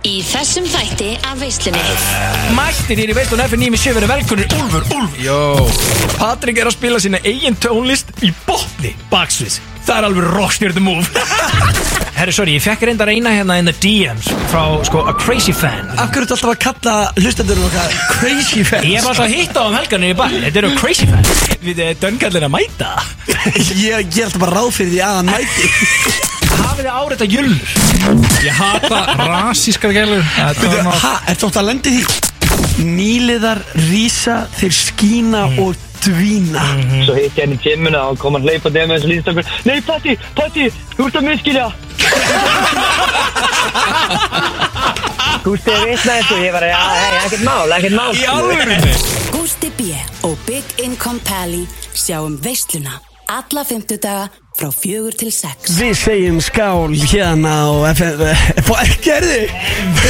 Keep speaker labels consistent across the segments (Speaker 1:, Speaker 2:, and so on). Speaker 1: Í þessum þætti af veislunni
Speaker 2: Mættir hér í Veislun F9 með sjöfinu velkunir Úlfur, Úlfur Jó Patrik er að spila sína eigin tónlist í botni baksviðs Það er alveg rockstjörðu múf Herri, sorry, ég fekk reyndar eina hérna in the DMs frá, sko, a crazy fan
Speaker 3: Af hverju ertu alltaf að kalla hlustendur um okkar crazy fans?
Speaker 2: Ég hef alltaf að hitta á um helgarnir í bar Þetta eru crazy fan Við erum döngallir að mæta
Speaker 3: Ég ger alltaf bara ráð fyrir því að hann mæti
Speaker 2: Hafið þið áreita jullur
Speaker 4: Ég hata rasískar gælur Þetta var
Speaker 3: Ha, ertu alltaf að lendi því? Nýliðar rísa, þeir skína
Speaker 2: Mm.
Speaker 3: og dvína
Speaker 5: Svo hitt ég henni í gymuna og kom hann hleypandi með þessu líðstöfnur Nei, Patti, Patti, þú ert að miskilja Þú veist, ég veist næstu, ég var að, já, hei, ekkert mál, ekkert mál
Speaker 2: Í alveg
Speaker 6: Gústi B. og Big Income Pally sjáum veisluna alla fymtudaga frá fjögur til sex.
Speaker 3: Við segjum skál hérna og FN... Gerði!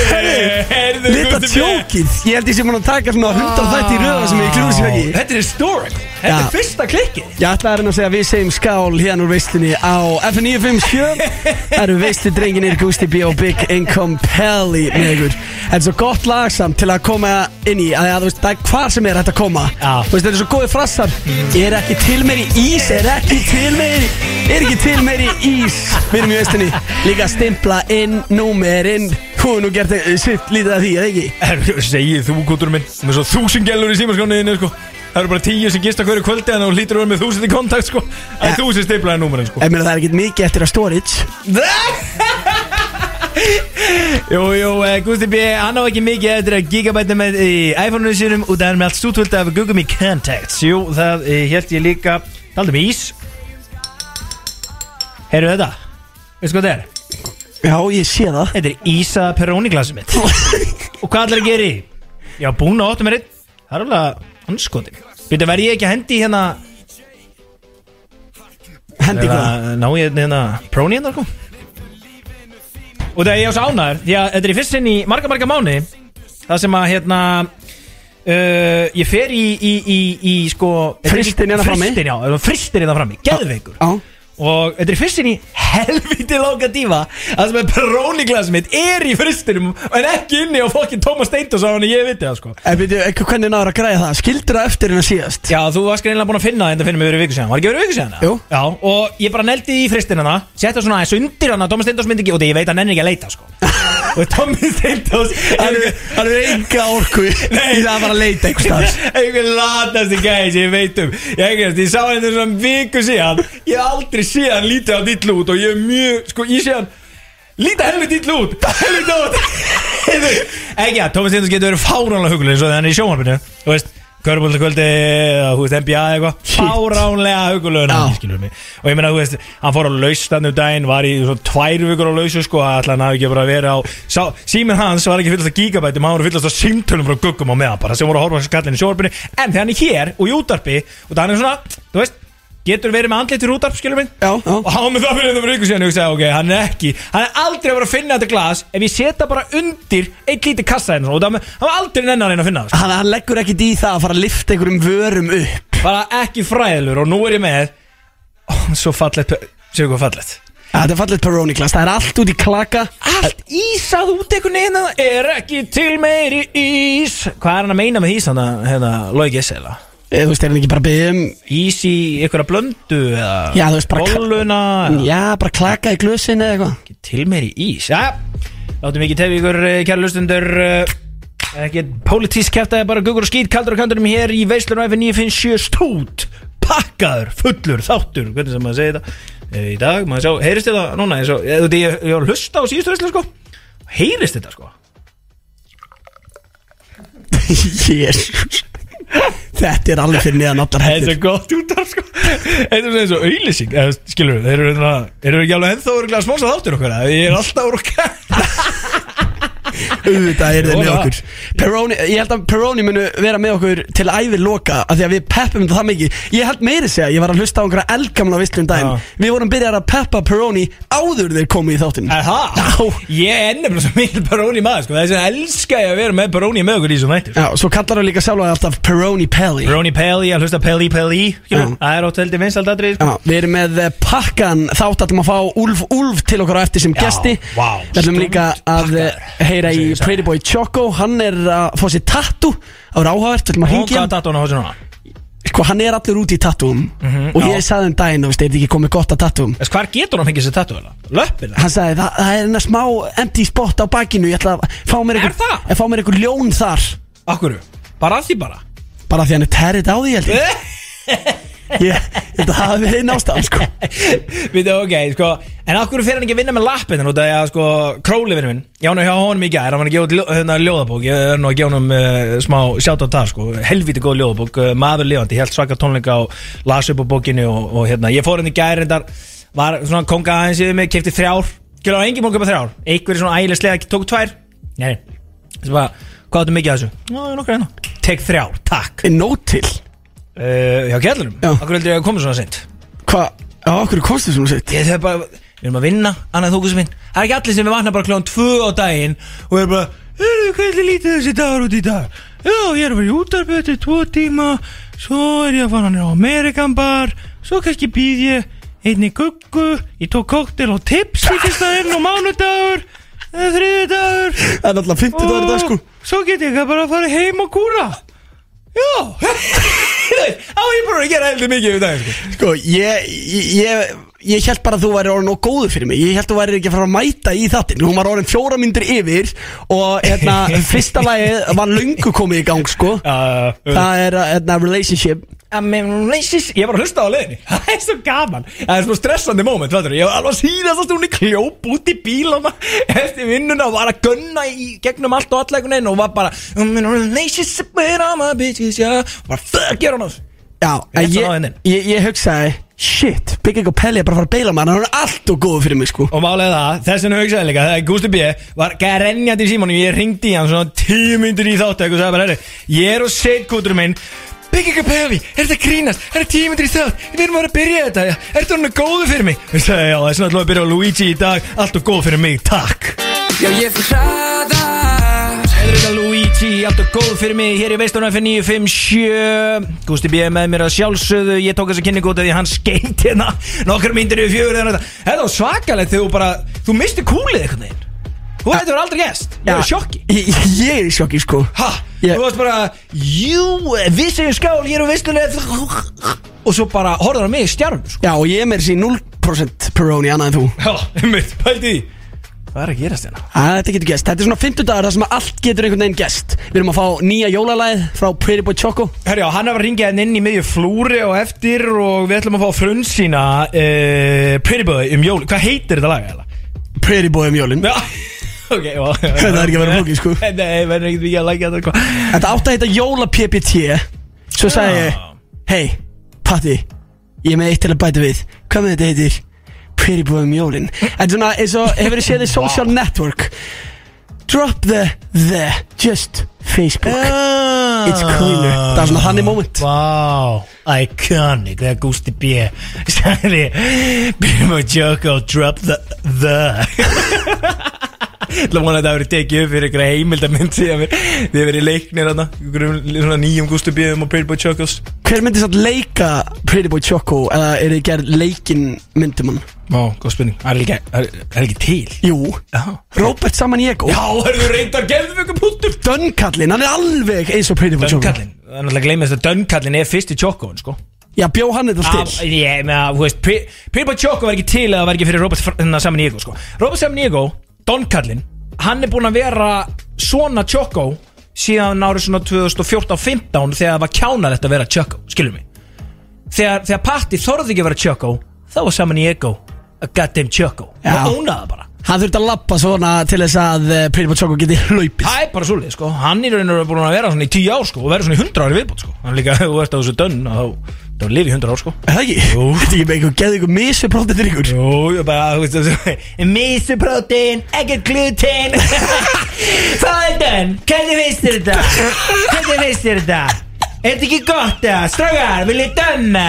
Speaker 2: Herðu,
Speaker 3: Lita tjókið! Ég held ég sem hann að taka svona
Speaker 2: Ah.
Speaker 3: hundar þætti í röða sem ég klúður sér ekki
Speaker 2: Þetta er historic Þetta
Speaker 3: Já.
Speaker 2: er fyrsta klikkið
Speaker 3: Ég ætla að reyna að segja að við segjum skál hérna úr veislinni á FN957 Það eru veislu drenginir Gusti B og Big Income Pelli með ykkur Þetta er svo gott lagsamt til að koma inn í að, að, þú veist, Það er hvar sem er hægt að koma
Speaker 2: Já.
Speaker 3: Þú veist, Þetta er svo góði frassar Ég er ekki til meiri ís, er ekki til meiri Er ekki til meiri ís Við erum í veislinni Líka að stimpla inn, númerinn Hún er nú gert eh, sitt lítið af því, eða ekki?
Speaker 2: Herru, segið þú, kútur minn Með svo þúsund gælur í símaskóniðinu, sko Það eru bara tíu sem gista hverju kvöldi En þú hlýtur að vera með þúsund í kontakt, sko En
Speaker 3: Ja.
Speaker 2: þú sem stiplaði númerinn, sko
Speaker 3: Ég meina það er ekkert mikið eftir að storage
Speaker 2: Jú, jú, uh, Gusti B, hann á ekki mikið eftir að gigabæta með í iPhone-unum sínum og það er með allt stútvöld af Google Me Contacts Jú, það uh, held ég líka Taldum ís Heyrðu þetta? Veistu hvað þetta er?
Speaker 3: Já, ég sé það
Speaker 2: Þetta er ísaða peróniglasi mitt Og hvað allir að gera í? Já, búin að óttu mér einn Það er alveg anskotin Býttu, verð ég ekki að hendi í hérna
Speaker 3: Hendi
Speaker 2: eða
Speaker 3: hvað
Speaker 2: Ná ég hérna Próni hérna sko Og það er ég á svo ánæður Því að þetta er í fyrst sinn í marga marga mánu Það sem að hérna uh, Ég fer í, í, í, í sko
Speaker 3: Frystin hérna frammi.
Speaker 2: Fristin, já, fristin hérna frammi Geðveikur
Speaker 3: Já
Speaker 2: Og þetta er fyrstin í helviti langa dífa Það sem er peróniglasið mitt er í fyrstinum En ekki inni á fokkin Tómas Steindos Á hann ég viti það sko
Speaker 3: En veitu, ekki hvernig náður að græða það? Skildur það eftir en að síðast?
Speaker 2: Já, þú varst greinlega búin að finna það en það finnum við verið viku síðan Var ekki verið viku síðan? eða?
Speaker 3: Jú.
Speaker 2: Já, og ég bara neldi því í fristin hana Setta svona aðeins undir hana Tómas Steindos myndi ekki Og því ég veit að hann er ekki að leita sko Og Tómas Steindos
Speaker 3: Hann er- hann er enga orku í það að fara að leita einhvers staðar.
Speaker 2: einhver latasti gæði sem ég veit um ég, eignast, ég sá henni svona um viku síðan ég hef aldrei séð hann lítið á dillu út og ég er mjög, sko, ég sé hann lítið helvið dillu út helvið út Heyrðu, ekki að Thomas Stendus getur verið fáránlega huguleg eins og þannig í sjónvarpinu þú veist Körbóltakvöldi, þú veist, NBA eða eitthvað Fáránlega hugulöðun
Speaker 3: Já.
Speaker 2: Og ég meina, þú veist, hann fór á laustanum daginn Var í svona tvær vikur á lausu, sko Ætla hann hafi ekki bara verið á sá, Síminn hans var ekki fyllast af gigabætum Hann var fyllast af símtölum frá guggum á meðan bara Sem voru að horfa á skallin í sjónvarpinu En þegar hann er hér og í útarpi Og það hann er svona, þú veist Getur verið með andlit í útarp, skilur minn
Speaker 3: Já, já.
Speaker 2: Og hann var með það fyrir þetta fyrir ykkur síðan Og ég sagði, ok, hann er ekki Hann er aldrei að vera að finna þetta glas Ef ég seta bara undir eitt lítið kassa hérna svona, Og það með- hann var aldrei nennan að reyna að finna það sko
Speaker 3: Hann, hann leggur ekkit í það að fara að lifta einhverjum vörum upp
Speaker 2: bara ekki fræðilur og nú er ég með ó, svo fallet, séu hvað fallet
Speaker 3: Þetta er fallið Peroni Glass, það er allt út í klaka
Speaker 2: allt ísað út einhvern veginn en það er ekki til meiri ís hvað er hann að meina með ís hann að hérna, logi eða
Speaker 3: Eh, Þú veist, er hann ekki bara að byggja um
Speaker 2: ís í einhverja blöndu eða
Speaker 3: Já, þú veist, bara kla-
Speaker 2: bolluna eða
Speaker 3: Já, bara klaka í glösin eða eitthvað
Speaker 2: ekki til meiri ís já, látum ekki tefi ykkur eh, kæra lustundur ekki pólitísk kæftæði bara gugur og skýt kaldur og kandurum hér í veislun og F957 stút pakkaður, fullur, þáttur hvernig sem maður segir þetta Eh, í dag, maður sjá, heyrist þetta núna eins og ég, ég, ég var að hlusta á síðustu veislu sko heyrist þetta sko
Speaker 3: Jésus Þetta er alveg fyrir neðan allar
Speaker 2: Þetta
Speaker 3: hættir
Speaker 2: er gott útar sko Þetta er svona eins og auðlýsing eða, Skilur við, þeir eru hérna Þeir eru ekki alveg ennþá örgulega smósa þáttur okkur eða? Ég er alltaf úr okkar
Speaker 3: Auðvitað er þeir með
Speaker 2: Jóla.
Speaker 3: okkur Peroni, Ég held að Peroni munu vera með okkur til æfir loka af Því að við peppum þetta það mikið Ég held meiri segja, ég var að hlusta á einhverja eldgamla vislu um daginn
Speaker 2: Já.
Speaker 3: Við vorum byrjar að peppa Peroni áður þeir komu í þáttinn
Speaker 2: Aha, ég er nefnilega svo mikil baróni maður sko Þess vegna elska ég að vera með baróni með okkur í þessum hættu
Speaker 3: Já, svo kallar hann líka sjálf alltaf Peroni Pelli
Speaker 2: Baróni Peli, að hlusta Peli Peli skilur við.
Speaker 3: Já.
Speaker 2: Það er átt heldur vinsald aðrið
Speaker 3: Já, við erum með eh, pakkan þátt að maður fá Úlf Úlf til okkar á eftir sem
Speaker 2: Já,
Speaker 3: gesti
Speaker 2: vá,
Speaker 3: Við ætlum líka
Speaker 2: stórt
Speaker 3: að eh,
Speaker 2: pakkaður.
Speaker 3: heyra í í Pretty Boy Choco Hann er að fá sér tattoo Það var áhægt, viljum að
Speaker 2: Hún
Speaker 3: hingja
Speaker 2: gaf dattun á hosinu hana
Speaker 3: Sko, hann er allir úti í tattooum
Speaker 2: Mhm,
Speaker 3: Og ég sagði um daginn, þú veist, er þetta ekki komið gott að tattooum
Speaker 2: Þess hvar getur hún fengið sér tattu hana? Löppina?
Speaker 3: Hann sagði, það, það er hennar smá empty spot á bakinu Ég ætla að fá mér
Speaker 2: Er
Speaker 3: einhver,
Speaker 2: það?
Speaker 3: að fá mér einhver ljón þar
Speaker 2: Akkur, bara að því bara
Speaker 3: Bara því hann er terrið á því, held ég Ég ég held að það hafi verið einn ástæðan, sko
Speaker 2: Við þau, ok, sko En akkur fyrir hann ekki að vinna með lappin Út af því að, sko, Crowley vinnu minn Ég hann hjá honum í gær Hann var að gefa út ljó- hérna, ljóðabók Ég er nú að gefa honum uh, smá sjátt á það, sko Helvíti góð ljóðabók uh, Maður lifandi, Ég held svaka tónleika og las upp á bókinu Og, og hérna, ég fór hann í gær Reyndar var svona konga aðeins yfir mig Kefti þrjár Gjörðu á engin bók upp að þrjár Einhverjir svona ægilega Tók tvær Nei, sem bara, hvað áttu mikið af þessu? Ná, nokkra hérna Tek þrjár, takk
Speaker 3: Nót til
Speaker 2: uh, Já, kjallurum
Speaker 3: Já.
Speaker 2: Akkur heldur ég að koma svona sent
Speaker 3: Hvað, á okkur kostið svona sitt
Speaker 2: Ég þarf bara, við erum að vinna, annað þú minn Það er ekki allir sem við vakna bara kljóðan tvö á daginn Og við erum bara, heyrðu, hvernig lítið þessi dagur út í dag? Já, ég er að vera í útarpöð til tvo tíma Svo er ég að fara hann á Amerikan bar Svo kannski býð ég einni guggu Ég tók koktel og tips í fyrsta inn og mánudagur Þriði dagur
Speaker 3: Það er náttúrulega 50 dagar í dag, sko
Speaker 2: Svo get ég bara að fara heim og kúra Já Á, ég bara að gera heldur mikið í dag sko.
Speaker 3: Sko, ég, ég, ég, ég held bara að þú væri orðin og góður fyrir mig Ég held að þú væri ekki að fara að mæta í þattin Hún var orðin fjóra myndir yfir Og hérna, fyrsta lagið var löngu komið í gang, sko
Speaker 2: Já, já, já.
Speaker 3: Það er, hérna, relationship
Speaker 2: I mean, racist Ég var að hlusta á leiðinni Það er svo gaman Það er svo stressandi moment fattur. Ég var alveg að síðast að hún í kljóp út í bíl og maður eftir vinnuna og var að gunna í gegnum allt og alla einhvern veginn og var bara "Um, I mean, racist But I'm a bitch yeah. og bara fuck ég er hann ás
Speaker 3: Já,
Speaker 2: Rétt
Speaker 3: en
Speaker 2: að ná
Speaker 3: ég,
Speaker 2: henni.
Speaker 3: ég, ég hugsaði Shit, Big Ego Pelli er bara að fara að beila mann Hann er allt og góður fyrir mig, sko
Speaker 2: Og málega það, þessin hugsaði líka, þegar Gústi B. var grenjandi í símanum, ég ringdi í hann svona tíu myndir í þáttöku og sagði bara, herri, ég er og setkútur minn, Biggie Capelli, er þetta að grínast, er þetta tíu myndir í þátt, við erum bara að byrja þetta, já, er þetta hann góðu fyrir mig? Ég sagði, já, þessin alltaf að byrja á Luigi í dag, alltaf góð fyrir mig, takk. Auðvitað Luigi, alltaf góð fyrir mig Hér í veistunum F957 Gústi B. með mér að sjálfsöðu Ég tók þessa kynningu út af því að hann skeint hérna Nokkur myndir yfir fjögur hérna. Þetta var svakalegt þegar þú bara Þú misti kúlið einhvern veginn Þú veit, þú er aldrei gæst Ég er í sjokki
Speaker 3: Ég, ég er í sjokki, sko
Speaker 2: Ha,
Speaker 3: Ég-
Speaker 2: þú varst bara Jú, við segjum skál, ég er á veistunum Og svo bara horfður á mig í stjárn sko.
Speaker 3: Já, og ég er með þessi 0% Peroni, annað en þú
Speaker 2: Já, einmitt, pældi því Hvað er að gerast hérna?
Speaker 3: Æ, Þetta getur gæst, þetta er svona 50 dagar þar sem að allt getur einhvern veginn gæst Við erum að fá nýja jólalæð frá Pretty Boy Choco
Speaker 2: Herjá, hann var að ringja henn inn í miðju flúri og eftir og við ætlum að fá frunn sína uh, Pretty Boy um jól Hvað heitir þetta lag? eiginlega?
Speaker 3: Pretty Boy um jólin
Speaker 2: Já, ok well,
Speaker 3: Það er ekki að vera flókið, sko.
Speaker 2: Nei, verður ekkert mikið að lækja þetta sko. hvað
Speaker 3: Þetta átti að heita Jóla PPT Svo sagði ég Hei, Patti Ég er með eitt til að bæta við Hvað með þetta heitir? Pretty Boy um jólin Þetta er svona eins og hefur þið séð þið social network Drop the the Just Facebook
Speaker 2: Eh. Ah.
Speaker 3: It's cleaner Það er svona þannig moment
Speaker 2: Wow, iconic Þegar Gusti B sagði Byrjum að joke og drop the The Það vona að þetta hafi verið tekið upp fyrir einhverja heimildamind síðan mér Þið verið leiknir þarna einhverjum Svona nýjum Gusti B um að Pretty Boy Chocos
Speaker 3: Hver myndi satt leika Pretty Boy Choco Eða er þið gerð leikinn myndum hann?
Speaker 2: Ó, góð spurning Það er ekki, það er, það er ekki til
Speaker 3: Jú
Speaker 2: Já
Speaker 3: Robert saman ég og
Speaker 2: Já, erum við reyndar gefðum ykkur punktum
Speaker 3: Dönkallin, hann er alveg eins og Pretty Boy Choco
Speaker 2: Dönkallin Það er náttúrulega gleymist að Dönkallin er fyrst í Chocon, sko
Speaker 3: Já, bjó hann þetta allt
Speaker 2: Já,
Speaker 3: til
Speaker 2: Ég, með að, þú veist Pirpa Choco var ekki til að það var ekki fyrir Robert Fr- hérna, Samaniego, sko Robert Samaniego, Donkallin Hann er búinn að vera svona Choco síðan árið svona 2014-15 þegar það var kjánalegt að vera Choco, skilur mig Þegar, þegar Patti þorði ekki að vera Choco þá var Samaniego a goddamn Choco
Speaker 3: Já.
Speaker 2: og ónaði bara
Speaker 3: Hann þurfti að lappa svona til þess að eh, Pretty Boy Choco geti hlaupið
Speaker 2: Það er bara svolítið sko, hann í rauninu er búin að vera svona í tíu ár sko og vera svona í hundra ári viðbútt sko Hann líka, ef þú ert á þessu dönn og þá, þá lifi í hundra ár sko
Speaker 3: Er það ekki?
Speaker 2: Jú.
Speaker 3: Þetta ekki með einhver geðu ykkur misu prótið til ykkur
Speaker 2: Jú, ég bara, þú veist þessu Mísuprótein, ekkert gluten Það er dönn, hvernig finnst þér þetta? Hvernig finnst þér þetta? Er þetta ekki gott það? Strágar, vil ég dönna?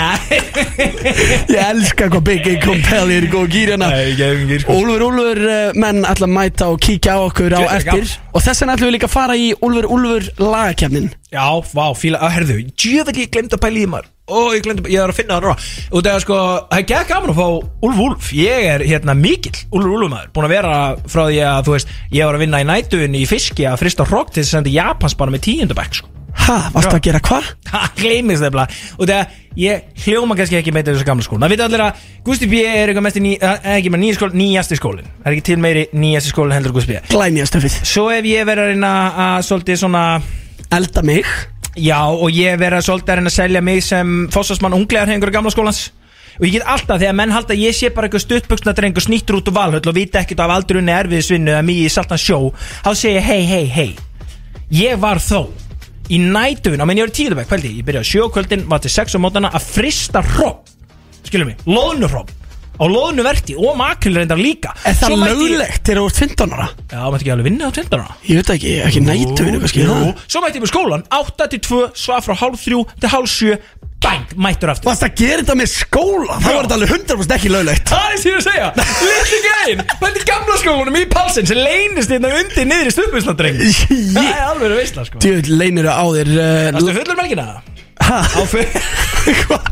Speaker 3: Ég elska hvað Big A Compelli er í góð gýr hérna
Speaker 2: gefum ekki
Speaker 3: Úlfur Úlfur eh, menn ætla að mæta og kíkja á okkur á
Speaker 2: Djöfull er
Speaker 3: eftir
Speaker 2: gaman.
Speaker 3: Og þess vegna ætlum við líka að fara í Úlfur Úlfur lagakefnin
Speaker 2: Já, vá, fíla, að herðu, djöfell ég glemt að pæla í því, maður og ég glemdi, ég er að finna hann ráð og það er sko, það er gekk gaman að fá Úlf Úlf, ég er hérna mikill Úlfur Úlfumæður, búin að vera frá því að þú veist, ég var að vinna í nætuðin í fiski að frista hrogg til þess að senda í Japansbana með tíundabæk sko
Speaker 3: Ha, varstu að gera hvað?
Speaker 2: Það gleymist nefnilega Og þegar ég hljóma kannski ekki meita þessu gamla skóla Það vita allir að Gusti B er eitthvað mest í ný, eh, ekki með nýja skóla, nýjasti skólin Það er ekki til meiri nýjasti skólin heldur en Gusti B
Speaker 3: Glænja stöfið
Speaker 2: Svo ef ég verið að reyna að svolítið svona
Speaker 3: Elda mig
Speaker 2: Já og ég verið að svolítið að reyna að selja mig sem Fossasmann unglegar hengur gamla skólans Og ég get alltaf þegar menn halda að ég sé bara eitthvað stuttbuksna drengur snýttur út úr valhöll og vita ekkert af aldrunni erfiðisvinnu eða mýi í saltan sjó þá segi ég hei hei hei ég var þó í nætun á menn ég var í tíðabæk kvöldi ég byrjaði á sjö á kvöldin var til sex á mótana að frista hróp skilum mig loðnuhróp á loðnuverti og makril reyndar líka
Speaker 3: Er það
Speaker 2: Svo mætti ég-
Speaker 3: löglegt þegar þú ert 15 ára?
Speaker 2: já maður ekki alveg vinna á tildana
Speaker 3: Ég veit ekki, ekki nætu minni kannski ha?
Speaker 2: svo mætti ég með skólan 8 til 2 svaf frá hálf 3 til hálf 7 bang mættur aftur
Speaker 3: Varstu að gera þetta með skóla? Það var þetta alveg 100% ekki löglegt
Speaker 2: Það er sem ég er að segja Lilli gæinn Bændi gamla skólanum í palsin sem leynist hérna undir niður í stuðbúslandreng Það er alveg að veistla sko
Speaker 3: Djöð, leinir á þér uh,
Speaker 2: Þú fullur um melkina
Speaker 3: ha?
Speaker 2: full-
Speaker 3: Hva,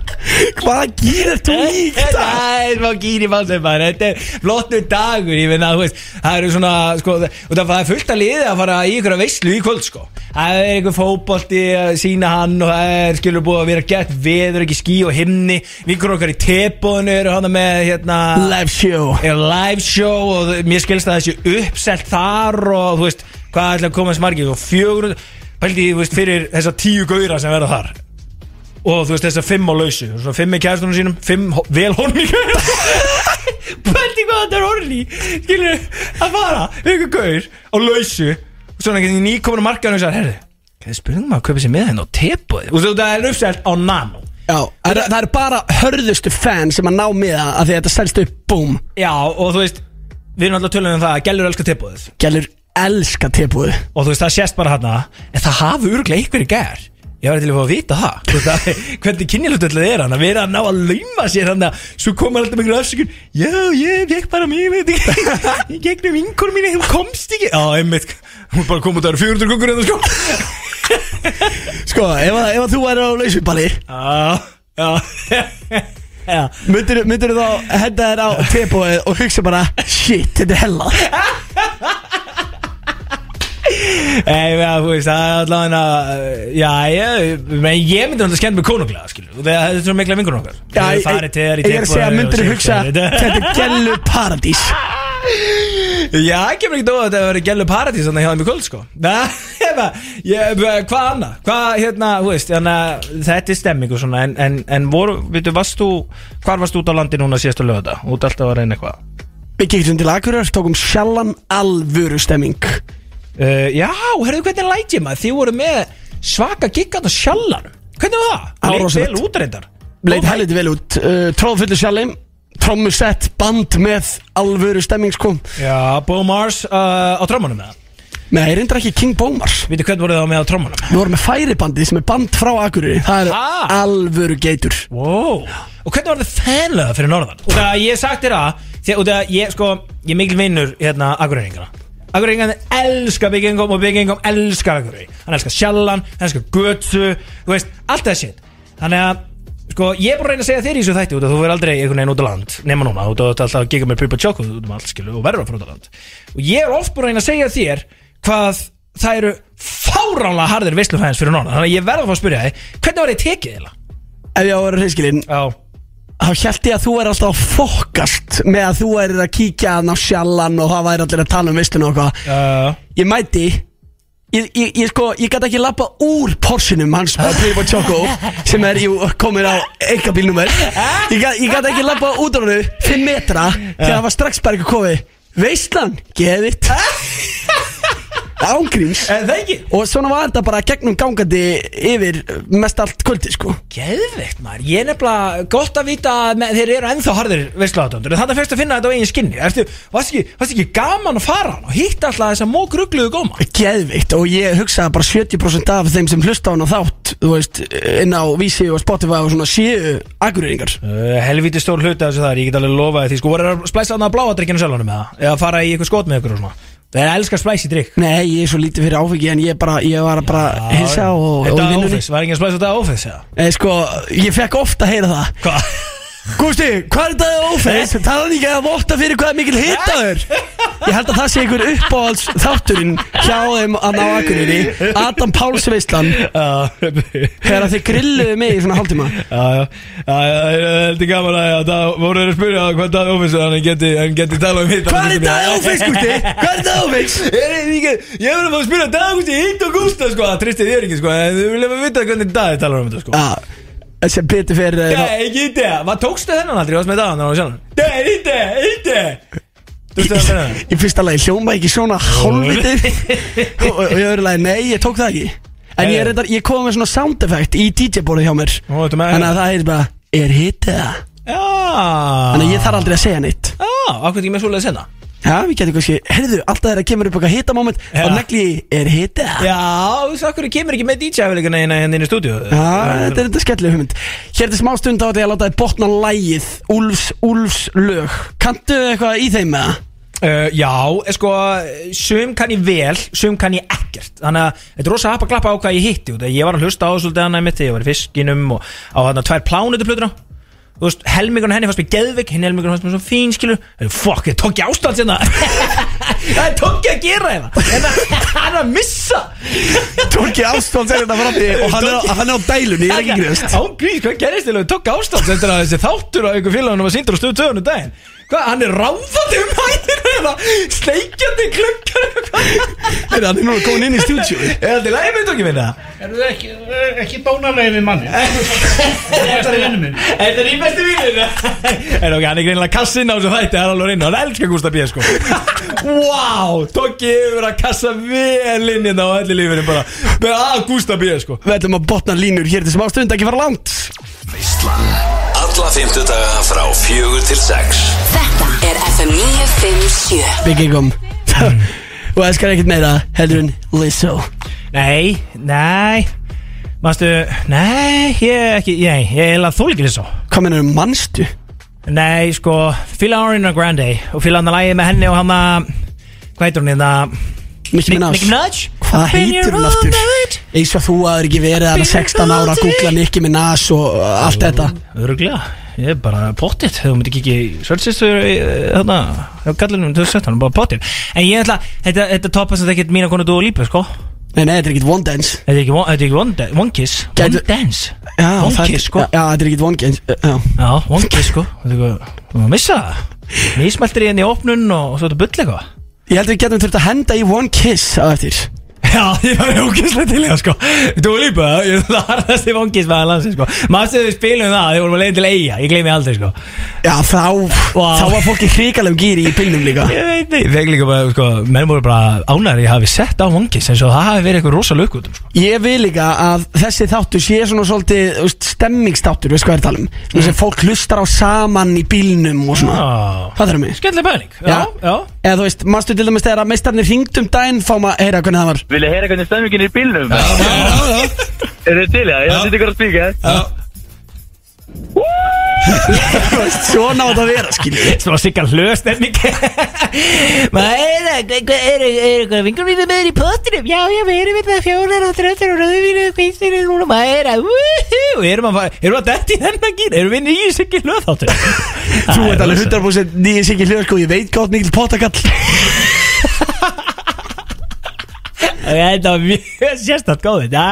Speaker 3: Hvað gerir þú í
Speaker 2: Þetta
Speaker 3: þetta?
Speaker 2: er smá gýr í palsin bara Þetta er flottur dagur Ég finna að þú veist Það eru svona sko og Það það er fullt að liði að fara í ykkur að veistlu í kvöld sko Það er einhver fótbolti að sína hann og það er skilur búið að vera gett veður ekki skí og himni Vinkur okkar í tebónu eru hann með hérna
Speaker 3: Live show
Speaker 2: er live show og þ- mér skilst að þessi uppselt þar og þú veist hvað ætla að koma þessi margir og fjögur pældi þú veist fyrir þessa tíu gauðra sem verða þar og þú veist þessa fimm á lausu svona fimm í kæðstunum sínum fimm ho- vel horni gauðra pældi hvað þetta er horni skilur að fara við ykkur gauður á lausu og svona ekki nýkominu markaðan og sagði herri hvað er spurningum að kaupa sér með henn á tepóði og þú veist það er uppselt á nano
Speaker 3: Já, það eru- það eru bara hörðustu fan sem að ná miða af því að þetta selst upp, búm
Speaker 2: já og þú veist við erum alltaf tölunum um það að gælur elskar tepóðið
Speaker 3: Gælur elska tilbúðu
Speaker 2: og þú veist það sést bara hana en það hafi örglega einhverju gær ég var til að fá að vita það Þú veist, það- hvernig kynjulutöldu er hann að vera að ná að lauma sér hann að svo koma alltaf einhverju afsökun já ég vekk bara mér veit ekki ég gegnum vinkur mín þú komst ekki já einmitt hún er bara kom út að það eru 400 kongur en það sko
Speaker 3: Sko, ef, að- ef að þú væri á lausuballi
Speaker 2: já já já
Speaker 3: myndir, myndir þá henda þér á tilbúðu og hugsa bara Shit, þetta er hella
Speaker 2: Nei, ja, þú veist, það er allavega að Já, ég, menn ég myndi náttúrulega skemmt með konunglega, skilur þú, þegar þetta er svo mikla vingur okkar
Speaker 3: Já,
Speaker 2: Þú
Speaker 3: ég,
Speaker 2: farið til þær í
Speaker 3: ég er að segja
Speaker 2: Depói og
Speaker 3: myndir
Speaker 2: séð
Speaker 3: hugsa
Speaker 2: fyrir þetta.
Speaker 3: Þetta er gælu paradís
Speaker 2: Já, það kemur ekki dóð að það verið gælu paradís þannig hjá þeim í kvöld sko Nei, hérna, ég- Hvað annað? Hvað, hérna, þú veist, hérna, þetta er stemming og svona En, en, en voru, veitu, varst þú, hvar varst þú út á landi núna síðast að löga þetta? Út alltaf að reyna eitthvað
Speaker 3: Við gikkum til Akureyrar, tókum sjallan alvöru stemming
Speaker 2: uh, Já, herðu, hvernig læt ég maður? Þið voru með svaka giggand á sjallanum Hvernig var það? Leit
Speaker 3: Árásalegt.
Speaker 2: vel út reyndar
Speaker 3: Leit helviti vel út uh, Tróðfullu sjallim, trommusett, band með alvöru stemming sko
Speaker 2: Já, Bo Mars uh, á trómanum með það
Speaker 3: Nei, ég reyndar ekki King Bómars
Speaker 2: Veitu, hvernig voru það með á trómanum?
Speaker 3: Við vorum með færibandi sem er band frá Akureyri Það er
Speaker 2: Ah.
Speaker 3: alvöru geitur
Speaker 2: Wow. Og hvernig var það fennlega fyrir norðan? Og það ég hef sagt þér að því, Og það ég, sko, ég er mikil vinnur hérna Akureyringana Akureyringana elska byggingum og byggingum elska Akureyri Hann elskar sjallan, hann elskar götsu Þú veist, allt það shit Þannig að, sko, ég er búin að reyna að segja þér í þessu þætti út að þú verður aldrei einhvern veginn út á land nema núna, út að alltaf að giga með Pippa Choco út um allt skilu og verður að fara út á land Og ég er oft búin að reyna að segja þér hvað það eru fáránlega harðir veislufæðins fyrir norðan Þannig að ég verð að fá að spyrja þig, hvernig var þið tekið eiginlega?
Speaker 3: Ef ég á að vera hreinskilinn
Speaker 2: Já,
Speaker 3: Þá held ég að þú er alltaf að fokast Með að þú er að kíkja hann á sjallan Og það væri allir að tala um veistinu og eitthvað
Speaker 2: Já,
Speaker 3: Ég mæti Ég, ég, ég sko, ég gæti ekki lappa úr Porsinum hans Playboy Choco sem er, jú, komir á einkabíl nummer Ég gæti gat ekki lappa út á hannu 5 metra þegar það var strax bara ekki kofi Veistlan, geðið Ángríms
Speaker 2: En það ekki
Speaker 3: Og svona var þetta bara gegnum gangandi yfir mest allt kvöldi sko
Speaker 2: Geðveikt maður, ég er nefnilega gott að vita að með- þeir eru ennþá harðir veistláðatöndur en þetta fyrst að finna þetta á eigin skinni Ertu, varst, ekki, varst ekki gaman að fara hann og hitta alltaf þess að mókrugluðu góma
Speaker 3: Geðvikt og ég hugsaði bara 70% af þeim sem hlusta á hana þátt Þú veist, inn á Vísi og Spotify og svona séu akureyringar
Speaker 2: uh, Helviti stór hluti af þessu þar, ég get alveg lofaði því sko, voru að splæsa hann að bláa drikkinu sjálfanum með það eða fara í eitthvað skot með ykkur og svona Það elskar spæsi drikk
Speaker 3: Nei, ég er svo lítið fyrir áfengi En ég, bara, ég var bara hinsa og, og
Speaker 2: Þetta
Speaker 3: í
Speaker 2: er
Speaker 3: vinnunni.
Speaker 2: office, var engin spæsi þetta er office eða?
Speaker 3: Eh, Sko, ég fekk ofta að heyra það
Speaker 2: Hvað?
Speaker 3: Gústi, hvað er þetta ófæðis? Talan ekki að votta fyrir hvað er mikil hitaður Ég held að það sé einhver uppáhalds þátturinn hjá þeim að ná akkurinni Adam Páls veistlan
Speaker 2: Já,
Speaker 3: Þegar að þið grilluðu mig í svona hálftíma
Speaker 2: Já, já, já, já, það er heldur gaman að já, það voru þeir að spyrja hvað Daði Ófins er, hann geti, hann geti talað um hitt
Speaker 3: Hvað er þetta ófæðis, Gústi? Hvað er þetta ófæðis?
Speaker 2: Er þið ekki, ég verður að fá að spyrja Daði Ófins í hitt og gústa, sko, það tristið þér ekki, sko, en við viljum að vita hvernig Daði talar um þetta, sko
Speaker 3: Já, sem betur fyrir þeir
Speaker 2: Nei, ekki hitt eða, hvað tókstu þennan aldrei, varst með Daðan á sjálfum? Nei, hitt eða, hitt eða Þú veist það að
Speaker 3: Í- Í fyrsta lagi hljóma ekki svona hálfvitið og, og í öðru lagi, nei, ég tók það ekki En ég, reyndar, ég kom með svona sound effect í DJ-bórið hjá mér
Speaker 2: Nú, ertu með-
Speaker 3: Þannig að það heitir bara, er hitið það?
Speaker 2: Já,
Speaker 3: Þannig að ég þarf aldrei að segja neitt
Speaker 2: Já, akkur ekki með svoleið senna
Speaker 3: Já, við getum kannski, heyrðu, alltaf þegar kemur upp eitthvað hitamoment
Speaker 2: Já.
Speaker 3: ja. og negli ég, er hita
Speaker 2: Já, þú veist, akkur kemur ekki með DJ-afleikana hérna inn í stúdíu
Speaker 3: Já, þetta er þetta skemmtileg hugmynd Hér til smá stund á þetta ég að láta þið botna lægið Úlfs, Úlfs lög Kanntu eitthvað í þeim með það?
Speaker 2: Uh, já, eh, sko, sum kann ég vel, sum kann ég ekkert Þannig að þetta er rosa hapa glappa á hvað ég hitti út af því Ég var að hlusta á þessu svolítið annað mitt Ég var í fiskinum og á þarna tvær plánutuplutuna Þú veist, helmingun henni fannst mér geðvik Hinn helmingun fannst mér svo fín, skilur En Fuck, ég tók ég ástand sinna Það tók ég að gera hérna En að- hann er að missa
Speaker 3: Tóki Ástfáld segir þetta frá því og hann er, á- hann er á dælunni, ég er ekki grefst
Speaker 2: Án grís, hvað gerist til að ég tók ástand Þetta er að þessi þáttur á ykkur félagunum var síndur á stöðu töðunum daginn Hvað, hann er ráðandi um hæðir eða sleikjandi klukkar Hvað
Speaker 3: Heyrðu, hann er núna komin inn í stúdíu
Speaker 2: Er þetta í lagi með tókið minna?
Speaker 7: Er það ekki, er ekki bónalegi við manni? Þetta er vinnu minn.
Speaker 2: Þetta er í bestu víninu Er ok, hann er greinilega kassinn á þessu þætti Það er alveg reyna, hann elskar Gústa B sko Wow, Tóki yfir að kassa vel inn hérna á öllu lífinu bara Með að Gústa B sko
Speaker 3: Við ætlum að botna línur hér til smá stund, ekki fara langt
Speaker 8: Veislan Alla fymtudaga frá fjögur til sex
Speaker 6: Þetta er FM 957
Speaker 3: Byggingum Og elskar ekkert meira, heldur en Lizzo
Speaker 2: Nei, nei Manstu, nei, ég ekki, nei, ég er að þól ekki lýsa
Speaker 3: Hvað mennur mannstu?
Speaker 2: Nei, sko, fíla Ariana Grande Og fíla hann að lagið með henni og hann að Hvað heitir hún hérna?
Speaker 3: Mikki minn ás
Speaker 2: Minaj
Speaker 3: Hvað heitir hún aftur? Eins og þú aður ekki verið að 16 ára að googla Nicki Minaj og uh, allt þetta
Speaker 2: Öruglega, ég er bara pottitt Þú myndir ekki ekki Sörnsistur Þarna eh, hérna, Hjá gallinum 2017 Bara pottitt En ég ætla Þetta, þetta toppast þetta ekkert Mína konu dú og lípa sko
Speaker 3: Nei, nei, þetta er ekkit One Dance
Speaker 2: Þetta er ekki, one- þetta er ekki one, da- one kiss One
Speaker 3: Gætu-
Speaker 2: dance
Speaker 3: Já,
Speaker 2: One
Speaker 3: það-
Speaker 2: kiss sko
Speaker 3: Já, þetta er ekkit One Dance uh, Já,
Speaker 2: Já, one kiss sko Þetta er eitthvað Þú maður missa það Nýsmeltir í henni í opnun Og svo þetta bull eitthvað
Speaker 3: Ég held að við getum þurft að henda í One Kiss á eftir
Speaker 2: Já, ég var ógæslega til í það sko Þú var lípa, ég það harðast í vangis með að landsi sko Mastu við spilum um það, þið vorum að leiða til eiga Ég gleymi aldrei sko
Speaker 3: Já, þá,
Speaker 2: Vá.
Speaker 3: þá var fólki hrikalegu gýri í bylnum líka
Speaker 2: Ég veit ekki, þegar líka bara, sko, menn voru bara ánæri ég hafi sett á vangis eins og það hafi verið eitthvað rosa lögutum, sko.
Speaker 3: Ég vil líka að þessi þáttur sé svona svolítið þú veist, stemmingsþáttur, veist hvað ég er að tala um Svona sem fólk hlustar á saman í bílnum og svona
Speaker 2: Já.
Speaker 3: Það þarf mig
Speaker 2: Skemmtileg pæling, já,
Speaker 3: Ah. Já.
Speaker 2: já.
Speaker 3: Eða þú veist, mannstu til dæmis þegar að meistarnir hringdum daginn fá maður að heyra hvernig það var
Speaker 5: Vilja heyra hvernig stemmingin er í bílnum?
Speaker 4: já, já
Speaker 5: Er þið til, já? Ég seti ykkur að spíka, eh?
Speaker 3: Þú veist, Svona á þetta að vera, skiljið
Speaker 2: Svo sikkar hlöst en mikið Maður er það, er eitthvað vingurvínu með þér í pottinum Já, já, við erum með það fjórar og þröttur og rauðvínu og kvistinu núna Maður er að, wúhú, erum að fara, erum að detti þennan gýr Erum við nýjum sikkar hlöðáttur
Speaker 3: Þú ert alveg 100% nýjum sikki hljóðsko Ég veit gátt mikil potakall
Speaker 2: Þetta var mjög sérstætt góð þetta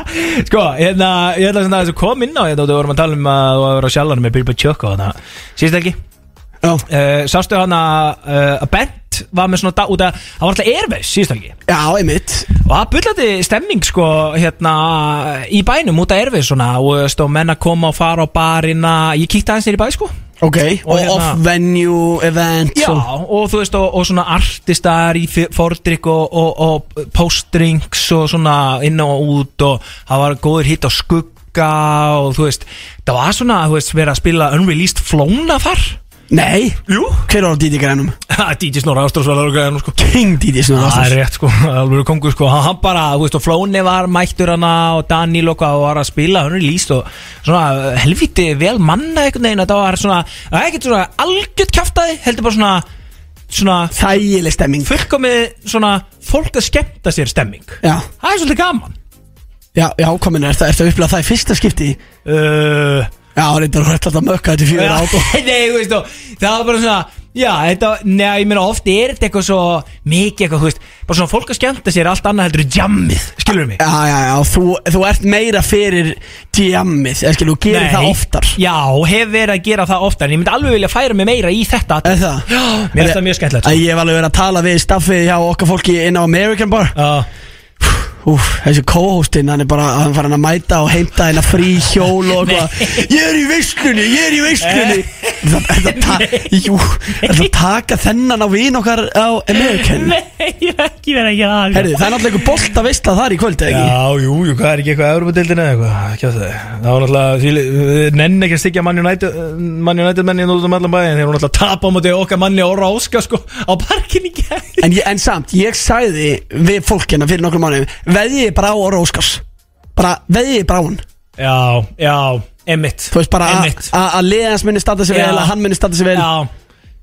Speaker 2: Sko, hérna, ég ætla svona að þessu kom inn á þetta og Þú vorum að tala um að þú var á sjálfanum með Bilba Tjökk og þannig Sýst ekki?
Speaker 3: Já,
Speaker 2: Uh, sástu hann að uh, að Bent var með svona dag út að Hann var alltaf erveis, sýst ekki?
Speaker 3: já einmitt
Speaker 2: Og það bullandi stemming sko hérna í bænum út að erfið svona og þú veist, og menn að koma og fara á barina ég kíkti aðeins nýri bæ sko Og
Speaker 3: Ok, og,
Speaker 2: hérna-
Speaker 3: off-venue event
Speaker 2: Já,
Speaker 3: og-
Speaker 2: og þú veist og, og svona artistar í f- fordrykk og, og, og postdrinks og svona inn og út og það var góður hitt á skugga og þú veist það var svona þú veist verið að spila unreleased flóna þar
Speaker 3: Nei,
Speaker 2: Jú
Speaker 3: hver var á Didi Grænum?
Speaker 2: DJ Snorra Ástrós var alveg gæðan sko
Speaker 3: King Didi svona
Speaker 2: Það er
Speaker 3: ástæðs
Speaker 2: rétt sko, alveg kongur sko Hann- Hann bara, þú veist, og Flóni var mættur hana og Daniel og hvað og var að spila hann er líst og svona helviti vel manna einhvern veginn, þetta var svona það er ekkert svona algjört kjaftaði, heldur bara svona svona
Speaker 3: Þægileg stemming
Speaker 2: fullkomið svona fólk að skemmta sér stemming
Speaker 3: Já,
Speaker 2: Það er svolítið gaman
Speaker 3: já, já, komin er þetta, ertu að upplega það í fyrsta skipti
Speaker 2: uh,
Speaker 3: Já, reyndar hún ætla að mökka þetta í fjögur át og
Speaker 2: Nei, þú veist þú, það var bara svona Já, þetta, neða, ég meina oft er þetta eitthvað svo mikið eitthvað, þú veist bara svona fólk að skemmta sér allt annað heldur en jammið skilur mig
Speaker 3: Já, já, já, þú, þú ert meira fyrir djammið, eða skilur, þú gerir
Speaker 2: Nei.
Speaker 3: það oftar
Speaker 2: Já, hef verið að gera það oftar En ég myndi alveg vilja færa mig meira í þetta
Speaker 3: Er það? Já,
Speaker 2: Mér finnst það mjög skemmtilegt, sko.
Speaker 3: Ég hef alveg verið að tala við staffið hjá okkar fólki inn á American Bar
Speaker 2: uh,
Speaker 3: Úf, þessi co-hostinn, hann er bara hann farin að mæta og heimta hérna frí hjól og eitthvað Ég er í veislunni, ég er í veislunni Það er það ta- Jú, er það taka þennan á vin okkar á American
Speaker 2: Nei, ég hef ekki verið að gera það
Speaker 3: Herðu, það er náttúrulega einhver bolt að veisla þar í kvöld, eða ekki?
Speaker 2: Já, jú, jú, hvað er ekki eitthvað Európa-dildin eða eitthvað, ekki að það Það var náttúrulega, því- við nenn ekki að styggja Man United Man United menni út um allan bæin Þeir voru náttúrulega að tapa á móti okkar manni Óra Óska sko, á parkinni gæði
Speaker 3: En, ég, en samt, ég sagði við fólk hérna fyrir nokkrum mánuðum Veðið bara á Óra Óskars Bara, veðið bara á hann
Speaker 2: Já, já, emitt
Speaker 3: Þú veist bara að-
Speaker 2: Einmitt.
Speaker 3: að að liðans minni standa sig vel
Speaker 2: Já.
Speaker 3: Að hann minni standa sig vel
Speaker 2: Já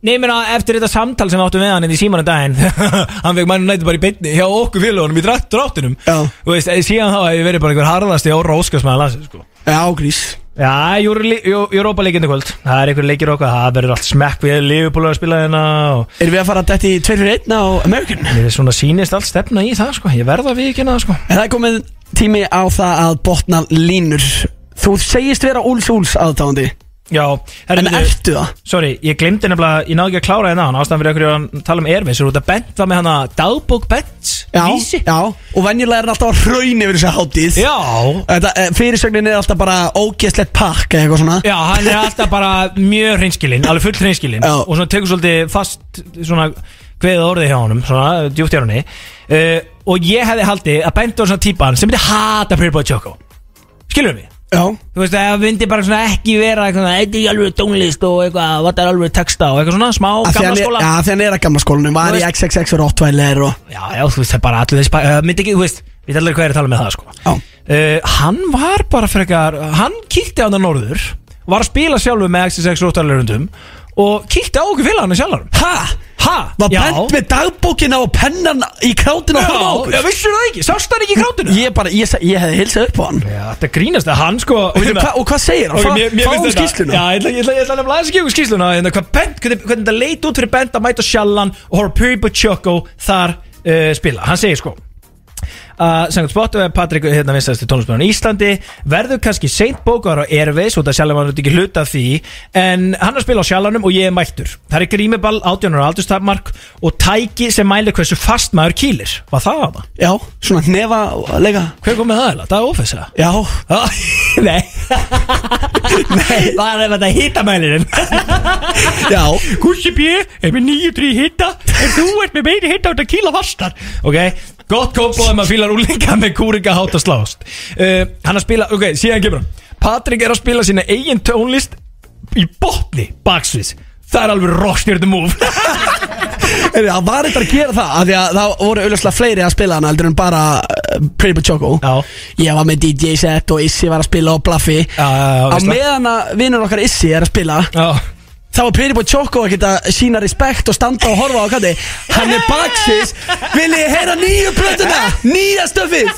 Speaker 2: Nei, meina, eftir þetta samtal sem við áttum við hann hérna í símanum daginn Hann fekk mann nætti bara í beinni hjá okkur félagunum í drætt dráttunum
Speaker 3: Já.
Speaker 2: Þú veist, eh, síðan þá hef ég verið bara einhver harðasti ára óskarsmaður landsins sko.
Speaker 3: Já, grís
Speaker 2: Já, Europa-leikinu kvöld Það er einhver leikir okkar, það verður allt smekk Við erum Liverpool að spila hérna og
Speaker 3: Erum við að fara að detti í 2 fyrir 1 á American?
Speaker 2: Mér er svona sýnist allt stefna í það, sko Ég verða við ekki hérna, sko
Speaker 3: En það er komið tími á það að botna línur Þú segist vera úls úls aðdáðandi
Speaker 2: Já,
Speaker 3: En
Speaker 2: herrðu,
Speaker 3: ertu það?
Speaker 2: Sorry, ég glemdi nefnilega, ég náði ekki að klára hérna hann Ástæðan fyrir okkur ég var að tala um Airways Þú út að Bent var með hana dagbók Bent
Speaker 3: Já,
Speaker 2: Vísi
Speaker 3: já Og venjulega er hann alltaf að hraun yfir þessa hátíð
Speaker 2: Já,
Speaker 3: Þetta, eh, fyrirsögnin er alltaf bara ógeðslegt pakk eða eitthvað svona
Speaker 2: Já, hann er alltaf bara mjög hreinskilinn, alveg fullt hreinskilinn
Speaker 3: Já.
Speaker 2: og svona tekur svolítið fast svona kveðið orðið hjá honum, svona djúpt hjá henni uh, og ég hefði haldið að Bent var svona típan sem myndi hata Pretty Boy Choco Skilur mig?
Speaker 3: Já,
Speaker 2: Þú veist að það myndi bara svona ekki vera eitthvað, svona, þetta er alveg tónlist og eitthvað, þetta er alveg texta og eitthvað svona smá
Speaker 3: af því
Speaker 2: gamla
Speaker 3: hann er-
Speaker 2: skóla
Speaker 3: já, af því hann er að gamla skólanum
Speaker 2: Þú
Speaker 3: Var í
Speaker 2: veist-
Speaker 3: XXX og Rottweiler og
Speaker 2: Já, já, þú veist það er bara allir þessi, uh, myndi ekki, þú veist, við allir hvað er að tala með það sko
Speaker 3: Já,
Speaker 2: Uh, hann var bara frekar hann kíkti á það norður var að spila sjálfur með XSX róttarleirundum og kíkti á okkur félagarnir sjálfur
Speaker 3: ha?
Speaker 2: ha,
Speaker 3: Var bent með dagbókina og pennan í krátin og horfa
Speaker 2: já,
Speaker 3: á
Speaker 2: já,
Speaker 3: okkur
Speaker 2: vissur það ekki, sást hann ekki í krátinu
Speaker 3: Ég bara, ég, sa- ég hefði hilsað upp á hann
Speaker 2: já, þetta grínast að hann sko
Speaker 3: Og, veitum, hva, og hvað segir hann?
Speaker 2: Ok,
Speaker 3: Okay,
Speaker 2: mér, mér
Speaker 3: Fáum
Speaker 2: finnst þetta-
Speaker 3: skýsluna
Speaker 2: Já, ég ætla, ég ætla, ég ætla nefnilega aðeins að gefa ykkur skýsluna hérna, hvað bent, hvernig, hvernig þetta leit út fyrir bent að mæta sjallan og horfa Puri Butchoko þar uh, spila Hann segir sko Uh, Sankt Spottuveg, Patrik hérna vinstast í tónlismjörn í Íslandi verður kannski seint bókar á Airways og það sjálfum hann ekki hluta af því en hann er að spila á sjálfanum og ég er mættur það er grímiball, 18 ára aldurstafmark og tæki sem mælir hversu fast maður kýlir var það að það?
Speaker 3: Já, svona nefa leika
Speaker 2: Hver kom með það eða? Það er ofessa
Speaker 3: Já,
Speaker 2: Ah, Nei Nei Það er þetta hittamælirinn
Speaker 3: já
Speaker 2: Gussi B er með 9-3 hitta En þú ert með meiri hitta út að kýla fastar Ok, gott kombo ef maður fílar úlinga með kúringa hátt að slást uh, Hann að spila, ok, síðan kemur hann Patrik er að spila sína eigin tónlist Í botni, baksviðs Það er alveg rockstjörnum múf
Speaker 3: Heyrðu, Það var eitthvað að gera það af Því að það voru auðvitað fleiri að spila hana heldur en bara uh, Pretty Boy Choco
Speaker 2: Já.
Speaker 3: Ég var með DJ set og Issi var að spila og Bluffy
Speaker 2: Já, já, já,
Speaker 3: Á
Speaker 2: veist það.
Speaker 3: meðan að vinnur okkar Issi er að spila
Speaker 2: Já,
Speaker 3: Þá var Pretty Boy Choco að geta sína respekt og standa og horfa á kalli Hann er baksis Viljið þið heyra nýju plötuna Nýja stöfið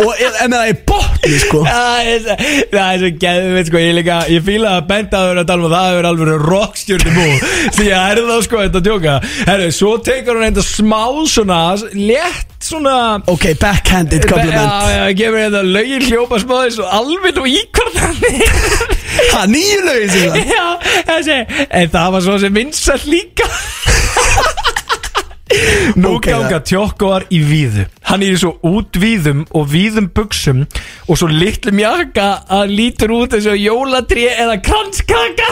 Speaker 3: Og er, er með það í botni sko
Speaker 2: Það er svo- það er svo geðvitt sko Ég, líka, ég fíla að benda að vera að tala um að það er alveg rockstjörni bú Því að er það sko þetta að djóka Herru, svo tekur hún eitthvað smá svona Létt svona
Speaker 3: Ok, backhanded
Speaker 2: Já,
Speaker 3: compliment
Speaker 2: já, gefur þetta lögin hljópa smá þessu alveg og íkvartan
Speaker 3: Ha, nýju lögin síðan
Speaker 2: Já, þessi En það var svo sem vinsall líka Nú
Speaker 3: Ok,
Speaker 2: ganga tjókkoar í víðu Hann er í svo útvíðum og víðum buksum Og svo litlum jakka að lítur út eins og jólatrí eða kranskaka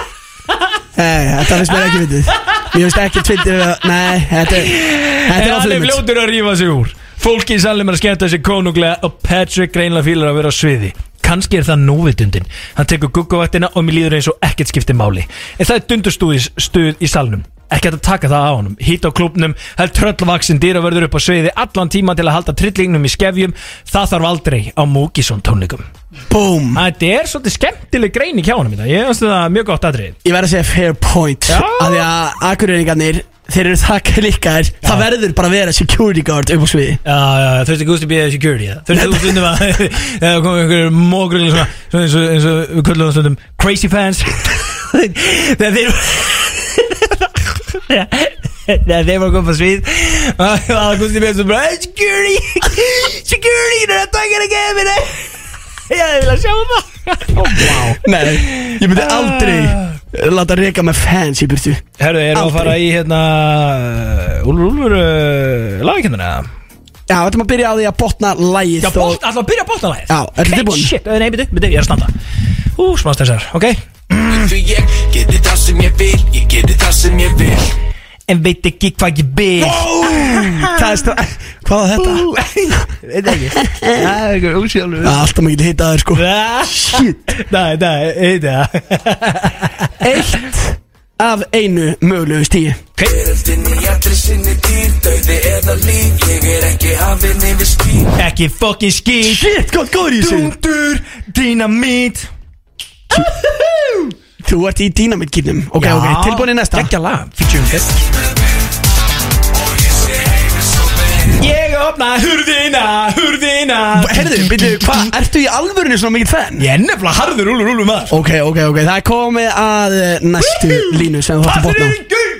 Speaker 3: Nei, þetta finnst mér ekki vitið Ég finnst ekki tvittir Nei, þetta er Þetta
Speaker 2: En
Speaker 3: er
Speaker 2: hann er
Speaker 3: áflýmut
Speaker 2: fljótur að rífa sig úr Fólki í salnum er að skemmta sér konunglega Og Patrick greinlega fílar að vera á sviði Kanski er það núvitundin Hann tekur guggavættina og mér líður eins og ekkert skiptir máli En það er dundurstuð í, stuð í salnum Ekki hægt að taka það á honum Hít á klubnum, það er tröllvaksin dýravörður upp á sviði Allan tíma til að halda trillingnum í skefjum Það þarf aldrei á Múkisson tónleikum
Speaker 3: Búm
Speaker 2: Þetta er svolítið skemmtileg greining hjá honum í dag. Ég finnst það mjög gott atrið
Speaker 3: Ég verð að segja fair point
Speaker 2: Já.
Speaker 3: Af því að akureyringarnir þeir eru það klikkaðir Það verður bara að vera security guard upp á sviði
Speaker 2: Já, já, já, þurfti gúst að býja security það Þurfti gúst stundum að Það komið einhverjum mógrugli svona, svona eins, og, eins og við köllum það stundum Crazy fans Þegar þeir Þegar þeir voru að koma á svið Og það gúst að býja svo bara "Hey, Security Security, þú er að taka þetta ekki minni Já, ég vil að sjá um það
Speaker 3: Nei, ég myndi aldrei Láta reyka með fans í byrtu
Speaker 2: Herru, erum við að
Speaker 3: Aldrei.
Speaker 2: fara í hérna Úlfur, Úlfur uh, Lagakennara
Speaker 3: Já, þetta maður byrja á því að botna lægið
Speaker 2: Já, bótt, alltaf að byrja bóttalæð
Speaker 3: Já, ertu tilbúin?
Speaker 2: Shit, nei, byrju, byrju, ég er að standa Ú, smá stressar, ok
Speaker 8: Því ég geti það sem ég vil Ég geti það sem ég vil
Speaker 2: En veit ekki hvað ég vil
Speaker 3: Það er stra... Hvað var þetta?
Speaker 2: Veit ekki Það er eitthvað ósjálfur
Speaker 3: Já, Alltaf maður getur hitað þér sko Shit
Speaker 2: Nei, nei, heit það
Speaker 3: Eitt af einu mögulegu stíi
Speaker 8: Veröldin í allri sinni dýr Dauði eða líf Ég er ekki hafinn yfir skýr
Speaker 2: Ekki fokkin skýt
Speaker 3: Shit, hvað góður ég segi
Speaker 2: Dundur, dynamít
Speaker 3: Þú ert í dýnamitkýrnum Ok, ok, tilbúin í næsta
Speaker 2: Gekkja lag, featuring this Ég opna hurðina, hurðina
Speaker 3: Herðu, byrju, hvað, ertu í alvörinu svona mikið fan?
Speaker 2: Ég er nefnilega harður úlur úlur maður
Speaker 3: Ok, ok, ok, það er komið að eh, næstu línu sem þú ætti að botna á.
Speaker 2: gull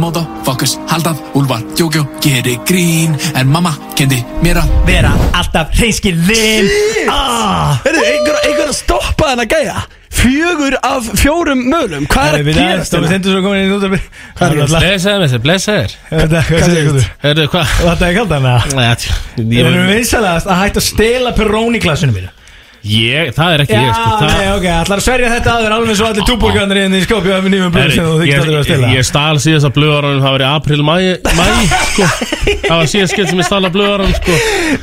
Speaker 9: Motherfuckers, haldað, úlvar, jókjó, geri grín En mamma kendi mér að
Speaker 2: Vera alltaf hreinskilinn Ah
Speaker 3: Herðu, einhver, einhver að stoppa þennan gæja Fjögur af fjórum mölum Hvað er að gera
Speaker 2: Stómi
Speaker 3: þetta?
Speaker 2: Stendur svo komin inn í útarbi
Speaker 3: Hvað er að gerast?
Speaker 4: Blesaður, þessi, blesaður
Speaker 2: Hvað segir þú?
Speaker 4: Hörðu, hvað?
Speaker 2: Þetta er kallt hana
Speaker 4: Nei, þetta-
Speaker 2: Ég erum
Speaker 4: ég-
Speaker 2: vinsalast að hætta að stela peróni klassinu mínu
Speaker 4: Ég, það er ekki ég, sko það-
Speaker 2: nei, ok, ætlar að sverja þetta aður alveg svo allir túbúrgarnir inn í skópi og nýjum blöð sem þú
Speaker 4: Herri,
Speaker 2: þykist að vera að
Speaker 4: Ég,
Speaker 2: stela
Speaker 4: ég stál síðast að blöðaranum Það var í april, mæ sko. Það var síðast skil sem ég stál að blöðaranum sko.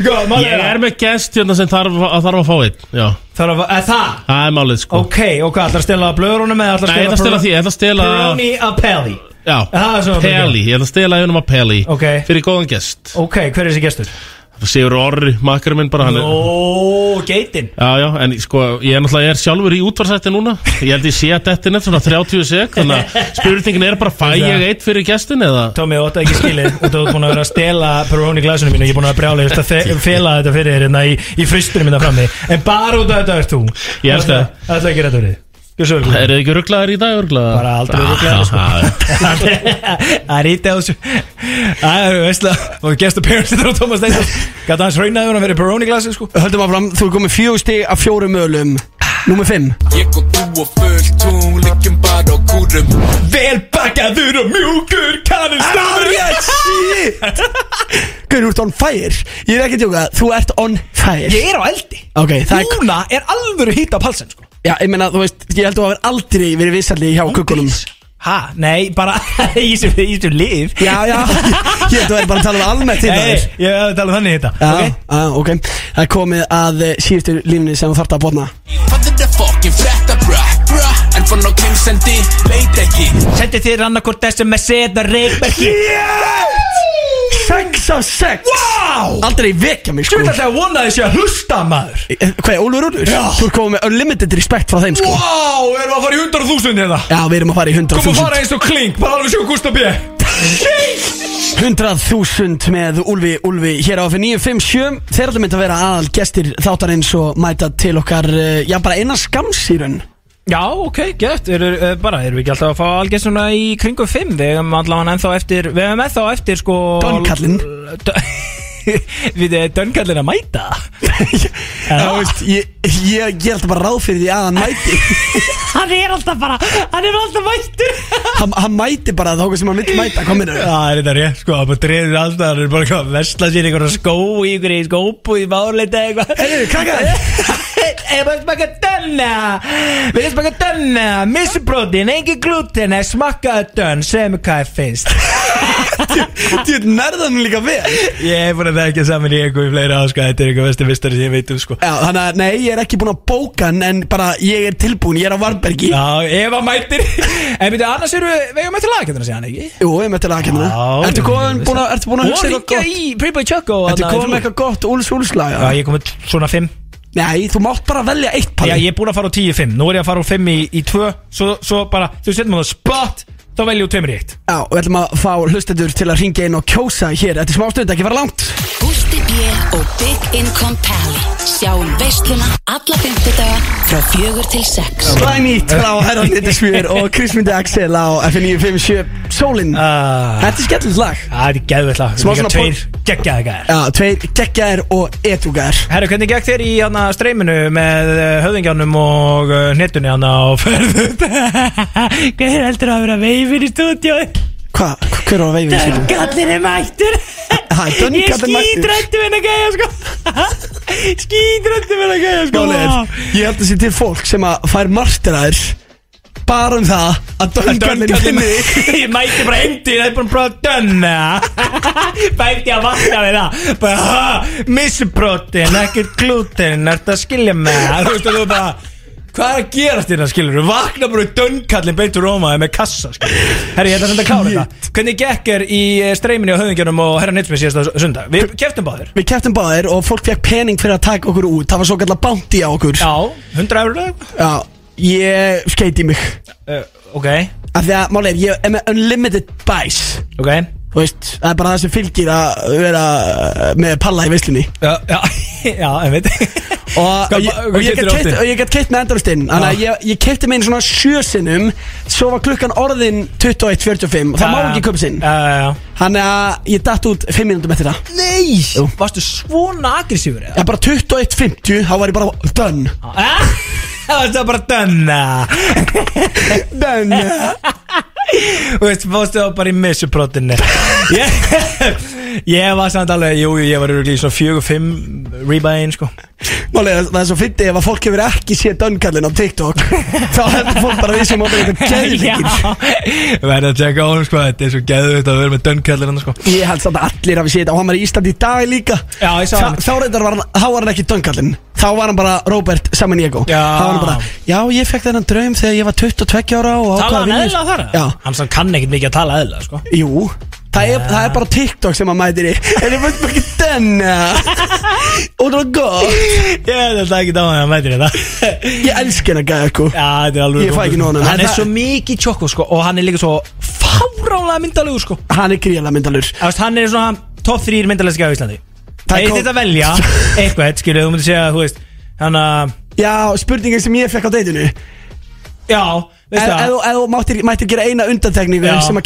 Speaker 2: Góð, málið
Speaker 4: Ég
Speaker 2: er
Speaker 4: er
Speaker 2: það.
Speaker 4: með gest hérna sem þarf að, þarf að fá einn Já,
Speaker 2: Þarf að- eh, Það,
Speaker 4: það er málið sko.
Speaker 2: ok, og hvað, ætlar að stela blöðurunum eða
Speaker 4: Nei, ég ætla að stela því, ég ætla að stela
Speaker 2: Peróni að peli Það er
Speaker 4: Já,
Speaker 2: svona
Speaker 4: Peli, ég ætla að stela einum að Peli
Speaker 2: Ok.
Speaker 4: Fyrir góðan gest
Speaker 2: Ok, hver er þessi gestur?
Speaker 4: Sigur Orri, makkar minn bara hann er-
Speaker 2: Ó, geitin
Speaker 4: Já, já, en sko, ég er náttúrulega ég er sjálfur í útvarsætti núna Ég held ég sé að þetta er nefnt svona 30 sek Þannig að spurningin er bara fæ ég eitt fyrir gestin eða
Speaker 2: Tómi, þú átti ekki skilið og þú ert búin að vera að stela peróni glasinu mínu, ég er búin að brjála ég veist að fe- fela þetta fyrir þér hérna í, í fristunum minna frammi, en bara út af þetta ert þú
Speaker 4: Ég elska það.
Speaker 2: Það ætla ekki rétt verið Gjör svo ykkur
Speaker 4: Er Ah, þið ekki rugglaðir í dag, rugglaðir?
Speaker 2: Bara aldrei ruglaðir, sko. Það er ít eða þessu Það er veistla og guest appearance þetta á Thomas Steindor Gat hans raunaði hún að vera peróni glasi sko
Speaker 3: Höldum áfram, þú er komið fjögur stig af fjórum mölum Númer fimm
Speaker 8: Ég og þú og full tún Liggjum bara á kúrum
Speaker 2: Vel bakaður og mjúkur kannum stafur
Speaker 3: Ah, shit Guður, þú ert on fire Ég er ekki að tjóka, þú ert on fire
Speaker 2: Ég er á eldi
Speaker 3: Ok, það er,
Speaker 2: Núna er alvöru hýtt á palsen sko
Speaker 3: já, ég meina, þú veist, ég held að þú hafir aldrei verið vissalli hjá kukkunum
Speaker 2: Ha, nei, bara í þessu- í þessu lið
Speaker 3: Já, já, ég held að þú er bara að tala um almennt hérna
Speaker 2: Nei,
Speaker 3: þér
Speaker 2: ég hef talað þannig þetta
Speaker 3: Já, já, ok Það er komið að eh, síðustu línunni sem þú þarft að botna
Speaker 9: Fattir þetta fokkin frétta, bra, bra En fann á krimsendi, leit ekki
Speaker 2: Sendi þér annarkort SMS eða reikbergi
Speaker 3: Sex af sex
Speaker 2: Wow
Speaker 3: Aldrei vekja mig
Speaker 2: Þú
Speaker 3: sko
Speaker 2: veit alltaf að vona þessi að hlusta maður
Speaker 3: Eh, Hvað er Ólfur Úlfur?
Speaker 2: Já.
Speaker 3: Þú er komið með unlimited respect frá þeim sko
Speaker 2: Wow, erum við að fara í 100.000 hérna
Speaker 3: Já, við erum að fara í
Speaker 2: Kom að
Speaker 3: 100.000
Speaker 2: fara eins og klink, bara alveg sjó Gustaf B
Speaker 3: 100.000 með Úlfi Úlfi hér á F957 Þeir ætla myndi að vera aðal gestir þáttarins og mæta til okkar eh, Já, bara innan skamsýrun
Speaker 2: Já, ok, gett, er, er, bara, erum við ekki alltaf að fá algjörstuna í kringum 5 Við hefum allavega ennþá eftir, við hefum ennþá eftir sko
Speaker 3: Dönkallinn.
Speaker 2: Dö- Við erum Dönkallin að mæta
Speaker 3: Já, veist, ég, ég, ég held bara ráð fyrir því að hann mæti
Speaker 2: Hann er alltaf bara, hann er alltaf mættur
Speaker 3: hann, hann mæti bara þá sem hann vill mæta, hvað minnur
Speaker 2: Já, er þetta rétt, sko, hann bara dreður alltaf, hann er bara eitthvað að vesla sér einhverja skó í einhverju skópu í váleita eitthvað Heiðu,
Speaker 3: krakkar.
Speaker 2: Ég bara smaka dönna, við erum smaka dönna, missubrótin, engin glúten, er smakaða dönn, segðu mig hvað ég finnst
Speaker 3: Þú nærðan líka vel
Speaker 2: Ég hef búin að þekkja saman í einhverju fleira á, sko, þetta er einhver vestu mistari sem ég veit um, sko
Speaker 3: Já, þannig að nei, ég er ekki búinn að bóka hann En bara, ég er tilbúinn, ég er á Varbergi
Speaker 2: Já, ef að mætir, en byrju, annars erum við, við erum eftir lagkjöndina síðan, ekki?
Speaker 3: Jú, ég með til aðkjönda
Speaker 2: Já,
Speaker 3: Ertu komin búin að, ertu búin að
Speaker 2: Og
Speaker 3: hugsa
Speaker 2: ringja
Speaker 3: eitthvað gott?
Speaker 2: í Pretty Boy Choco
Speaker 3: Ertu
Speaker 2: þarna,
Speaker 3: komin með
Speaker 2: þú-
Speaker 3: eitthvað gott úls úlslag?
Speaker 2: Já, ég er komið svona fimm
Speaker 3: Nei, þú mátt bara velja eitt
Speaker 2: Já,
Speaker 3: palli
Speaker 2: ég er búinn að fara á 10-5 Nú er ég að fara á 5 í, í 2 Svo, svo bara, þú setjum á það spot þá veljum við tveimur í eitt
Speaker 3: Já, og við ætlum að fá hlustendur til að ringja inn og kjósa hér Þetta er smá stund, ekki fara langt
Speaker 6: Gústi B. og Big Income Pally Sjáum veisluna alla fymtudaga frá fjögur til sex
Speaker 3: Slænýtt frá Herran Nittismjör og Krismyndi Axel á FN957 Sólin
Speaker 2: Ah.
Speaker 3: Þetta er skemmtilegt lag
Speaker 2: Það er geðveitt lag
Speaker 3: Smá
Speaker 2: Líka
Speaker 3: svona
Speaker 2: tveir geggjaði gæðir
Speaker 3: Já, tveir geggjaðir og etugæðir
Speaker 2: Herru, hvernig gekk þér í hana, streyminu með eh, höfðingjanum og eh, hnetunni hana á ferðu? Hvað er heldur að vera veifin í stúdíu?
Speaker 3: Hvað, hver var veifin sínum?
Speaker 2: Döngallir er mættur
Speaker 3: Ha, Dunn
Speaker 2: Ég
Speaker 3: Gallin mættur.
Speaker 2: skítrættu henni að gæja sko Skítrættu henni að gæja sko
Speaker 3: Málið er, ég held að sé til fólk sem að fær martiræðir bara um það að döngallin finni þig.
Speaker 2: Ég mætti bara hendi Það er bara bara dönna Bætti að vakna við það Bara ha, misprotein Ekkert glúten Ertu að skilja mig Þú veist að þú bara Hvað er að gerast hérna, þérna skilur Vakna bara dönnkallin beintur rómaði með kassa skilur Herri, ég ætla að senda að klára þetta Hvernig gekk er í eh, streyminu á höfðingjörnum og herra nýttsmið síðasta sunda Við keftum báðir
Speaker 3: Við keftum báðir og fólk fekk pening fyrir að taka okkur út Það var svo kallar bounty á okkur
Speaker 2: Já, 100 eurur eða eitthvað?
Speaker 3: Já, ég skeiti í mig
Speaker 2: Eh, Ok,
Speaker 3: Af því að málið er, ég er með unlimited buys
Speaker 2: ok
Speaker 3: Þú veist, það er bara það sem fylgir að vera uh, með palla í veislinni
Speaker 2: Já, já, já, einmitt
Speaker 3: Og,
Speaker 2: Hvað-
Speaker 3: og, ég,
Speaker 2: hvað keyptirðu
Speaker 3: og, ég gat keypt-
Speaker 2: aftur?
Speaker 3: og ég gætt keitt með endurustinn Þannig að ég, ég keipti með einu svona sjösinnum Svo var klukkan orðin 21.45 og Það má ekki köpa sinn
Speaker 2: Já, Eh, já, já
Speaker 3: Þannig að ég datt út 5 minútum eftir það
Speaker 2: Nei,
Speaker 3: Jú.
Speaker 2: varstu svona aggressífur eða?
Speaker 3: Já, bara 21.50, þá var ég bara done
Speaker 2: Ah, Það varstu bara dönna
Speaker 3: Done
Speaker 2: Þú veist, fórstu þá bara í missuprotinni ég, ég var samt alveg, jú, jú, ég var örugglega í svona fjögur, fimm rebæin, sko
Speaker 3: Málega, það er svo fyndið ef að fólk hefur ekki séð dönkallin á TikTok Þá heldur fólk bara að við sem átum þetta geðlíkir
Speaker 2: verður að tjekka á honum, sko, þetta er svo geðvitt að vera með dönnkjallir hann, sko
Speaker 3: Ég held samt að allir hafi séð þetta og hann var í Íslandi í dag líka
Speaker 2: Já, ég sá
Speaker 3: Þa-
Speaker 2: hann.
Speaker 3: Þá reyndar var hann, þá var hann ekki dönkallinn Þá var hann bara Robert Samaniego
Speaker 2: Já.
Speaker 3: Þá var hann bara, já ég fekk þennan draum þegar ég var 22 ára og ákvað
Speaker 2: Tala hann
Speaker 3: að vinna í-
Speaker 2: eðla um þar? eða?
Speaker 3: Já,
Speaker 2: Hann sem kann ekkit mikið að tala eðla, sko
Speaker 3: jú Það er, það er bara TikTok sem hann mætir í En ég veit bara ekki den Og það var gott
Speaker 2: Ég held ekki þá að hann veitir þetta
Speaker 3: Ég elsk hennar gæði sko
Speaker 2: Já, þetta er alveg
Speaker 3: Ég fæ ekki nóg af honum.
Speaker 2: Hann
Speaker 3: En
Speaker 2: er
Speaker 3: það-
Speaker 2: svo mikið tjókko, sko Og hann er líka svo fáránlega myndalegur, sko
Speaker 3: Hann er gríðarlega myndalur
Speaker 2: Þú veist, hann er svona top 3 myndalæsika á Íslandi Það
Speaker 3: Það
Speaker 2: er
Speaker 3: kom-
Speaker 2: þetta að velja eitthvað, skilju, þú myndir segja, þú veist Þannig að,
Speaker 3: Já, spurningin sem ég fekk á deitinu
Speaker 2: já, veistu það
Speaker 3: Ef þú máttir, mættir gera eina undantekningu
Speaker 2: Já.
Speaker 3: sem að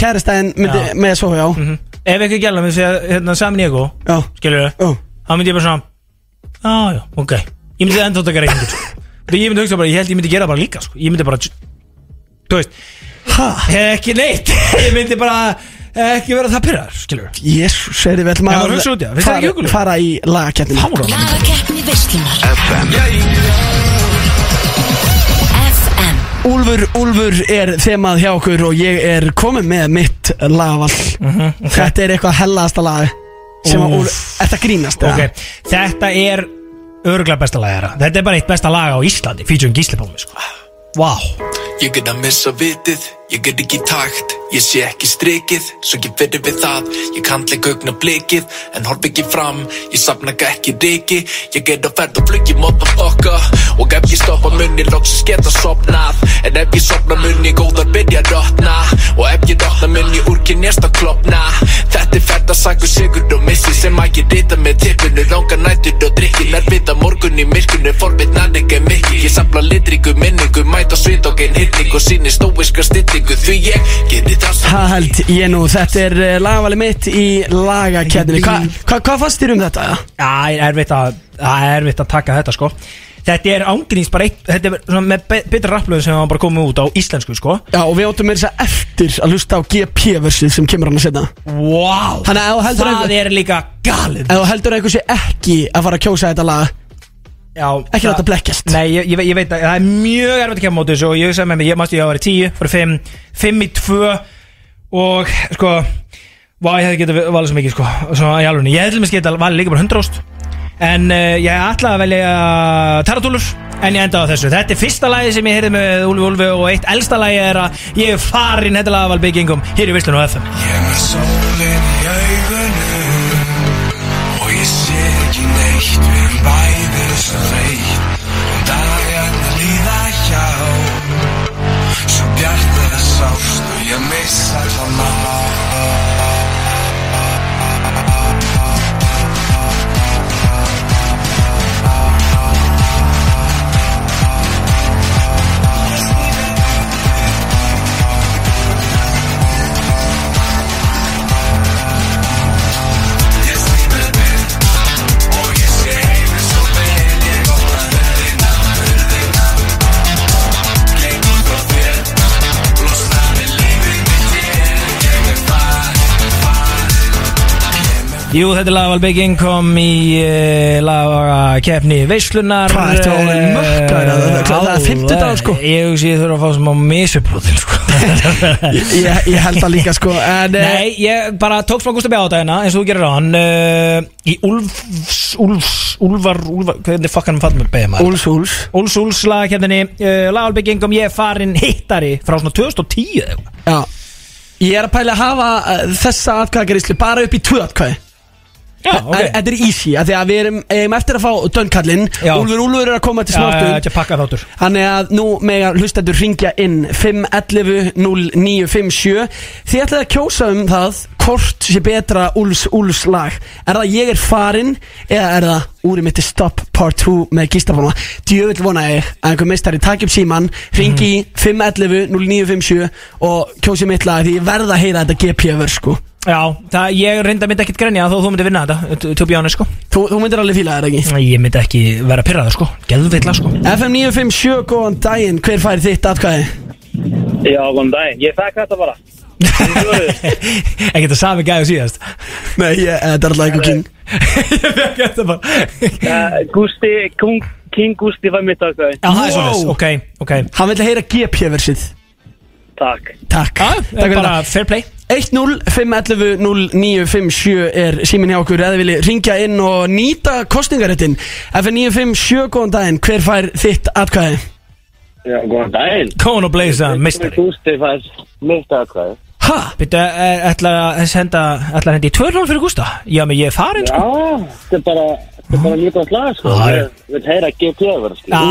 Speaker 2: Já.
Speaker 3: kærastæðin
Speaker 2: Mhm.
Speaker 3: myndi með svo já
Speaker 2: Ef eitthvað gæla, myndir segja, hérna, samin ég og
Speaker 3: Já,
Speaker 2: Skilju,
Speaker 3: já
Speaker 2: þá myndi ég bara svona Já, já, ok Ég myndi enda að taka reikningur Þegar ég myndi hugsa bara, ég held ég myndi gera það bara líka, sko Ég myndi bara, þú veist,
Speaker 3: Ha?
Speaker 2: ekki neitt Ég myndi bara ekki vera það pyrrar, skilju
Speaker 3: Jésus, segir við ætlum
Speaker 2: Já, maður hugsa út í það. Finnst það ekki
Speaker 3: fara,
Speaker 2: huggulegt?
Speaker 3: fara í lagakettinu
Speaker 2: Fáránlega
Speaker 6: Lagakeppni veislunar FM
Speaker 3: Úlfur, Úlfur er þemað hjá okkur og ég er komið með mitt lagavall Þetta er eitthvað hellaðasta lag sem að
Speaker 2: Mhm, Úff.
Speaker 3: Úlfur, þetta grínast eða?
Speaker 2: Ok, þetta er örgulega besta lagara Þetta er bara eitt besta laga á Íslandi Featuring Gísli Pálmi, sko Vá
Speaker 9: Ég get að missa vitið, ég get ekki í takt Ég sé ekki strikið, svo ég verið við það Ég kandla ekki augna blikið, en horf ekki fram Ég sapna ekki riki, ég get að ferð og flugi Motherfucker, og ef ég stoppa munni Loksins geta sopnað, en ef ég sopna munni Góðar byrja að rotna, og ef ég rotna munni Úr kynjast að klopna, þetta er ferð að sæku sigur og missi Sem að ég rita með tippinu, langar nættur og drikkin Er vita morgun í myrkunni, forvitnan ekki mikki Ég sapna litríku minningu, mæta svit og ein hitning Og síni stóiska stillingu, því ég geri það sem
Speaker 3: Það held ég nú, þetta er eh, lagavalið mitt í lagakettinu Hva- hva- Hvað fannst þér um þetta? ja?
Speaker 2: Það er erfitt að Það er erfitt að taka þetta, sko Þetta er ángríns bara eitt Þetta er svona með be- betra rapplöðu sem var bara komið út á íslensku, sko
Speaker 3: Já, og við áttum með þess að eftir að hlusta á GP-versið sem kemur hérna. hann að setja
Speaker 2: Vá
Speaker 3: Þannig að ef þú heldur
Speaker 2: Það
Speaker 3: einhver-
Speaker 2: er líka galið
Speaker 3: Ef þú heldur að einhver sé ekki að fara að kjósa þetta lag
Speaker 2: Já
Speaker 3: Ekki láta blekkjast
Speaker 2: Nei, ég, ég, veit- ég veit að það er mjög erfitt að kemja móti þessu og ég hugsaði með mig, ég mást ég að vera í 10, fór 5, 5 í 2 og sko, vá, ég hefði getað valið svo mikið sko, svona í alveg, ég hefði til mér getað valið líka bara 100 ást en uh, ég ætlaði að velja Taratúlur en ég endaði á þessu, þetta er fyrsta lagi sem ég heyrði með Úlfi Úlfi og eitt elsta lagi er að ég er farin þetta lag að valið byggingum hér í Visslun og FM
Speaker 8: Ég er með sólinn í augunum Og ég sé ekki neitt Við erum bæði svo þreytt Og dagarnir líða hjá Svo bjartar það sást Og ég missa
Speaker 2: Jú, þetta er Lavalbygg Income í uh, lagakefni Veislunar
Speaker 3: Hvað, ertu orðinn mökkaður að það? Það er
Speaker 2: Alveg.
Speaker 3: fimmtudagur, sko.
Speaker 2: Ég hugsi ég þurfa að fá sem á misuprótin sko.
Speaker 3: ég, ég held það líka sko en, eh,
Speaker 2: Nei, ég bara tók smá gústa bjáta hérna eins og þú gerir á hann uh, Í Úlfs, Úlfs, Úlfar, Úlfar Hvernig fokk hann fann með beða maður?
Speaker 3: Úls, úls
Speaker 2: Úlfs, Úlfs lagakefni uh, Lavalbygg Income, ég er farin hittari frá svona 2010 eða eitthvað
Speaker 3: Já Ég er að pæla að hafa eh, þessa atkvæðagerislu bara upp í tvö atkvæði
Speaker 2: Já,
Speaker 3: okay. Þetta er easy af Því að við erum, erum eftir að fá dönkallinn
Speaker 2: Já.
Speaker 3: Úlfur Úlfur er að koma til
Speaker 2: Já, já,
Speaker 3: smáttun
Speaker 2: þetta er pakkað þáttur
Speaker 3: Þannig að nú mega hlustendur ringja inn 511 0957 Þið ætlaði að kjósa um það Hvort sé betra Úls Úls lag Er það ég er farin Eða er það úri mitt er stopp part 2 Með gíslafónuma Djövill vona ég að einhver meistari takk upp síman Ringi mm. 511 0957 Og kjósi mitt lag Því ég verða að heyra þetta GP-vör sko
Speaker 2: Já, það, ég reynda myndi ekkit grenja þó þú myndir vinna þetta, t- to be honest sko
Speaker 3: Þú, þú myndir alveg fíla þetta ekki
Speaker 2: Ég myndi ekki vera pyrraður sko, geðveitla sko
Speaker 3: FM 957, góðan daginn, hver fær þitt atkvæði?
Speaker 5: Já, góðan daginn, ég þakka þetta bara
Speaker 2: Ekki þetta sami gæðu síðast
Speaker 3: Nei, ég, þetta er alltaf eitthvað king
Speaker 2: Ég fekk þetta bara Já,
Speaker 5: uh, Gústi, Kung, King Gústi var mitt ákveði
Speaker 2: það er svona
Speaker 3: Wow.
Speaker 2: Ok, ok
Speaker 3: Hann vil heyra GP-versið
Speaker 5: Takk
Speaker 3: Takk Takk fyrir
Speaker 2: Bara
Speaker 3: það
Speaker 2: fair play
Speaker 3: 1-0-5-11-0-9-5-7 er símin hjá okkur eða vilji ringja inn og nýta kostningaréttin FN957, góðan daginn, hver fær þitt atkvæði?
Speaker 5: Já, góðan daginn
Speaker 2: Kón og blaza, mistari
Speaker 5: Gústi var mitt ákveði
Speaker 3: Ha?
Speaker 2: Býttu, e, ætla að senda, ætla að hendi í 2-0 fyrir Gústa Já, menn ég er farin
Speaker 5: Já,
Speaker 2: sko
Speaker 5: þetta er bara, þetta er bara mjög gott lag sko
Speaker 2: Já, já.
Speaker 5: Ég vil heyra GT-öfur
Speaker 2: Já,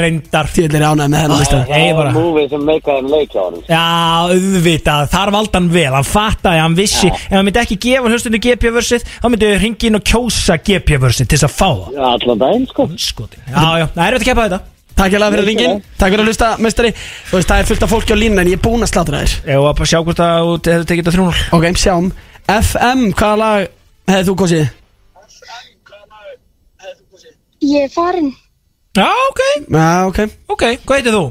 Speaker 2: reyndar
Speaker 3: Þjóðlega ánægð með hennar lista
Speaker 2: Ég er bara
Speaker 5: Múfið sem meikaði um leikja á hann
Speaker 2: Já, auðvitað, þar valdi hann vel, hann fattaði, hann vissi Ef hann myndi ekki gefa hlustunni GP-vörsið, þá myndi þau ringi inn og kjósa GP-vörsið til þess að fá það
Speaker 5: Allan daginn sko
Speaker 2: Skotin Já, já, það er auðvitað að keppa þetta
Speaker 3: Takk hérlega fyrir ringin, takk fyrir að hlusta, mestari Þú veist, það er fullt af fólki á línu en ég er búinn að slatra þér
Speaker 2: Ég var bara að sjá hvort að þú hefur tekið þetta 3-0
Speaker 3: Ok, sjáum FM, hvaða lag hefði þú kosið?
Speaker 10: Ég er farin,
Speaker 2: Já, ok,
Speaker 3: Já, ok
Speaker 2: ok, hvað heitir þú?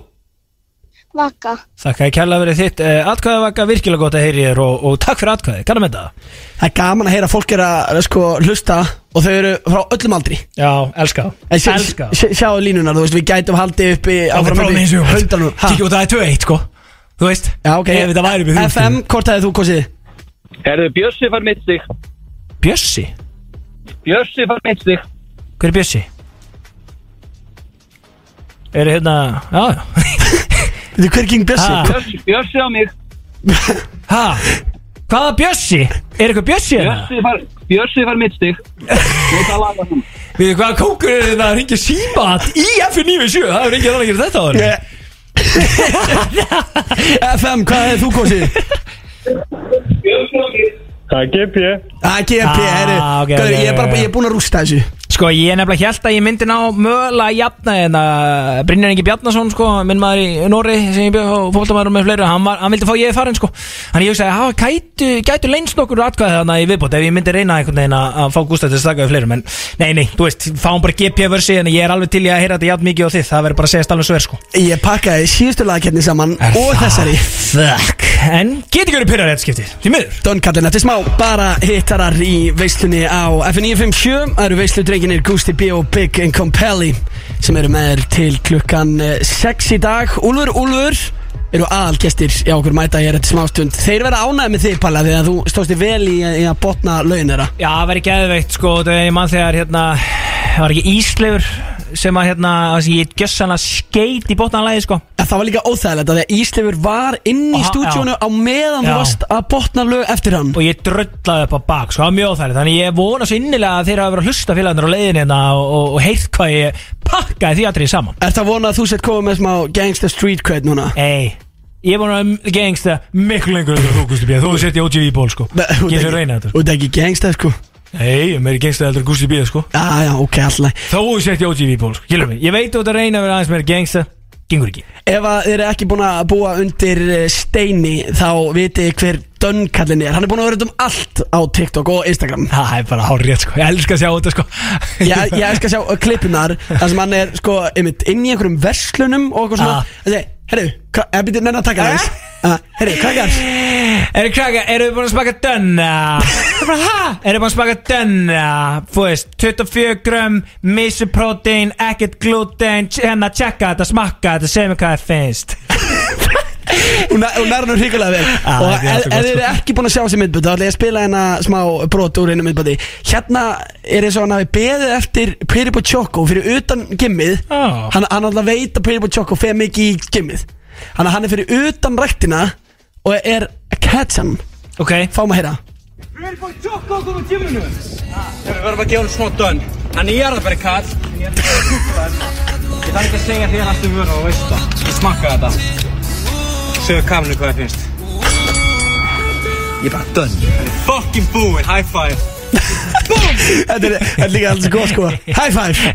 Speaker 10: vaka.
Speaker 2: Þakka ég kærlega verið þitt eh, Atkvæði vaka virkilega gott að heyri þér og, og takk fyrir atkvæði, kannan með það
Speaker 3: Það er gaman að heyra að fólk er að sko, hlusta og þau eru frá öllum aldri
Speaker 2: Já, elska
Speaker 3: En sjá-
Speaker 2: Elska
Speaker 3: sjá- Sjáðu línunar, þú veist, við gætum haldið uppi áfram uppi höfndanum. Ha?
Speaker 2: Kikki út að það er 2-1, sko Þú veist,
Speaker 3: Já, ok
Speaker 2: ef þetta væri upp í þrjú
Speaker 3: FM, hvort hefði þú kosið?
Speaker 5: Herðu, Bjössi var mitt stig
Speaker 2: stig. Bjössi,
Speaker 5: Bjössi var mitt stig
Speaker 2: hver er Bjössi? Er hérna, já, já
Speaker 3: Þetta er hver King Bjössi
Speaker 2: Ha.
Speaker 5: Bjössi, Bjössi á mig
Speaker 2: Ha, hvaða Bjössi? Er eitthvað Bjössi hérna?
Speaker 5: Bjössi var, Bjössi var mitt stig Við það laga hann
Speaker 2: Við hvaða kókur er þetta að ringja símat í F97? Það er ringið þannig að gera þetta á þér
Speaker 3: Ég- FM, hvað hefði þú kosið?
Speaker 7: Það er GP
Speaker 3: Það er GP,
Speaker 2: Ah,
Speaker 3: herri
Speaker 2: ok,
Speaker 3: Gauður,
Speaker 2: ok,
Speaker 3: Ég er bara
Speaker 2: ok.
Speaker 3: ég er búinn að rústa þessu
Speaker 2: Sko ég nefnilega held að ég myndi ná mögulega jafna en að Brynjar Ingi Bjarnason sko, minn maður í Norri sem ég bjóð fólkdamaður með fleiri, hann, var, hann vildi fá ég farin sko Þannig ég hugsaði, hafa gætu, gætu leynst nokkur atkvæði þarna í viðbót ef ég myndi reyna einhvern veginn að, að fá Gústa til að staka við fleirum en nei, nei, þú veist, fáum bara GP versi en ég er alveg til í að heyra þetta jafn mikið á þið það verður bara að segja alveg svo er sko
Speaker 3: Ég pakkaði síðustu lagkerni saman og þessari
Speaker 2: Fuck, en geti ekki verið pyrrar rétt skiptið, því miður
Speaker 3: Dönkallin eftir smá, bara hittarar í veislunni á F957 Það eru veisludrenginir Gusti B og Big and Compelli sem eru með þér til klukkan 6 í dag Úlfur, Úlfur eru aðalgestir í okkur mæta hér eftir smástund Þeir vera ánægð með þig Palla þegar þú stóðst þig vel í, í að botna laun þeirra
Speaker 2: Já, það væri geðveikt sko, þetta er mann þegar hérna, það var ekki Ísleifur sem að hérna, þessi ég gjössan að skeit í botnalæði sko
Speaker 3: En það var líka óþægilegt að því að Íslefur var inn í
Speaker 2: Aha,
Speaker 3: stúdíónu
Speaker 2: já.
Speaker 3: á meðan
Speaker 2: Já.
Speaker 3: þú varst að botna lög eftir hann
Speaker 2: og ég dröllaði upp á bak, sko, það var mjög óþægilegt þannig ég vona svo innilega að þeir hafa verið að hlusta félagarnir á leiðinni hérna og, og, og heyrt hvað ég pakkaði því aðrið saman
Speaker 3: Er það vonað að þú sett komið með smá gangsta street cred núna?
Speaker 2: Ei, ég er búin að gengsta miklu lengur en þú, Gusti B þú setja OGV í ból, sko
Speaker 3: Þú ert
Speaker 2: Getur
Speaker 3: ekki-
Speaker 2: reyna þetta,
Speaker 3: Þú ert ekki gangsta sko
Speaker 2: Nei, ég meiri gengsta heldur en Gusti B, sko
Speaker 3: Já, já, ok, alltaf
Speaker 2: Þó þú setja OGV í ból, sko, gilum mig Ég veit þú ert að reyna að vera aðeins meira gengsta Gengur ekki
Speaker 3: Ef að þið eru ekki búin að búa undir eh, steini þá vitið þið hver dönnkallin er Hann er búin að vera út um allt á TikTok og Instagram
Speaker 2: Það er bara hár sko, ég elska að sjá þetta, sko
Speaker 3: Ég, ég elska að sjá klippunar þar sem hann er sko einmitt inn í einhverjum verslunum og eitthvað svona
Speaker 2: Ah.
Speaker 3: Þessi, herru, hva- eh, býttu, nenni að taka það aðeins Herri, krakkar
Speaker 2: Eru krakkar, eru þið búin að smaka dönna? Eru þið búin að smaka dönna? Þú veist, 24 grömm, misoprotein, ekkert gluten Hérna, tjekka þetta, smakka þetta, segja mér hvað þið finnst
Speaker 3: Hún er hann hrikalega vel
Speaker 2: Ah,
Speaker 3: Og
Speaker 2: þetta er alltaf
Speaker 3: ef ef
Speaker 2: gott,
Speaker 3: þið eru
Speaker 2: sko.
Speaker 3: ekki búin að sjá þessi myndbönd Þá ætla ég að spila hérna smá brot úr einu myndböndi Hérna er eins og hann hafi beðið eftir Pretty Boy Choco fyrir utan gimmið
Speaker 2: Ah.
Speaker 3: Hann hann alltaf veit að Pretty Boy Choco Fer mikið í gimmið Þannig að hann er fyrir utan ræktina Og er að catch hann
Speaker 2: Ok
Speaker 3: Fáum að heyra
Speaker 11: Við erum bara tjokka okkur á tíminu Við verðum að gefa hún smá dönn Hann er jarðabæri kall en Ég er ekki að kúkla Ég þarf ekki að segja þér alltaf vöru og veist það Ég smakka þetta Segðu kaminu hvað það finnst Ég er bara dönn Hann er fucking búinn, high five
Speaker 3: Þetta er, þetta er líka alls góð sko High five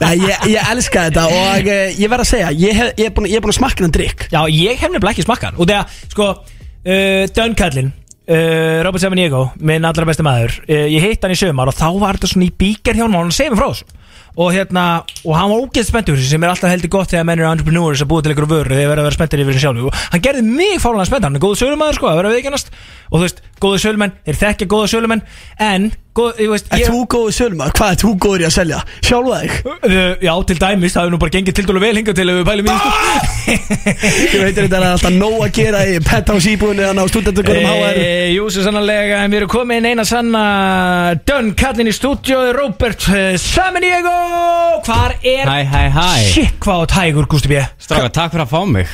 Speaker 3: Nei, ég, ég elska þetta og eh, ég verð að segja Ég, hef, ég er búin, ég er búin að smakka hennan drikk
Speaker 2: Já, ég hef nefnilega ekki smakkað hann Og þegar, sko, uh, Dönkallin uh, Robert Samaniego, minn allra besti maður uh, Ég hitt hann í sömar og þá var þetta svona í bíker hjá hann Og hann segir mig frá þessu Og hérna, og hann var ógeð spenntur fyrir þessu, sem er alltaf heldur gott þegar menn eru entrepreneurs að búa til ykkur vöru þegar verða að vera spenntur yfir þessu sjálfu og hann gerði mig fálega spenntur, hann er góðu sölumæður sko, að vera viðkennast og þú veist, góðu sölumenn, þeir þekkja góðu sölumenn en, góð, þú veist
Speaker 3: Er þú góður sölumar? Hvað er þú góður í að selja? Sjálfa þig?
Speaker 2: Uh, Já, til dæmis, það hefur nú bara gengið til dælu vel hingað til ef við pælum í sko. þessu
Speaker 3: Ég veit að þetta er alltaf nóg að gera í penthouse íbúinu Þannig á studendugunum HR
Speaker 2: Eh, Jú, svo sannlega, en við erum komið inn eina sanna Dönn kallin í stúdíói Robert eh, Samaniego Hvar er
Speaker 12: Hæ, hæ, hæ
Speaker 2: Shit, hvað á tægur, Gústi B
Speaker 12: Stráka, takk fyrir að fá mig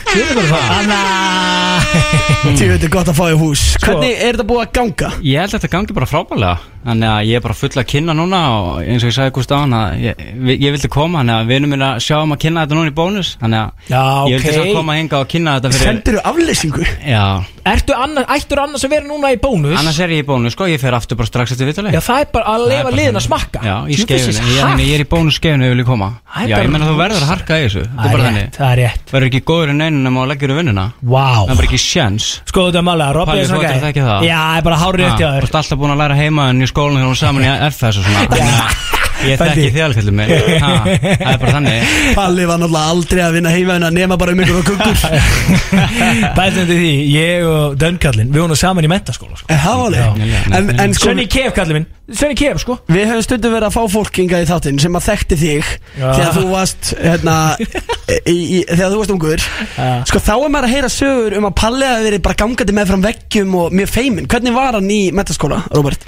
Speaker 3: Þú veit er gott að fá í hús
Speaker 2: Sko,
Speaker 3: Hvernig er þetta búið að ganga?
Speaker 12: Ég held að þetta gangi bara frábælega Þannig að ég er bara full að kynna núna Og eins og ég sagði Gústa á hann að ég, ég vildi koma Þannig að vinur minn að sjá um að kynna þetta núna í bónus Þannig að
Speaker 2: Já,
Speaker 12: ég vildi svo koma hinga og kynna þetta fyrir
Speaker 3: Sendirðu aflýsingu?
Speaker 12: Já,
Speaker 2: Ertu annars, ættur annars að vera núna í bónus?
Speaker 12: annars er ég í bónus sko Ég fer aftur bara strax eftir vitali
Speaker 2: Já, það er bara að
Speaker 12: bara
Speaker 2: lefa liðin
Speaker 12: þannig.
Speaker 2: að smakka
Speaker 12: Já, í
Speaker 2: Jú, þessi
Speaker 12: skefinu, ég, ég, ég er í bónus skefinu ef ég vil koma
Speaker 2: Það er
Speaker 12: Já, ég
Speaker 2: bara
Speaker 12: menna þú verður
Speaker 2: rosa.
Speaker 12: að harka í þessu
Speaker 2: Það er
Speaker 12: bara
Speaker 2: rétt,
Speaker 12: þannig.
Speaker 2: það er rétt.
Speaker 12: Verður ekki góður en einu nema að leggjur í vinnuna
Speaker 2: Vá
Speaker 12: Það er bara ekki sjens
Speaker 2: Sko þetta er málega, Robby
Speaker 12: Palli
Speaker 2: er svona
Speaker 12: Þóttir
Speaker 2: gæi.
Speaker 12: þekki það Ah,
Speaker 2: Já, ég er bara hárið rétt hjá þér.
Speaker 12: Þú ert alltaf búin að læra heima en í skólan þegar hún var saman í FS og svona Þannig að Ég
Speaker 3: Fældi.
Speaker 12: þekki þið alveg til mig Ha, Ah, Það er bara þannig
Speaker 3: Palli var náttúrulega aldrei að vinna heima en að nema bara um ykkur og kukkur
Speaker 2: Bæðið undir því, ég og Dönnkallin Við vorum saman í mentaskóla sko.
Speaker 3: Hávaleg En, en sko
Speaker 2: Svenni Kef kallið minn Svenni Kef sko
Speaker 3: Við höfum stundum verið að fá fólk hingað í þáttinn sem að þekkti þig
Speaker 2: Já.
Speaker 3: þegar þú varst hérna, í, í, þegar þú varst ungur sko þá er maður að heyra sögur um að Palli hafi verið bara gangandi með fram veggjum og mjög feimin hvernig var hann í metaskóla, Robert?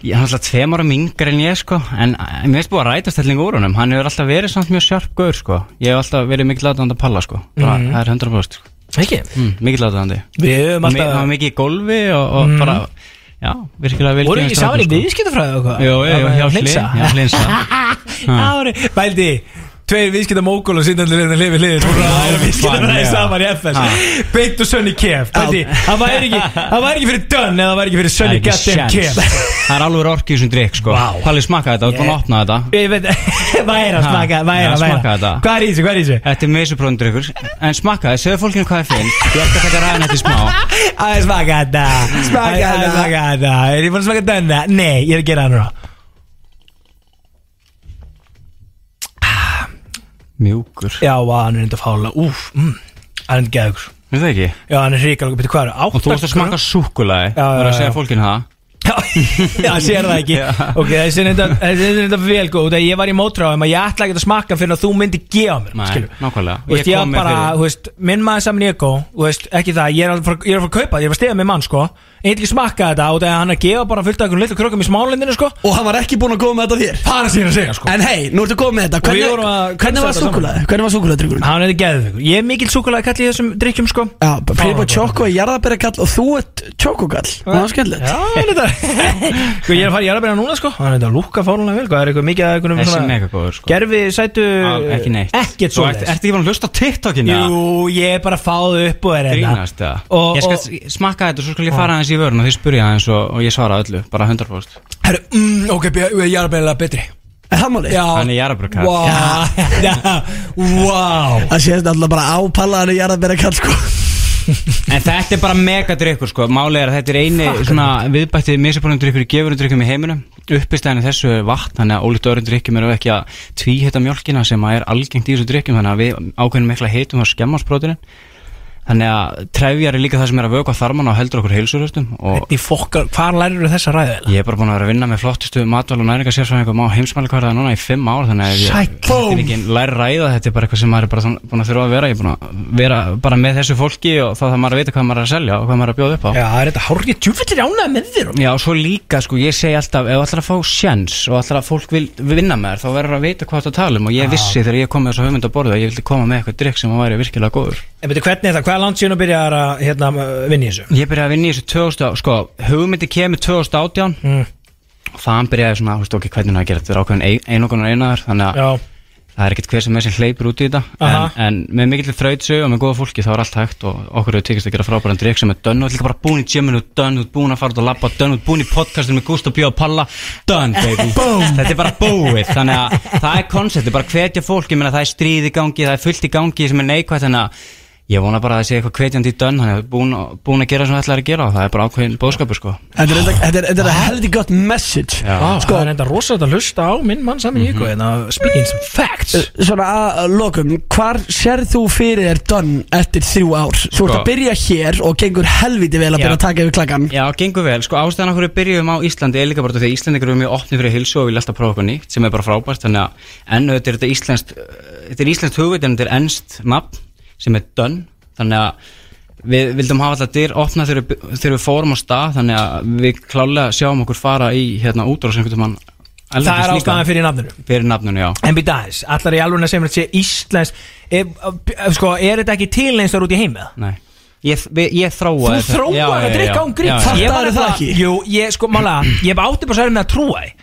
Speaker 12: Ég er alltaf tveim ára mingar en ég sko En eh, mér finnst búið að ræta stellinga úr honum Hann hefur alltaf verið samt mjög sjarp gaur sko Ég hef alltaf verið mikill aðdæðandi að palla sko Bara,
Speaker 2: Mhm.
Speaker 12: Það er 100% sko.
Speaker 2: Ekki?
Speaker 12: mm, Mikill aðdæðandi
Speaker 2: Við höfum alltaf-
Speaker 12: Það var mikið í golfi og, og
Speaker 2: Mhm.
Speaker 12: bara Já, virkilega vel
Speaker 2: Voru
Speaker 12: gefinn
Speaker 2: ekki
Speaker 12: strákur,
Speaker 2: saman í
Speaker 12: sko.
Speaker 2: viðskiptafræði og hvað?
Speaker 12: Jú, jú, jú, hjá
Speaker 2: Hlinsa
Speaker 12: Hlin- hjá sko. Hlinsa.
Speaker 2: Já, voru- Bældi, tveir viðskipta mókól og hérna síndanlega reyna að lifi hliðið Þú voru að læra viðskiptafræði
Speaker 12: Vanlega.
Speaker 2: saman í FS Beint og Sönni Kef Bældi, það væri ekki Það væri ekki fyrir Dunn eða það væri ekki fyrir
Speaker 12: Það er
Speaker 2: Sönni
Speaker 12: ekki
Speaker 2: Goddamn
Speaker 12: séns.
Speaker 2: Kef
Speaker 12: Það er alveg orkið í þessum drikk sko
Speaker 2: Vá.
Speaker 12: Palli smakka þetta, þú ert búin að opna þetta
Speaker 2: Ég veit, hvað er að
Speaker 12: Ha,
Speaker 2: smaka, hvað er
Speaker 12: já,
Speaker 2: að
Speaker 12: smakka þetta.
Speaker 2: smaka Hvað er í þessu, hvað er í þessu?
Speaker 12: Þetta er meisuprófundrykkur En smakka það, segðu fólkinu hvað það finn Ég ætla að taka ræðan þetta í smá
Speaker 2: Það er smaka þetta
Speaker 12: Smakka
Speaker 2: Æ, æ,
Speaker 12: þetta.
Speaker 2: Smaka þetta Er ég búin að smaka Dunn? Nei, ég er að gera hann rá
Speaker 12: Mjúkur
Speaker 2: Já, vá, hann er enda fála Úf, mm, hann er enda geðugur
Speaker 12: Er það ekki?
Speaker 2: Já, hann er hrikalega, betur hvað er það?
Speaker 12: Og þú ert að smakka súkulagi
Speaker 2: Já, já,
Speaker 12: Það er að
Speaker 2: já.
Speaker 12: segja fólkinu það
Speaker 2: Já, sér það ekki Ok, þessi er þetta- þessi er þetta vel góð Þegar ég var í mótráðum að ég ætla ekki að smakka fyrir að þú myndi gefa mér
Speaker 12: Nei,
Speaker 2: skilur.
Speaker 12: nákvæmlega.
Speaker 2: Þú veist,
Speaker 12: Ég
Speaker 2: ég
Speaker 12: kom
Speaker 2: var
Speaker 12: með
Speaker 2: bara,
Speaker 12: fyrir-
Speaker 2: þú veist, minn maður saman ég góð Þú veist, ekki það, ég er alveg fara- ég er að fara að kaupa þetta, Ég er að stiga með mann, sko En ég ætla ekki að smakka þetta Og þegar hann er að gefa bara fullt af einhvern litlu krökkum í smálendinu, sko
Speaker 3: Og hann var ekki búinn að koma með þetta þér
Speaker 2: Það er síðan að segja, sko
Speaker 3: En hei, nú ertu góð með þetta
Speaker 2: Og við
Speaker 3: hvernig,
Speaker 2: vorum að-
Speaker 3: hvernig var
Speaker 2: þetta saman.
Speaker 3: súkulega? Hvernig var súkulega drikkurinn?
Speaker 2: Hann er geðveikur. Ég er mikill súkulega kall í þessum drikkjum sko
Speaker 3: Já, Filip og Choco er jarðabæra kall og þú ert Choco kall og það var skemmtilegt
Speaker 2: Já, hann er þetta Sko, Ég er að fara í jarðarberjana núna, sko Hann er þetta að lúkka fórlega vel, hvað er eitthvað mikið að einhvernum
Speaker 12: Þessi er
Speaker 2: svona-
Speaker 12: mega góður sko
Speaker 2: Gerfi, sætu
Speaker 12: Al- Ekki neitt
Speaker 2: Ekkert
Speaker 12: Þú
Speaker 2: svo
Speaker 12: ert- Ertu ekki bara að hlusta á TikTokin
Speaker 2: Jú, ég er bara að fá þau upp og er hérna.
Speaker 12: Grínast það
Speaker 2: Og-
Speaker 12: Ég skal
Speaker 2: og-
Speaker 12: s- smakka þetta og svo skal ég fara aðeins í vörun Og þið spurja aðeins og, og ég svara öllu Bara 100%
Speaker 2: Herru, mm, ok, bjö- ég er bara betri
Speaker 3: Er það málið?
Speaker 2: Já
Speaker 12: Hann er jarðarberja kall.
Speaker 2: Vá, já, Vá
Speaker 3: Það séðst alltaf bara ápallaðan í jarðabæra kall sko
Speaker 12: En þetta er bara mega drikkur sko Málið er að þetta er eini svona viðbætti misjabónum drikkur í gefurinn drikkum í heiminum Uppistæðinu þessu er vatn Þannig að ólíkt öðrum drikkum eru ekki að tvíhita mjölkina sem að er algengt í þessu drikkum Þannig að við ákveðum mikla heitum á skemmarsbrótinu Þannig að trefjar er líka það sem er að vöka þarmann og heldur okkur heilsuröstum og
Speaker 2: Í fokkar, hvar lærir þú þessa ræðu?
Speaker 12: Ég er bara búin að vera að vinna með flottustu matvæl og næringarsérfræðingum á heimsmælikvarða núna í fimm ár þannig að ef ég
Speaker 2: Sæll.
Speaker 12: þetta er ekki læri ræða þetta er bara eitthvað sem maður er bara þann- búin að þurfa að vera ég er búin að vera bara með þessu fólki og þá þarf maður að vita hvað maður er að selja og hvað maður er að bjóða upp á
Speaker 2: Já, það er þetta hárrið djúfillir ánægð með þér
Speaker 12: Já, og svo líka sko, ég segi alltaf ef þú ætlar að fá sjens og ætlar að fólk vil vinna með þér þá verður að vita hvað það tala um og ég vissi þegar ég kom með þessu hugmynd á borðið að ég vildi koma með eitthvað drikk sem væri virkilega góður
Speaker 2: En betur hvernig er það, hvað langt síðan að byrja að hérna, vinna í þessu?
Speaker 12: Ég byrjaði að vinna í þessu 2000, á- sko, hugmyndi kemur 2018
Speaker 2: Mm.
Speaker 12: og þaðan byrjaði ég svona, þú veist ok, hvernig á ég að gera þetta, þetta er ákveðin ein- einokunar einaðar, þannig að
Speaker 2: Já.
Speaker 12: það er ekkert hver sem er sem hleypur út í þetta en,
Speaker 2: Aha.
Speaker 12: en með mikill þrautsu og með góða fólki þá er allt hægt og okkur hefur tekist að gera frábæran drikk sem er dönn og líka bara búin í gyminu, dönn, út búin að fara út að labba, dönn, út búin í podcastinu með Gústa Bjó og Palla, dönn baby,
Speaker 2: Boom.
Speaker 12: þetta er bara búið, þannig að það er konceptið, bara hvetja fólki, menna það er stríð í gangi, það er fullt í gangi sem er neikvægt, þannig að Ég vona bara að það sé eitthvað hvetjandi í dönn, hann er búin, búin að gera sem það ætlar að gera og það er bara ákveðin bóðskapur sko.
Speaker 3: Þetta er, þetta er, þetta er heldig gott message
Speaker 12: Já. sko. Mhm.
Speaker 2: Vá, það er enda rosalega að hlusta á minn mann saman í ykkur en að speaking some facts
Speaker 3: Eh, Svona að að lokum, hvar sér þú fyrir þér dönn eftir þrjú ár? Þú ert að byrja hér og gengur helviti vel að byrja að taka yfir klakkan
Speaker 12: Sko. Já, gengur vel, sko ástæðan af hverju við byrjum á Íslandi er líka bara því að Íslandingur eru mjög opni fyrir hilsu og vilja alltaf prófa okkur nýtt sem er bara frábært þannig að enn auðvitað er þetta íslenskt uh, þetta er íslenskt hugvit en þetta er ennst nafn sem er dönn þannig að við vildum hafa alltaf dyr opna þegar við, þegar við fórum á stað þannig að við klálega sjáum okkur fara í hérna útrás einhvern mann
Speaker 2: Það er ástæðan fyrir nafninu
Speaker 12: fyrir nafnun, já
Speaker 2: En býta aðeins, allar í alveg að segja mér að sé Íslands er, sko, er þetta ekki til eins þar út í heim eða?
Speaker 12: Nei Ég, við- ég þróa
Speaker 2: Þú þróar að drikka án grín
Speaker 12: Ég var
Speaker 2: það ekki Jú, ég sko, mála, ég bara átti bara sverið með að trúa því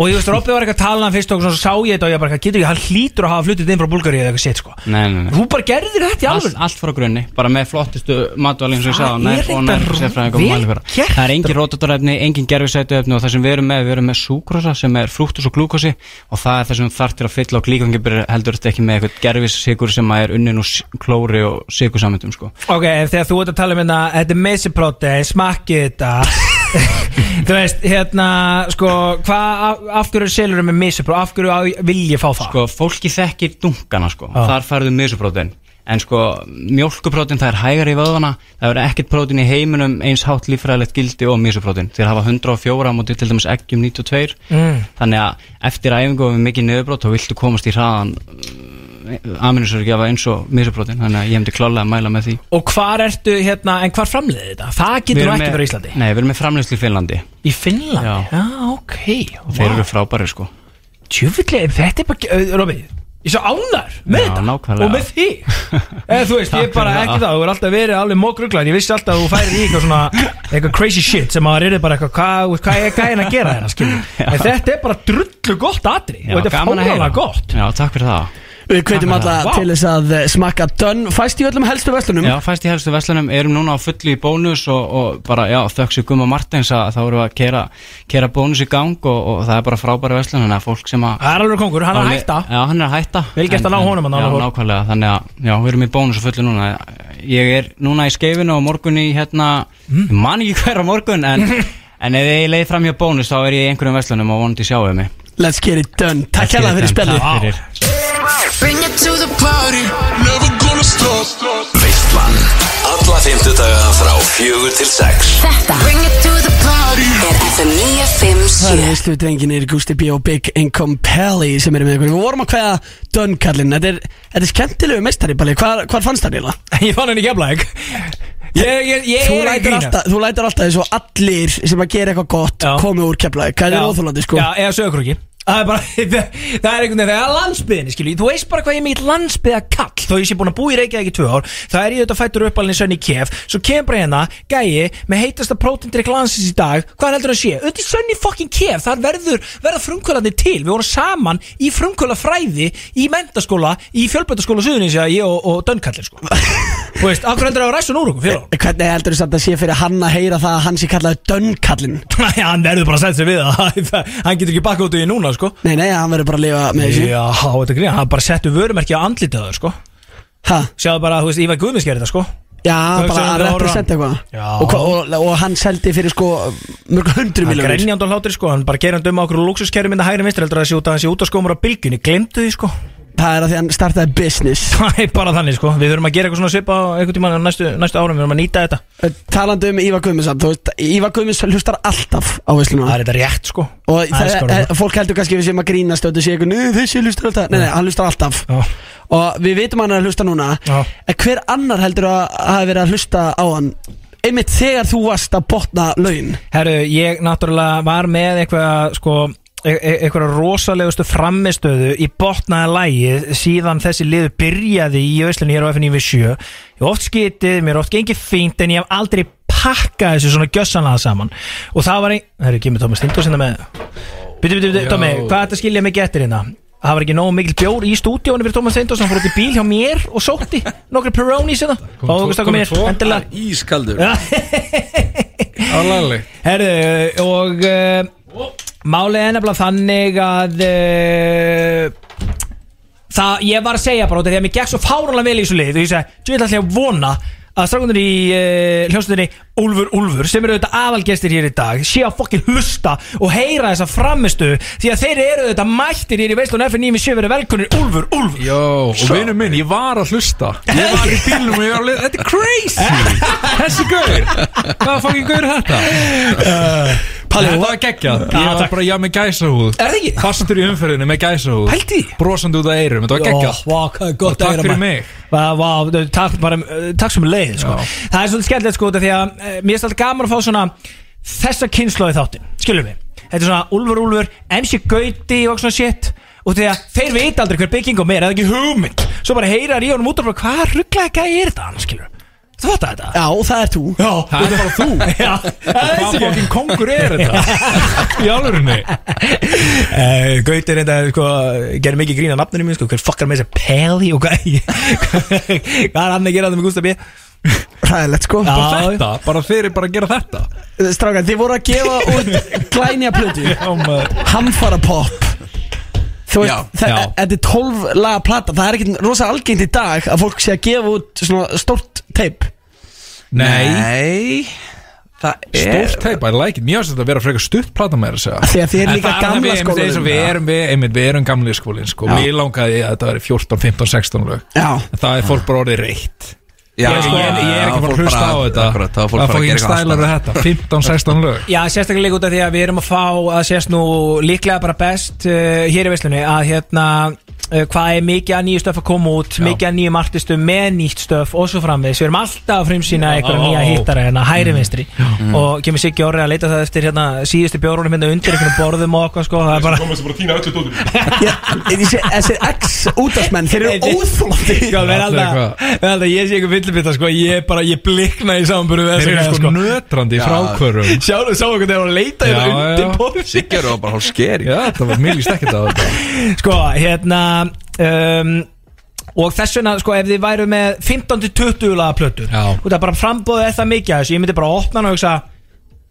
Speaker 2: Og ég veist, Robby var eitthvað að tala um hann fyrst og svo sá ég þetta og ég bara, getur ekki, hann hlýtur að hafa fluttit inn frá Búlgaríu eða eitthvað sitt sko
Speaker 12: Nei, nei, nei
Speaker 2: Þú bara gerðir þetta í
Speaker 12: allt,
Speaker 2: alveg
Speaker 12: allt frá grunni, bara með flottustu matvælinn sem ég
Speaker 2: Það
Speaker 12: sagði, nær
Speaker 2: er
Speaker 12: og
Speaker 2: þetta
Speaker 12: nær
Speaker 2: vel
Speaker 12: sérfræðingum og mælikvara. Það er engin rótatorefni, engin gerfisætuefni og það sem við erum með, við erum með súkrosa sem er frúktus og glúkosi og það er það sem þarf til að fylla á glíkangibur heldur þetta ekki með eitthvað gerfisíkur sem er unnin úr s- klóri og síkursamöndum sko.
Speaker 2: Ok, en þegar þú ert að tala um hérna Þetta er meseprotein, smakkið þetta Þú veist, hérna Sko, hvað, af, af hverju selur með meseprotein, af hverju á, vil ég fá það?
Speaker 12: Sko, fólki þekkir dunkana sko,
Speaker 2: Já.
Speaker 12: þar færðu misuprótin en sko, mjólkuprótin það er hægari í vöðvana, það verður ekkert prótin í heiminum eins hátt lífræðilegt gildi og misuprótin þeir hafa 104 á móti til dæmis eggjum 92
Speaker 2: Mm.
Speaker 12: þannig að eftir æfingu og við mikið niðurbrót þá viltu komast í hraðan aminosörgjafa eins og misuprótin þannig að ég hefndi klálega að mæla með því
Speaker 2: Og hvar ertu, hérna, en hvar framleiði þetta? Það
Speaker 12: Við
Speaker 2: getur nú
Speaker 12: erum
Speaker 2: ekki
Speaker 12: með-
Speaker 2: verið í Íslandi
Speaker 12: Nei, við erum með framleyslu í Finnlandi
Speaker 2: Í Finnlandi? Já, ok
Speaker 12: og þeir eru frábæri sko
Speaker 2: Tjöfulli, þetta er bara, uh, Robi Ég svo ánar með
Speaker 12: Já,
Speaker 2: þetta
Speaker 12: nákvæmlega.
Speaker 2: og með þig Eða þú veist, ég
Speaker 12: Takk
Speaker 2: bara
Speaker 12: fyrir
Speaker 2: ekki
Speaker 12: það.
Speaker 2: það Þú er alltaf verið alveg mókruglan Ég vissi alltaf að þú færir í eitthvað svona Eitthvað crazy shit sem að það er bara eitthvað Hvað hva, hva er gæðin að gera þeirra, skilur En þetta er bara drullu gott atri Og þetta er fánalega gott
Speaker 12: Já, takk fyrir það
Speaker 3: Við hvetjum
Speaker 12: Takk fyrir
Speaker 3: alla
Speaker 12: það. Vá.
Speaker 3: til þess að eh, smakka dönn Fæst í öllum helstu verslunum
Speaker 12: Já, fæst í helstu veslanum, erum núna á fullu í bónus og, og bara, já, þökk sér Gumma Martins að þá erum við að kera, kera bónus í gang og, og það er bara frábæri veslan þannig að fólk sem að
Speaker 2: Það er alveg kongur, hann er að
Speaker 12: Áli-
Speaker 2: hætta
Speaker 12: Já, hann er að hætta
Speaker 2: Vel gert að ná
Speaker 12: En- en-
Speaker 2: honum hann
Speaker 12: Já,
Speaker 2: Arnar Þór.
Speaker 12: nákvæmlega, þannig að, já, við erum í bónus og fullu núna Ég er núna í skeifinu og morgun í hérna,
Speaker 2: Mm.
Speaker 12: ég man ekki hver á morgun en, en ef ég leið fram hjá bónus þá er ég í einhverjum veslanum og vonandi sjáum við mig
Speaker 3: Let's get it done Takk
Speaker 12: Let's
Speaker 3: hérna
Speaker 12: get
Speaker 3: fyrir
Speaker 12: it done.
Speaker 3: spjallið
Speaker 12: Takk fyrir.
Speaker 8: Bring it to the party Never gonna stop Veistlan Alla fymtudaga frá fjögur til sex
Speaker 6: Þetta Bring it to the party Er FM 957
Speaker 3: Það eru veistlu drenginir Gusti B og Big Income Pally sem eru með ykkur Við vorum að kveða dönn kallinn Þetta er, þetta er skemmtilegu meistari Palli Hvar, hvar fannst það nýla?
Speaker 2: Ég fann henni geflæk Ég, ég, ég
Speaker 3: Þú
Speaker 2: er ekki
Speaker 3: lætur
Speaker 2: grínast.
Speaker 3: alltaf, þú lætur alltaf eins og allir sem að gera eitthvað gott komi úr keflaði, hvað er
Speaker 2: Já.
Speaker 3: óþólandi sko
Speaker 2: Já, eða sögurkrúki Það er bara, það er einhvern veginn, það er landsbyðinni, skilju Þú veist bara hvað ég er mikill landsbyða kall Þó ég sé búin að búa í Reykjavík í tvö ár Það er ég auðvitað fættur uppalinn í sönni kef Svo kemur bara hérna, gæi, með heitasta prótindrykk landsins í dag Hvað heldur það sé? Öndi sönni fucking kef, þar verður, verða frumkvölandi til Við vorum saman í frumkvöla fræði Í mentaskóla, í fjölbættaskóla Suðunisja, ég og, og Dönnkallin, sko Þú veist, akkur heldur það að ræsa núr okkur fyrir
Speaker 3: Hvernig heldur þú samt að sé fyrir hann að heyra það að hann sé kallaði dönnkallinn?
Speaker 2: Nei, hann verður bara að setja sig við það Hann getur ekki bakka út í því núna, sko
Speaker 3: Nei, nei, hann verður bara að lifa með þessu
Speaker 2: Já, þetta er grín, hann bara settu vörumerki á andlitið á þau, sko
Speaker 3: Hæ?
Speaker 2: Sjáðu bara, þú veist, Ívar Guðmunds gerir þetta, sko
Speaker 3: Já,
Speaker 2: Þú
Speaker 3: bara
Speaker 2: hugsaðu um
Speaker 3: að
Speaker 2: það
Speaker 3: representa
Speaker 2: ára.
Speaker 3: eitthvað
Speaker 2: Já.
Speaker 3: og, hva- og, og hann seldi fyrir sko mörg hundru
Speaker 2: Hann
Speaker 3: miljónir
Speaker 2: grenjandi um á hlátri, sko, hann bara gerir hann döma okkur og lúksuskerri mynda hægri minstri heldur að það sé út að hann sé út að skómur á bylgjunni, glemdu því, sko
Speaker 3: það er að því hann startaði business
Speaker 2: Það er bara þannig sko Við þurfum að gera eitthvað svona svipa eitthvað tíma næstu, næstu árum Við þurfum að nýta þetta
Speaker 3: Eh, Talandi um Ívar Guðmunds samt, þú veist, Ívar Guðmunds hlustar alltaf á veisluna
Speaker 2: Það er þetta rétt sko
Speaker 3: Og
Speaker 2: Það er
Speaker 3: það,
Speaker 2: skárra.
Speaker 3: það, fólk heldur kannski við séum að grínast og þetta sé eitthvað, "Nei, þessi hlustar alltaf Nei, nei, hann hlustar alltaf Og við vitum að hann er að hlusta núna En hver annar heldur að hafa verið að hlusta á hann Einmitt þegar þú varst að botna laun
Speaker 2: Herru, ég náttúrulega var með eitthvað sko e- e- eitthvað rosalegustu framistöðu í botnaða lægi síðan þessi liðu byrjaði í Íslandi hér á FNV7 ég hef oft skitið, mér er oft gengið fínt en ég hef aldrei pakkað þessu svona gjössanlega saman og það var ein... Herru, kemur Tómas Tindós hérna með Bitu, bitu, bitu,
Speaker 11: Já.
Speaker 2: Tómi, hvað er þetta skilja mig getur hérna? Það var ekki nógu mikil bjór í stúdíónu fyrir Tómas Tindós, hann fór út í bíl hjá mér og sótti nokkri Peronis hérna og þú veist að koma
Speaker 13: tvo-
Speaker 2: hér, endilega
Speaker 13: Ískaldur
Speaker 2: Já.
Speaker 13: Álæðileg
Speaker 2: Herðu, og uh, málið er nefnilega þannig að uh, það, ég var að segja bara út af því að mér gekk svo fáránlega vel í þessu lið og ég segi, þú vil alltaf vona að strákunir í uh, hljómsveitinni Úlfur Úlfur sem eru auðvitað aðalgestir hér í dag sé að fokkin hlusta og heyra þessa framistu því að þeir eru auðvitað mættir hér í veislun F957 verið velkunir Úlfur Úlfur
Speaker 13: Jó, og
Speaker 2: Svo.
Speaker 13: vinnu minn, ég var að hlusta Ég var í bílnum og ég var að leiða Þetta er crazy Þessi gaur Hvað fucking gaur er þetta?
Speaker 2: Eh, Palli,
Speaker 13: þetta var geggjað
Speaker 2: Já,
Speaker 13: Ég var
Speaker 2: takk.
Speaker 13: bara já með gæsahúð
Speaker 2: Er það ekki?
Speaker 13: Fastur í umferðinu með gæsahúð Hældi? Brosandi út af eyrum, þetta var geggjað
Speaker 2: Vá, hvað er
Speaker 13: Og
Speaker 2: gott að
Speaker 13: takk
Speaker 2: heyra,
Speaker 13: fyrir
Speaker 2: maður.
Speaker 13: mig.
Speaker 2: Vá, vá, þau, takk, bara, uh, takk sem leið sko. Það er svolítið skemmtilegt sko út af Því að uh, mér er alltaf gaman að fá svona Þessa kynnslóði þáttin, skilum við Þetta er svona Úlfur Úlfur, MC Gauti og svona shit Og því að þeir veit aldrei hver bygging og meir Það er ekki hugmynd Svo bara heyrar í honum út af frá Hvað rugglega gæði er þetta hann, skilum við Þú fattar þetta?
Speaker 3: Já, það er þú
Speaker 2: Já,
Speaker 13: Það er bara þú
Speaker 2: Já,
Speaker 13: Hvað fucking kongur er þetta? Í álurinu
Speaker 2: Uh, Gauti reynda sko, gerir mikið grín að nafninu mín sko, hver fokkar með þessi Peli og gæ hvað er hann að gera það með Gustaf B
Speaker 3: Ræðilegt sko
Speaker 13: Bara þetta, bara þeir eru bara að gera þetta
Speaker 3: Strákar, þið voru að gefa út glænja plötu Hamfara pop Þú
Speaker 13: Já,
Speaker 3: veist, það-
Speaker 13: já.
Speaker 3: þetta er 12 laga plata Það er ekkert rosa algengt í dag að fólk sé að gefa út svona stórt teip
Speaker 13: Nei Það
Speaker 3: er-
Speaker 13: Stórt teipa, I like it Mér finnst þetta að vera frekar stutt plata með þess að
Speaker 3: Því að þið eruð
Speaker 13: En
Speaker 3: líka
Speaker 13: það er
Speaker 3: gamla
Speaker 13: einmitt
Speaker 3: skólanum.
Speaker 13: eins og Við erum, við, einmitt, við erum gamla skólin sko.
Speaker 3: Já.
Speaker 13: Mér langaði að þetta veri 14, 15, 16 lög
Speaker 3: Já.
Speaker 13: En það er fólk bara orðið reitt
Speaker 2: Já,
Speaker 13: ég, sko,
Speaker 2: já,
Speaker 13: ég, ég er ekki
Speaker 2: já,
Speaker 13: bara
Speaker 2: fólk
Speaker 13: að hlusta
Speaker 2: bara-
Speaker 13: á þetta
Speaker 2: akkurat, þá er fólk bara
Speaker 13: Það
Speaker 2: að gera
Speaker 13: fókin
Speaker 2: eitthvað
Speaker 13: stælar við
Speaker 2: allt
Speaker 13: þetta 15, 16 lög
Speaker 2: Já, sérstaklega líka út af því að við erum að fá að sérst nú líklega bara best uh, hér í veislunni að hérna uh, hvað er mikið að nýju stöf að koma út mikið að nýjum artistum með nýtt stöf og svo framvegis, við erum alltaf að frimsýna einhverja
Speaker 11: Já.
Speaker 2: nýja hittara hérna, hæri vinstri
Speaker 11: Mm.
Speaker 2: og kemur Siggi Orri að leita það eftir hérna síðustu bjórunum hérna undir einhvern borðum og okkar sko, það er bara
Speaker 14: Thomas er bara að týna öllu dóttum
Speaker 3: Þessi þessi ex-útarsmenn, þeir eru óþólandi
Speaker 2: Sko, við erum alltaf, við erum alltaf, ég sé ykkur villibita, sko, ég bara, ég blikna í samanbúru við
Speaker 13: Þeir
Speaker 2: þessa
Speaker 13: eru
Speaker 2: gæja,
Speaker 13: sko nötrandi í
Speaker 2: Já.
Speaker 13: frákvörum.
Speaker 2: Sjáðu, sjáðu hvernig þeir voru að leita
Speaker 13: Já,
Speaker 2: hérna undir
Speaker 13: já.
Speaker 2: borðum
Speaker 14: Siggar var bara hálf skeri
Speaker 13: Já, það var mjög stekkert á þetta
Speaker 2: Sko, hérna um, Og þess vegna, sko, ef þið væru með 15-20 laga plötu
Speaker 13: Já.
Speaker 2: Og það bara frambóðu er það mikið af þessu Ég myndi bara opna hana og hugsa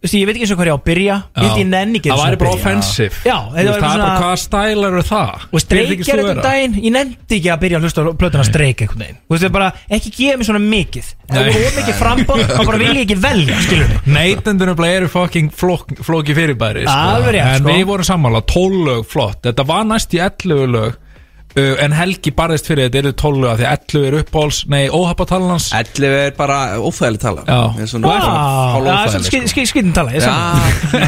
Speaker 2: Veistu, ég veit ekki eins og hvað ég á að byrja Ég veit ég nenni ekki
Speaker 13: Það
Speaker 2: einu sinni
Speaker 13: væri
Speaker 2: að
Speaker 13: bara
Speaker 2: byrja.
Speaker 13: offensive
Speaker 2: Já,
Speaker 13: Þú
Speaker 2: þetta væri
Speaker 13: veist, Það er bara
Speaker 2: svona-
Speaker 13: hvaða stælar eru það
Speaker 2: Og streik er
Speaker 13: Þykist þú
Speaker 2: þetta
Speaker 13: vera?
Speaker 2: um daginn Ég nefndi ekki að byrja að hlusta á plötuna streik einhvern veginn Þú veist, þið bara ekki gefa mér svona mikið Það
Speaker 13: Nei.
Speaker 2: voru of mikið frambóð og bara vil ég ekki velja, skilur
Speaker 13: Neytendur nefnilega eru fucking flók, flóki fyrirbæri
Speaker 2: Alveg rétt,
Speaker 13: En
Speaker 2: sko.
Speaker 13: við vorum sammála, 12 lög, flott Þetta var næst í 11 lög uh, En Helgi barðist fyrir þetta eru 12 lög af Því að 11 er uppháls, nei, óhapatalans hans
Speaker 14: 11 er bara óþægileg tala
Speaker 13: Já.
Speaker 14: Það
Speaker 2: Vá,
Speaker 14: er svona sko.
Speaker 2: það er svolítið
Speaker 14: hálf
Speaker 2: skri- skri- skrítin tala, ég er sammála.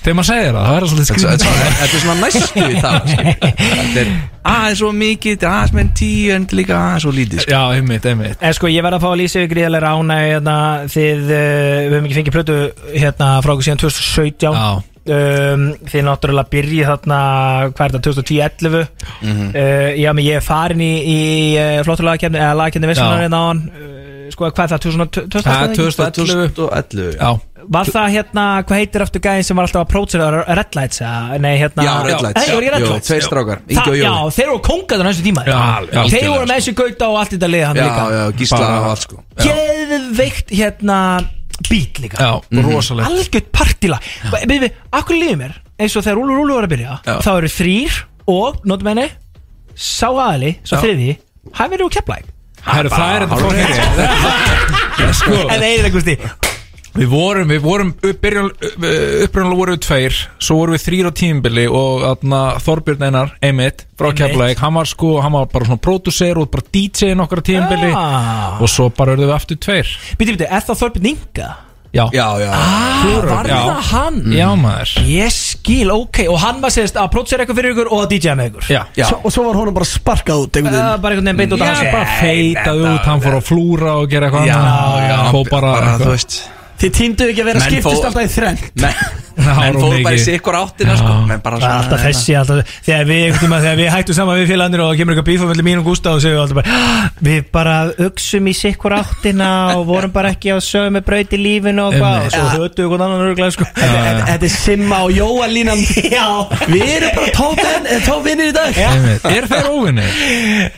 Speaker 13: Þegar maður segir það, það er svolítið
Speaker 14: Þetta
Speaker 13: skrýmd
Speaker 14: er svona- þetta er svona næstu í tala skilur. Þetta er aðeins svo mikið þetta er aðeins með 10 en líka aðeins svo lítið sko.
Speaker 13: Já, einmitt, einmitt
Speaker 2: En sko, ég verð að fá að lýsa yfir gríðarlega rána hérna, þið, uh, við höfum ekki fengið plötu hérna frá okkur síðan 2017 um, þið náttúrulega byrjið þarna, hvað er þetta, 2010-11
Speaker 11: Mhm.
Speaker 2: uh, já, menn ég er farin í, í uh, flotturlagakefni, eða lagakefni
Speaker 13: Já.
Speaker 2: vissunar hérna á hann sko, hvað er það, 2012?
Speaker 13: Það er
Speaker 2: 2011
Speaker 14: 2011
Speaker 13: Já,
Speaker 2: Var það hérna, hvað heitir aftur gæðin sem var alltaf að prótsera Red Lights? eða- Nei, hérna
Speaker 14: Já, Red Lights.
Speaker 2: Nei, voru í Red
Speaker 14: Jú,
Speaker 2: Lights
Speaker 14: tveir strákar,
Speaker 2: Það-
Speaker 14: Ingi og Jói.
Speaker 2: Já, þeir voru kongaður á þessu tíma
Speaker 14: Já, alveg,
Speaker 2: Þeir
Speaker 14: algjörlega, sko.
Speaker 2: voru með þessu gauta og allt þetta liða hann
Speaker 14: Já,
Speaker 2: líka
Speaker 14: já, gíslar á allt sko
Speaker 2: geðveikt hérna bít líka
Speaker 13: Já,
Speaker 14: Mhm.
Speaker 13: rosalegt.
Speaker 2: algjörð partila við við, akkur líður mér eins og þegar Úlfur Úlfur var að byrja
Speaker 14: Já.
Speaker 2: þá eru þrýr og, notum henni sá aðali, sá
Speaker 13: Já.
Speaker 2: þriði hann verður úr kepplæk
Speaker 13: Herru, það er þetta fókin
Speaker 2: en það er eitthvað stí
Speaker 13: Við vorum, við vorum upprunalega vorum við tveir Svo vorum við þrýr á tímubili Og atna, Þorbjörn Einar, Emmitt Frá
Speaker 2: Einmitt.
Speaker 13: Keflæk, hann var sko Hann var bara svona pródusser og bara DJ nokkra tímubili
Speaker 2: Ah.
Speaker 13: Og svo bara verðum við aftur tveir
Speaker 2: Býtti, býtti, er það Þorbjörn Inga?
Speaker 13: Já, já, já
Speaker 2: Ah, var það hann?
Speaker 13: Já maður
Speaker 2: Ég skil, ok Og hann var sérst að prótsera eitthvað fyrir ykkur og að DJ-a með ykkur
Speaker 13: Já, já.
Speaker 3: Svo, Og svo var honum bara sparkað út einhvern
Speaker 2: Uh,
Speaker 3: veginn
Speaker 2: bara einhvern veginn beint út af
Speaker 13: Já, bara feitað út, hann fór að flúra og gera eitthvað
Speaker 3: Já,
Speaker 13: annað.
Speaker 3: já,
Speaker 13: Fór bara,
Speaker 3: bara, þú
Speaker 13: veist
Speaker 3: Þið týndu ekki að vera
Speaker 13: Menn
Speaker 3: skiptist
Speaker 13: fó-
Speaker 3: alltaf í þrenn
Speaker 13: menn
Speaker 14: fóru bara í sikkur áttina sko menn bara svona
Speaker 2: Alltaf þessi, alltaf, þegar við, einhvern tíma, þegar við hættum saman við félagandir og það kemur eitthvað bífa mellir mín og Gústa og segjum alltaf bara "Ah, Við bara uksum í sikkur áttina og vorum bara ekki á sömu braut í lífinu og hvað og svo hötu við hvern annan örgulega sko
Speaker 3: Þetta þetta er Simma og Jóa línan
Speaker 2: Já
Speaker 3: Við erum bara tófin, tófinir í dag
Speaker 13: Einmitt. Er þeir óvinnir?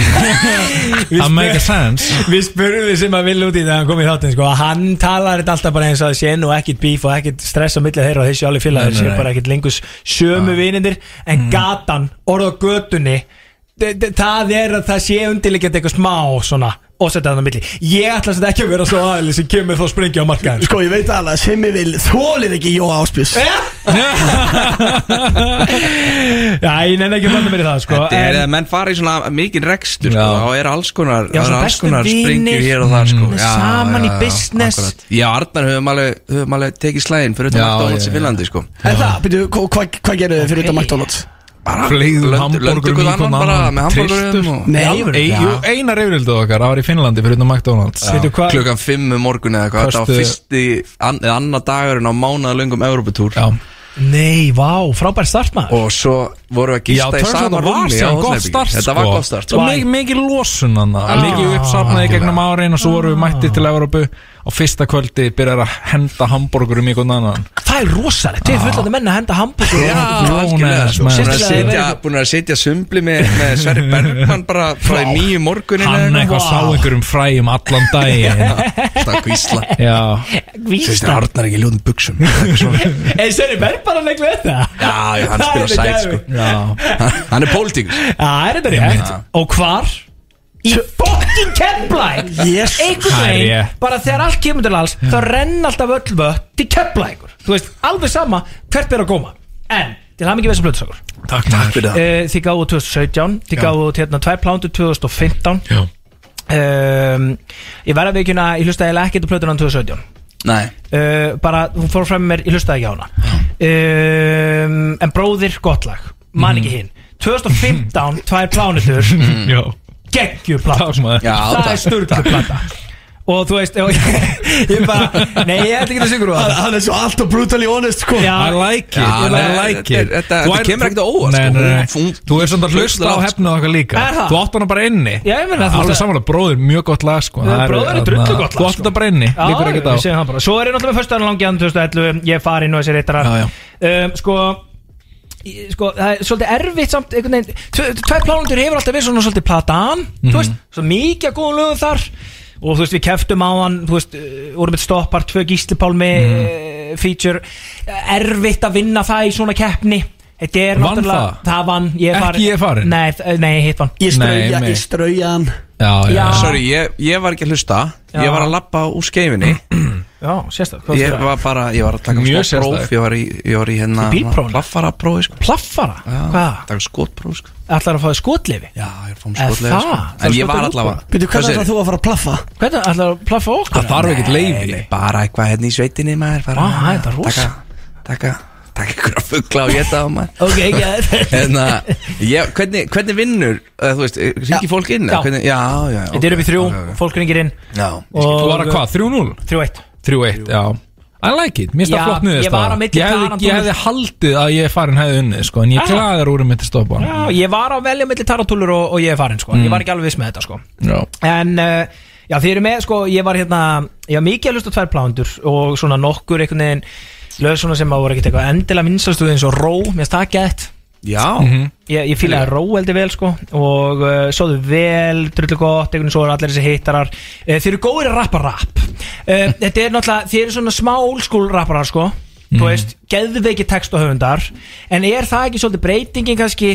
Speaker 2: Það
Speaker 13: make a sense
Speaker 2: Við spurðum sem að vilja út í þegar hann kom í þáttinn sko, að hann talar þetta alltaf bara eins og það sé nú ekkit bíf og ekkit stress á millið þeirra og þessi alveg
Speaker 13: Nei,
Speaker 2: félagur
Speaker 13: nei,
Speaker 2: séu
Speaker 13: nei. Mm.
Speaker 2: bara ekkit lengur sömu vinindir en gatan, orð á götunni d- d- það er að það sé undirliggjandi eitthvað smá svona og setja það á milli. Ég ætla sem þetta ekki að vera svo aðeins sem kemur þá springi á markaðin
Speaker 3: Sko ég veit alveg að Simmi vil þólir ekki Jóa Áspjós
Speaker 2: Já, ég nenni ekki að blanda mér í það sko,
Speaker 14: Þetta er
Speaker 2: en-
Speaker 14: að menn fara í svona mikinn rekstur sko, og er alls konar,
Speaker 2: Já,
Speaker 14: það
Speaker 2: svona
Speaker 14: eru alls
Speaker 2: bestu
Speaker 14: konar
Speaker 2: vinir,
Speaker 14: springir hér og þar sko.
Speaker 2: mm,
Speaker 14: já,
Speaker 2: saman í business.
Speaker 14: akkurat. Já, Arnar höfum alveg, höfum alveg tekið slæðin fyrir
Speaker 3: Já,
Speaker 14: þetta McDonalds
Speaker 3: já,
Speaker 14: í Finnlandi sko.
Speaker 3: En það, byrju, hva- hvað hva gerðu þið fyrir þetta McDonalds?
Speaker 14: Bara
Speaker 13: Fleygðu
Speaker 14: löndu-
Speaker 13: hamborgurum
Speaker 14: löndu
Speaker 13: í
Speaker 14: annan
Speaker 13: hvern
Speaker 14: bara
Speaker 13: annan,
Speaker 14: með hamborgurum
Speaker 13: trylltur.
Speaker 14: og-
Speaker 3: Nei,
Speaker 14: Já,
Speaker 13: Alvöru? Ey, jú, Einar yfirildið okkar, það var í Finnlandi fyrir utan McDonalds
Speaker 14: Já. klukkan 5 um morgun eða eitthvað þetta var
Speaker 13: Kostu-
Speaker 14: fyrsti an, eða annar dagurinn á mánaðalöngum Európatúr
Speaker 2: Nei, vá, frábær start maður
Speaker 14: og svo voru að
Speaker 13: Já,
Speaker 14: gista í
Speaker 13: turns out
Speaker 14: sama
Speaker 13: það var
Speaker 14: rúmi á
Speaker 13: síðan gott
Speaker 14: hótelherbergi.
Speaker 13: start sko.
Speaker 14: þetta var gott start
Speaker 13: Og mikið, mikið losun hann
Speaker 14: Ah.
Speaker 13: Mikið uppsafnaði gegnum árin og svo voru við mættið til Evropu og fyrsta kvöldi byrjar að henda hamburgurum í hvern annan
Speaker 2: Það er rosalegt, þið er fullandi menn að henda hambúrgur
Speaker 14: Já,
Speaker 13: Grown
Speaker 14: algjörlega
Speaker 13: ass
Speaker 14: sko.
Speaker 13: man.
Speaker 14: Búin að
Speaker 13: Sérstaklega
Speaker 14: sitja,
Speaker 13: verið-
Speaker 14: búin að sitja sumbli með, með Sverri Bergman bara frá
Speaker 13: Vá.
Speaker 14: nýju morgunin
Speaker 13: Hann eitthvað sá einhverjum fræjum allan daginn
Speaker 14: Það kvísla
Speaker 13: Já
Speaker 14: Sérstu Arnar er ekki ljóðum buksum
Speaker 2: Eða Sverri Bergman að negla þetta
Speaker 14: Já, já, hann
Speaker 2: Það
Speaker 14: spila
Speaker 2: er
Speaker 14: sæt
Speaker 2: gæfi.
Speaker 14: sko Hann er pólitíkus
Speaker 2: Já, er þetta rétt Og hvar? Í fucking Keflæk
Speaker 3: Yes.
Speaker 2: Einhvern
Speaker 14: Það er
Speaker 2: veginn,
Speaker 14: rétt.
Speaker 2: bara þegar allt kemur til alls þá renn alltaf öll vött til Keflækur Þú veist, alveg sama hvert ber að góma En, til hafa mikið veist að blöðsakur
Speaker 14: Takk, takk fyrir það
Speaker 2: Eh, Þið gáðu 2017 Þið
Speaker 14: Já.
Speaker 2: gáðu hérna tvær plándu 2015
Speaker 14: Já.
Speaker 2: um, Ég verða að vikuna Ég hlusta eiginlega ekkert á plötuna um 2017
Speaker 14: Nei,
Speaker 2: uh, bara, hún fór fram með mér, ég hlustaði ekki á hana um, en bróðir gott lag man ekki hinn 2015, tvær plánutur geggjur plata
Speaker 14: Já,
Speaker 2: það
Speaker 14: takk.
Speaker 2: er sturglu plata og þú veist, og, ég bara nei, ég ætla ekki að syngur á
Speaker 3: Hann
Speaker 2: það
Speaker 3: hann er svo alltaf brutally honest sko
Speaker 2: Já.
Speaker 13: I like it,
Speaker 14: Já,
Speaker 13: I
Speaker 14: nei,
Speaker 13: like
Speaker 14: þetta-
Speaker 13: it.
Speaker 14: þetta-
Speaker 13: Þú
Speaker 14: þetta
Speaker 13: ert-
Speaker 14: kemur ekkert á óvart,
Speaker 13: Nei,
Speaker 14: sko.
Speaker 13: nei,
Speaker 14: Hún- hún-
Speaker 13: nei, þú er svona að hlusta á
Speaker 14: hlustar á,
Speaker 13: hefnið okkar líka
Speaker 2: Er það?
Speaker 13: Þú átt hana bara inni
Speaker 2: Já, ég meina, þú
Speaker 13: Alveg
Speaker 2: veist-
Speaker 13: samanlega, bróðir, mjög gott lag sko Það
Speaker 2: Bróðir er
Speaker 13: þarna-
Speaker 2: drullu gott sko.
Speaker 13: Þú átt þetta bara inni,
Speaker 2: Já,
Speaker 13: líkur ekkert á
Speaker 2: ég segi það bara Svo er ég náttúrulega með föstuðan langi andur 2011 Ég er farin og þessi reytarar
Speaker 13: Já, já.
Speaker 2: um, Sko ég- Sko, það er svolítið erfitt samt einhvern veginn Tvö- Tvær plánundur hefur alltaf verið svona svolítið platan
Speaker 13: Mhm.
Speaker 2: Þú veist, svo mikið að góðum lögum þar Og þú veist, við keftum á hann Þú veist, uh, vorum við stoppar, tvö gíslipálmi
Speaker 13: Mhm.
Speaker 2: mm. Feature Eh, Erfitt að vinna það í svona keppni Þetta er
Speaker 13: Vann
Speaker 2: náttúrulega
Speaker 13: það?
Speaker 2: Það vann, ég er
Speaker 13: Ekki
Speaker 2: farin
Speaker 13: ég er farin?
Speaker 2: Nei, þ- nei, hitt vann
Speaker 3: Ég strauja,
Speaker 14: Nei, nei.
Speaker 3: ég strauja hann
Speaker 13: Já,
Speaker 2: Já.
Speaker 14: sorry, ég, ég var ekki að hlusta
Speaker 2: Já. Mm,
Speaker 14: Ég var að labba úr skeifinni
Speaker 2: Já, sérstæð
Speaker 14: Ég var bara, ég var að taka
Speaker 13: Mjög
Speaker 14: smá
Speaker 13: sérstæður.
Speaker 14: próf Ég var í, ég var í hérna
Speaker 2: Í bílprófinu?
Speaker 14: Plaffara prófi sko
Speaker 2: Plaffara? Hvað?
Speaker 14: Takk skotpróf sko
Speaker 2: Ætlar að um fá þér skotleifi?
Speaker 14: Já, ég er fórum
Speaker 2: Er
Speaker 14: skotlega sko
Speaker 2: það?
Speaker 14: En ég var allavega
Speaker 3: Býtu, hvernig
Speaker 14: Hvað
Speaker 3: ætlar þú að fara að plaffa?
Speaker 2: Hvernig ætlar að plaffa okkur?
Speaker 13: Það þarf ekkert leiði
Speaker 14: segirðu? Bara eitthvað hérna í sveitinni maður fara
Speaker 2: Vá,
Speaker 14: að
Speaker 2: þetta er rosa.
Speaker 14: Taka, taka, taka ykkur að fuggla og geta á maður
Speaker 2: Ok, ekki að
Speaker 14: Hérna, ég, hvernig, hvernig vinnur, eða, þú veist, ringi fólk inn?
Speaker 2: Já.
Speaker 14: eða Hvernig, já, já,
Speaker 2: Þetta er upp í þrjú,
Speaker 14: ok, ok.
Speaker 2: fólk ringir inn
Speaker 14: Já,
Speaker 13: Þú var að hvað, 3-0?
Speaker 2: Þrjú eitt
Speaker 13: 3-1, já I like it, mér finnst
Speaker 2: Já,
Speaker 13: það flott niður
Speaker 2: ég var á milli
Speaker 13: ég,
Speaker 2: Tarantulas-
Speaker 13: hefði- ég hefði haldið að ég farin hefði unnið sko, En ég
Speaker 2: Ah.
Speaker 13: klagar úr um mitt stoppa
Speaker 2: Já, ég var að velja milli taratúlur og, og ég er farin sko
Speaker 14: Mm.
Speaker 2: Ég var ekki alveg viss með þetta sko
Speaker 13: Já.
Speaker 2: En, uh, já þið eru með sko, ég var hérna Ég var mikið að hlusta á tvær plándur Og svona nokkur einhvern veginn Lög svona sem að voru ekkert eitthvað endilega minnstastuð eins og ró Mér finnst það gett
Speaker 14: já
Speaker 2: Ég, ég fílaði ró heldur vel sko Og uh, sóðu vel, drullu gott Einhvern veginn svo eru allir þessi hittarar uh, Þið eru góðir að rappa rap uh, Þetta er náttúrulega, þið eru svona smá old school rapparar sko Þú veist, geðveiki textahöfundar En er það ekki svolítið breytingin kannski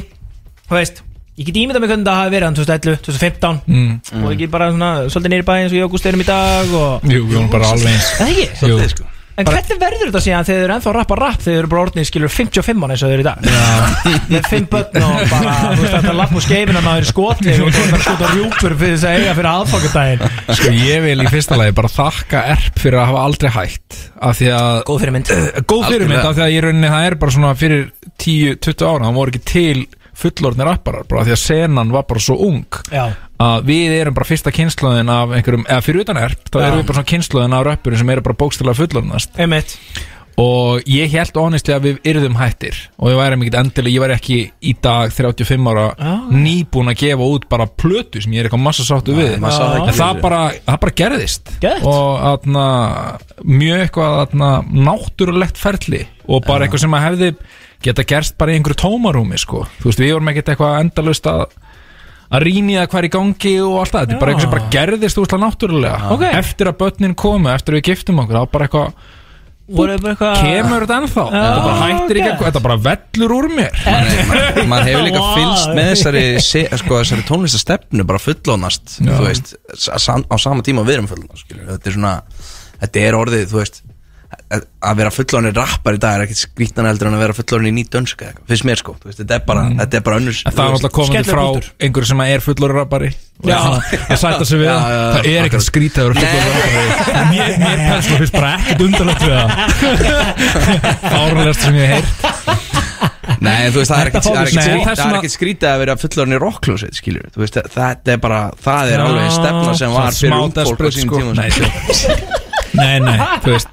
Speaker 2: Þú veist Ég get ímyndað mér hvernig það hafi verið hann 2011, 2015
Speaker 13: Mm.
Speaker 2: og ekki bara svona svolítið nýri bæ eins og ég og Gústi erum í dag og...
Speaker 13: Jú, við vorum bara alveg eins.
Speaker 2: Er Það ekki?
Speaker 13: Jú. Svolítið, sko.
Speaker 2: En hvernig verður þetta síðan þegar þau eru ennþá að rappa rapp þegar þau eru bara orðnið skilur 55 án eins og þau eru í dag Já. með 5 börn og bara þú veist þetta lapp úr skeifin að maður er skotið og það er skotið rjúpur fyrir þess að eiga fyrir aðfokkardaginn
Speaker 13: Sko ég vil í fyrsta lagi bara þakka erp fyrir að hafa aldrei hægt af því að
Speaker 2: Eh, Góð fyrirmynd
Speaker 13: Góð fyrirmynd af því að ég rauninni það er bara svona fyrir 10-20 ára það voru ekki til fullorðnir apparar bara af því að senan var bara svo ung
Speaker 2: Já.
Speaker 13: að við erum bara fyrsta kynnslóðin af einhverjum eða fyrir utan erp þá
Speaker 2: Já.
Speaker 13: erum við bara svona kynnslóðin af rappurum sem eru bara bókstilega fullorðnast
Speaker 2: Einmitt
Speaker 13: og ég held honestlega að við yrðum hættir og ég væri mikið endilega, ég væri ekki í dag 35 ára
Speaker 2: Já.
Speaker 13: nýbúin að gefa út bara plötu sem ég er eitthvað massa sáttu við
Speaker 14: maður sá það ekki
Speaker 13: en það
Speaker 14: fyrir.
Speaker 13: bara, það bara gerðist
Speaker 2: Gett.
Speaker 13: og atna, mjög eitthvað atna, náttúrulegt ferli og bara eitthvað sem að hefði geta gerst bara í einhverju tómarúmi sko. þú veist, við vorum ekkert eitthvað endalust að að rýni það hvað er í gangi og allt það þetta er bara
Speaker 2: Já.
Speaker 13: eitthvað sem bara gerðist úrslega náttúrulega
Speaker 2: Ok.
Speaker 13: eftir að börnin komu, eftir að við giftum okkur það var bara eitthvað
Speaker 2: Voru bara eitthvað
Speaker 13: kemur þetta ennþá þetta
Speaker 2: Ah,
Speaker 13: bara hættir ekki að þetta bara vellur úr mér
Speaker 14: maður hefur líka
Speaker 13: Wow.
Speaker 14: fylst með þessari, se, sko, þessari tónlistastefnu bara fullónast
Speaker 13: Já.
Speaker 14: þú veist, sa- sam- á sama tíma og við erum fullónast skilur. þetta er svona, þetta er orðið þú veist, að- að vera fullónir rappar í dag er ekkert skrítan heldur en að vera fullónir í nýtt dönsk eða eitthvað, finnst mér sko þú veist, þetta er bara,
Speaker 13: Mm.
Speaker 14: þetta er bara önnur
Speaker 13: En það er alltaf komandi frá einhverju sem er fullorður rappari og
Speaker 14: Já.
Speaker 13: að sætta sig við
Speaker 14: Já,
Speaker 13: það
Speaker 14: já, já,
Speaker 13: það er ekkert
Speaker 14: akkurat.
Speaker 13: skrítið að vera fullorður rappari mér, mér persónulega finnst bara ekkert undarlegt við það árlegast sem ég hef heyrt
Speaker 14: Nei, en þú veist, það er ekkert- það er ekkert
Speaker 13: Nei,
Speaker 14: skrítið-
Speaker 13: þess
Speaker 14: það er
Speaker 13: vegna-
Speaker 14: ekkert skrítið að vera fullorðin í rockljóset, skiljum Þú veist, það er bara, það er alveg stefna sem var
Speaker 13: Já,
Speaker 14: fyrir
Speaker 13: smá
Speaker 14: ungd fólk á
Speaker 13: desperate,
Speaker 14: sínum
Speaker 13: sko.
Speaker 14: tíma
Speaker 13: Nei, Nei, nei, þú veist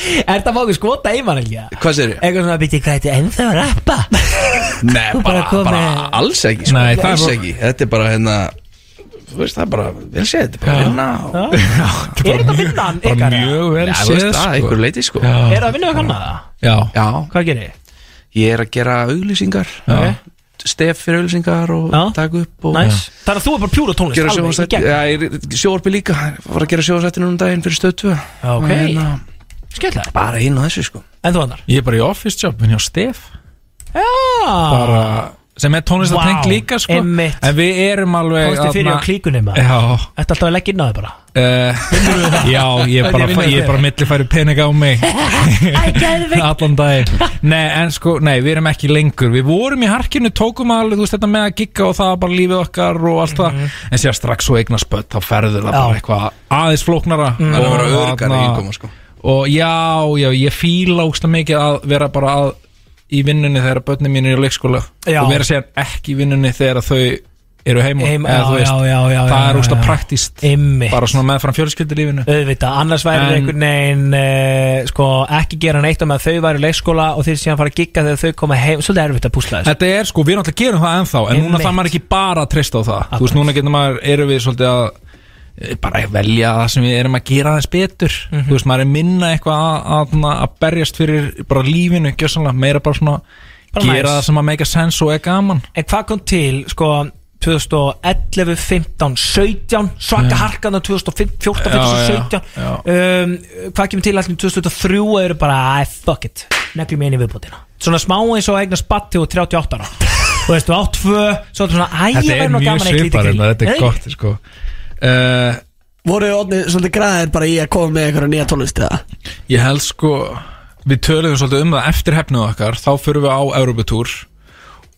Speaker 2: Er það fáið skota í mann ekki?
Speaker 14: Hvað segir ég?
Speaker 2: Eitthvað svona að bytja hvað þetta ennþá að rappa
Speaker 14: Nei,
Speaker 2: Þú bara
Speaker 14: bara,
Speaker 2: kom
Speaker 14: bara
Speaker 2: með-
Speaker 14: alls ekki, sko,
Speaker 13: Nei, það er
Speaker 14: alls
Speaker 13: bara-
Speaker 14: ekki Þetta er bara, hérna, þú veist, það er bara, vel séð, þetta er bara vinna og-
Speaker 2: Er þetta vinnan
Speaker 14: bara
Speaker 2: ykkar? eða?
Speaker 13: mjög
Speaker 14: vel
Speaker 2: Já,
Speaker 14: séð, sko Það er einhver leiti, sko
Speaker 2: Er það að vinna við kannan það?
Speaker 13: Já
Speaker 14: Já
Speaker 2: Hvað gerir þið?
Speaker 14: Ég er að gera auglýsingar
Speaker 2: Já.
Speaker 14: Stef fyrir auglýsingar og taka upp og
Speaker 2: Næs Þannig að þú er bara pjúra tónlist
Speaker 14: Gera
Speaker 2: alveg í
Speaker 14: sjónvarpsþætti-
Speaker 2: gegn.
Speaker 14: Já, ég- sjónvarpi líka Var að gera sjóðsættinu um daginn fyrir stöðtu
Speaker 2: Ok
Speaker 13: uh,
Speaker 2: Skella
Speaker 14: Bara hinn og þessu, sko
Speaker 2: En þú annar
Speaker 13: ég er bara í office job en hjá Stef
Speaker 2: Já
Speaker 13: bara sem er tónlistatengt
Speaker 2: Vá,
Speaker 13: líka sko
Speaker 2: einmitt.
Speaker 13: en við erum alveg
Speaker 2: Komstu fyrir á
Speaker 13: þarna-
Speaker 2: klíkunni, maður.
Speaker 13: Já
Speaker 2: Þetta er alltaf að leggja inn á þig bara
Speaker 14: Eh,
Speaker 13: Uh, já, ég er bara,
Speaker 2: Hvernig vinnur
Speaker 13: ég er
Speaker 2: þið?
Speaker 13: bara millifæri peninga á mig Allan daginn Nei, en sko, nei, við erum ekki lengur Við vorum í harkinu, tókum alveg, þú veist, þetta með að gigga og það var bara lífið okkar og allt
Speaker 2: Mhm.
Speaker 13: það En sér strax svo eignar spött, þá ferður það bara eitthvað aðeins flóknara
Speaker 14: Það er að vera
Speaker 13: Og
Speaker 14: öruggari
Speaker 13: þarna-
Speaker 14: í innkomu, sko.
Speaker 13: Og já, já, ég fíla ógsta mikið að vera bara að í vinnunni þegar börnin mín er í leikskóla
Speaker 2: Já.
Speaker 13: Og vera sér ekki í vinnunni þegar þau E- eru heima
Speaker 2: Heim-
Speaker 13: eða,
Speaker 2: já,
Speaker 13: þú veist,
Speaker 2: já, já, já,
Speaker 13: Það
Speaker 2: já,
Speaker 13: er úst
Speaker 2: já, já.
Speaker 13: praktist
Speaker 2: Einmitt
Speaker 13: bara svona meðfram fjölskyldilífinu
Speaker 2: Auðvitað, annars væri
Speaker 13: En-
Speaker 2: einhvern veginn eh, sko, ekki gera neitt á með að þau væri í leikskóla og þeir síðan fara að gigga þegar þau koma heim Svolítið erfitt að púsla þessu
Speaker 13: Þetta er sko, við náttúrulega gerum það ennþá En núna
Speaker 2: Einmitt.
Speaker 13: þarf maður ekki bara að treysta á það Þú veist, núna getur maður, erum við svolítið að e, bara að velja það sem við erum að gera aðeins betur
Speaker 2: Mhm.
Speaker 13: Þú veist, maður er minna eitthvað að, að, svona að berjast fyrir bara lífinu gjössanlega, meira bara svona
Speaker 2: Bara
Speaker 13: gera
Speaker 2: nice.
Speaker 13: það sem að make a sense og er gaman
Speaker 2: En hvað kom til, sko, 2011, 15, 17 svaka
Speaker 13: Já.
Speaker 2: harkan á 2014, 15,
Speaker 13: Já, já,
Speaker 2: 17
Speaker 13: já.
Speaker 2: Um, Hvað kemur til allir 2003 og eru bara, æ, fuck it neglum ég inn í viðbútina Svona smá eins og eignar spatti og 38 ára Þú veist, og á tvö, svo er þetta svona, æ,
Speaker 13: Þetta
Speaker 2: ég
Speaker 13: er
Speaker 2: verður nú
Speaker 13: mjög
Speaker 2: gaman eitt lítið
Speaker 13: svipar en
Speaker 2: grín.
Speaker 13: þetta
Speaker 2: Nei,
Speaker 13: er gott sko. uh,
Speaker 3: Voruð þið orðnir svolítið græðir bara í að koma með einhverja nýja tónlist eða?
Speaker 13: Ég held sko Við töluðum svolítið um það eftir hefnið okkar Þá fyrir við á Europatúr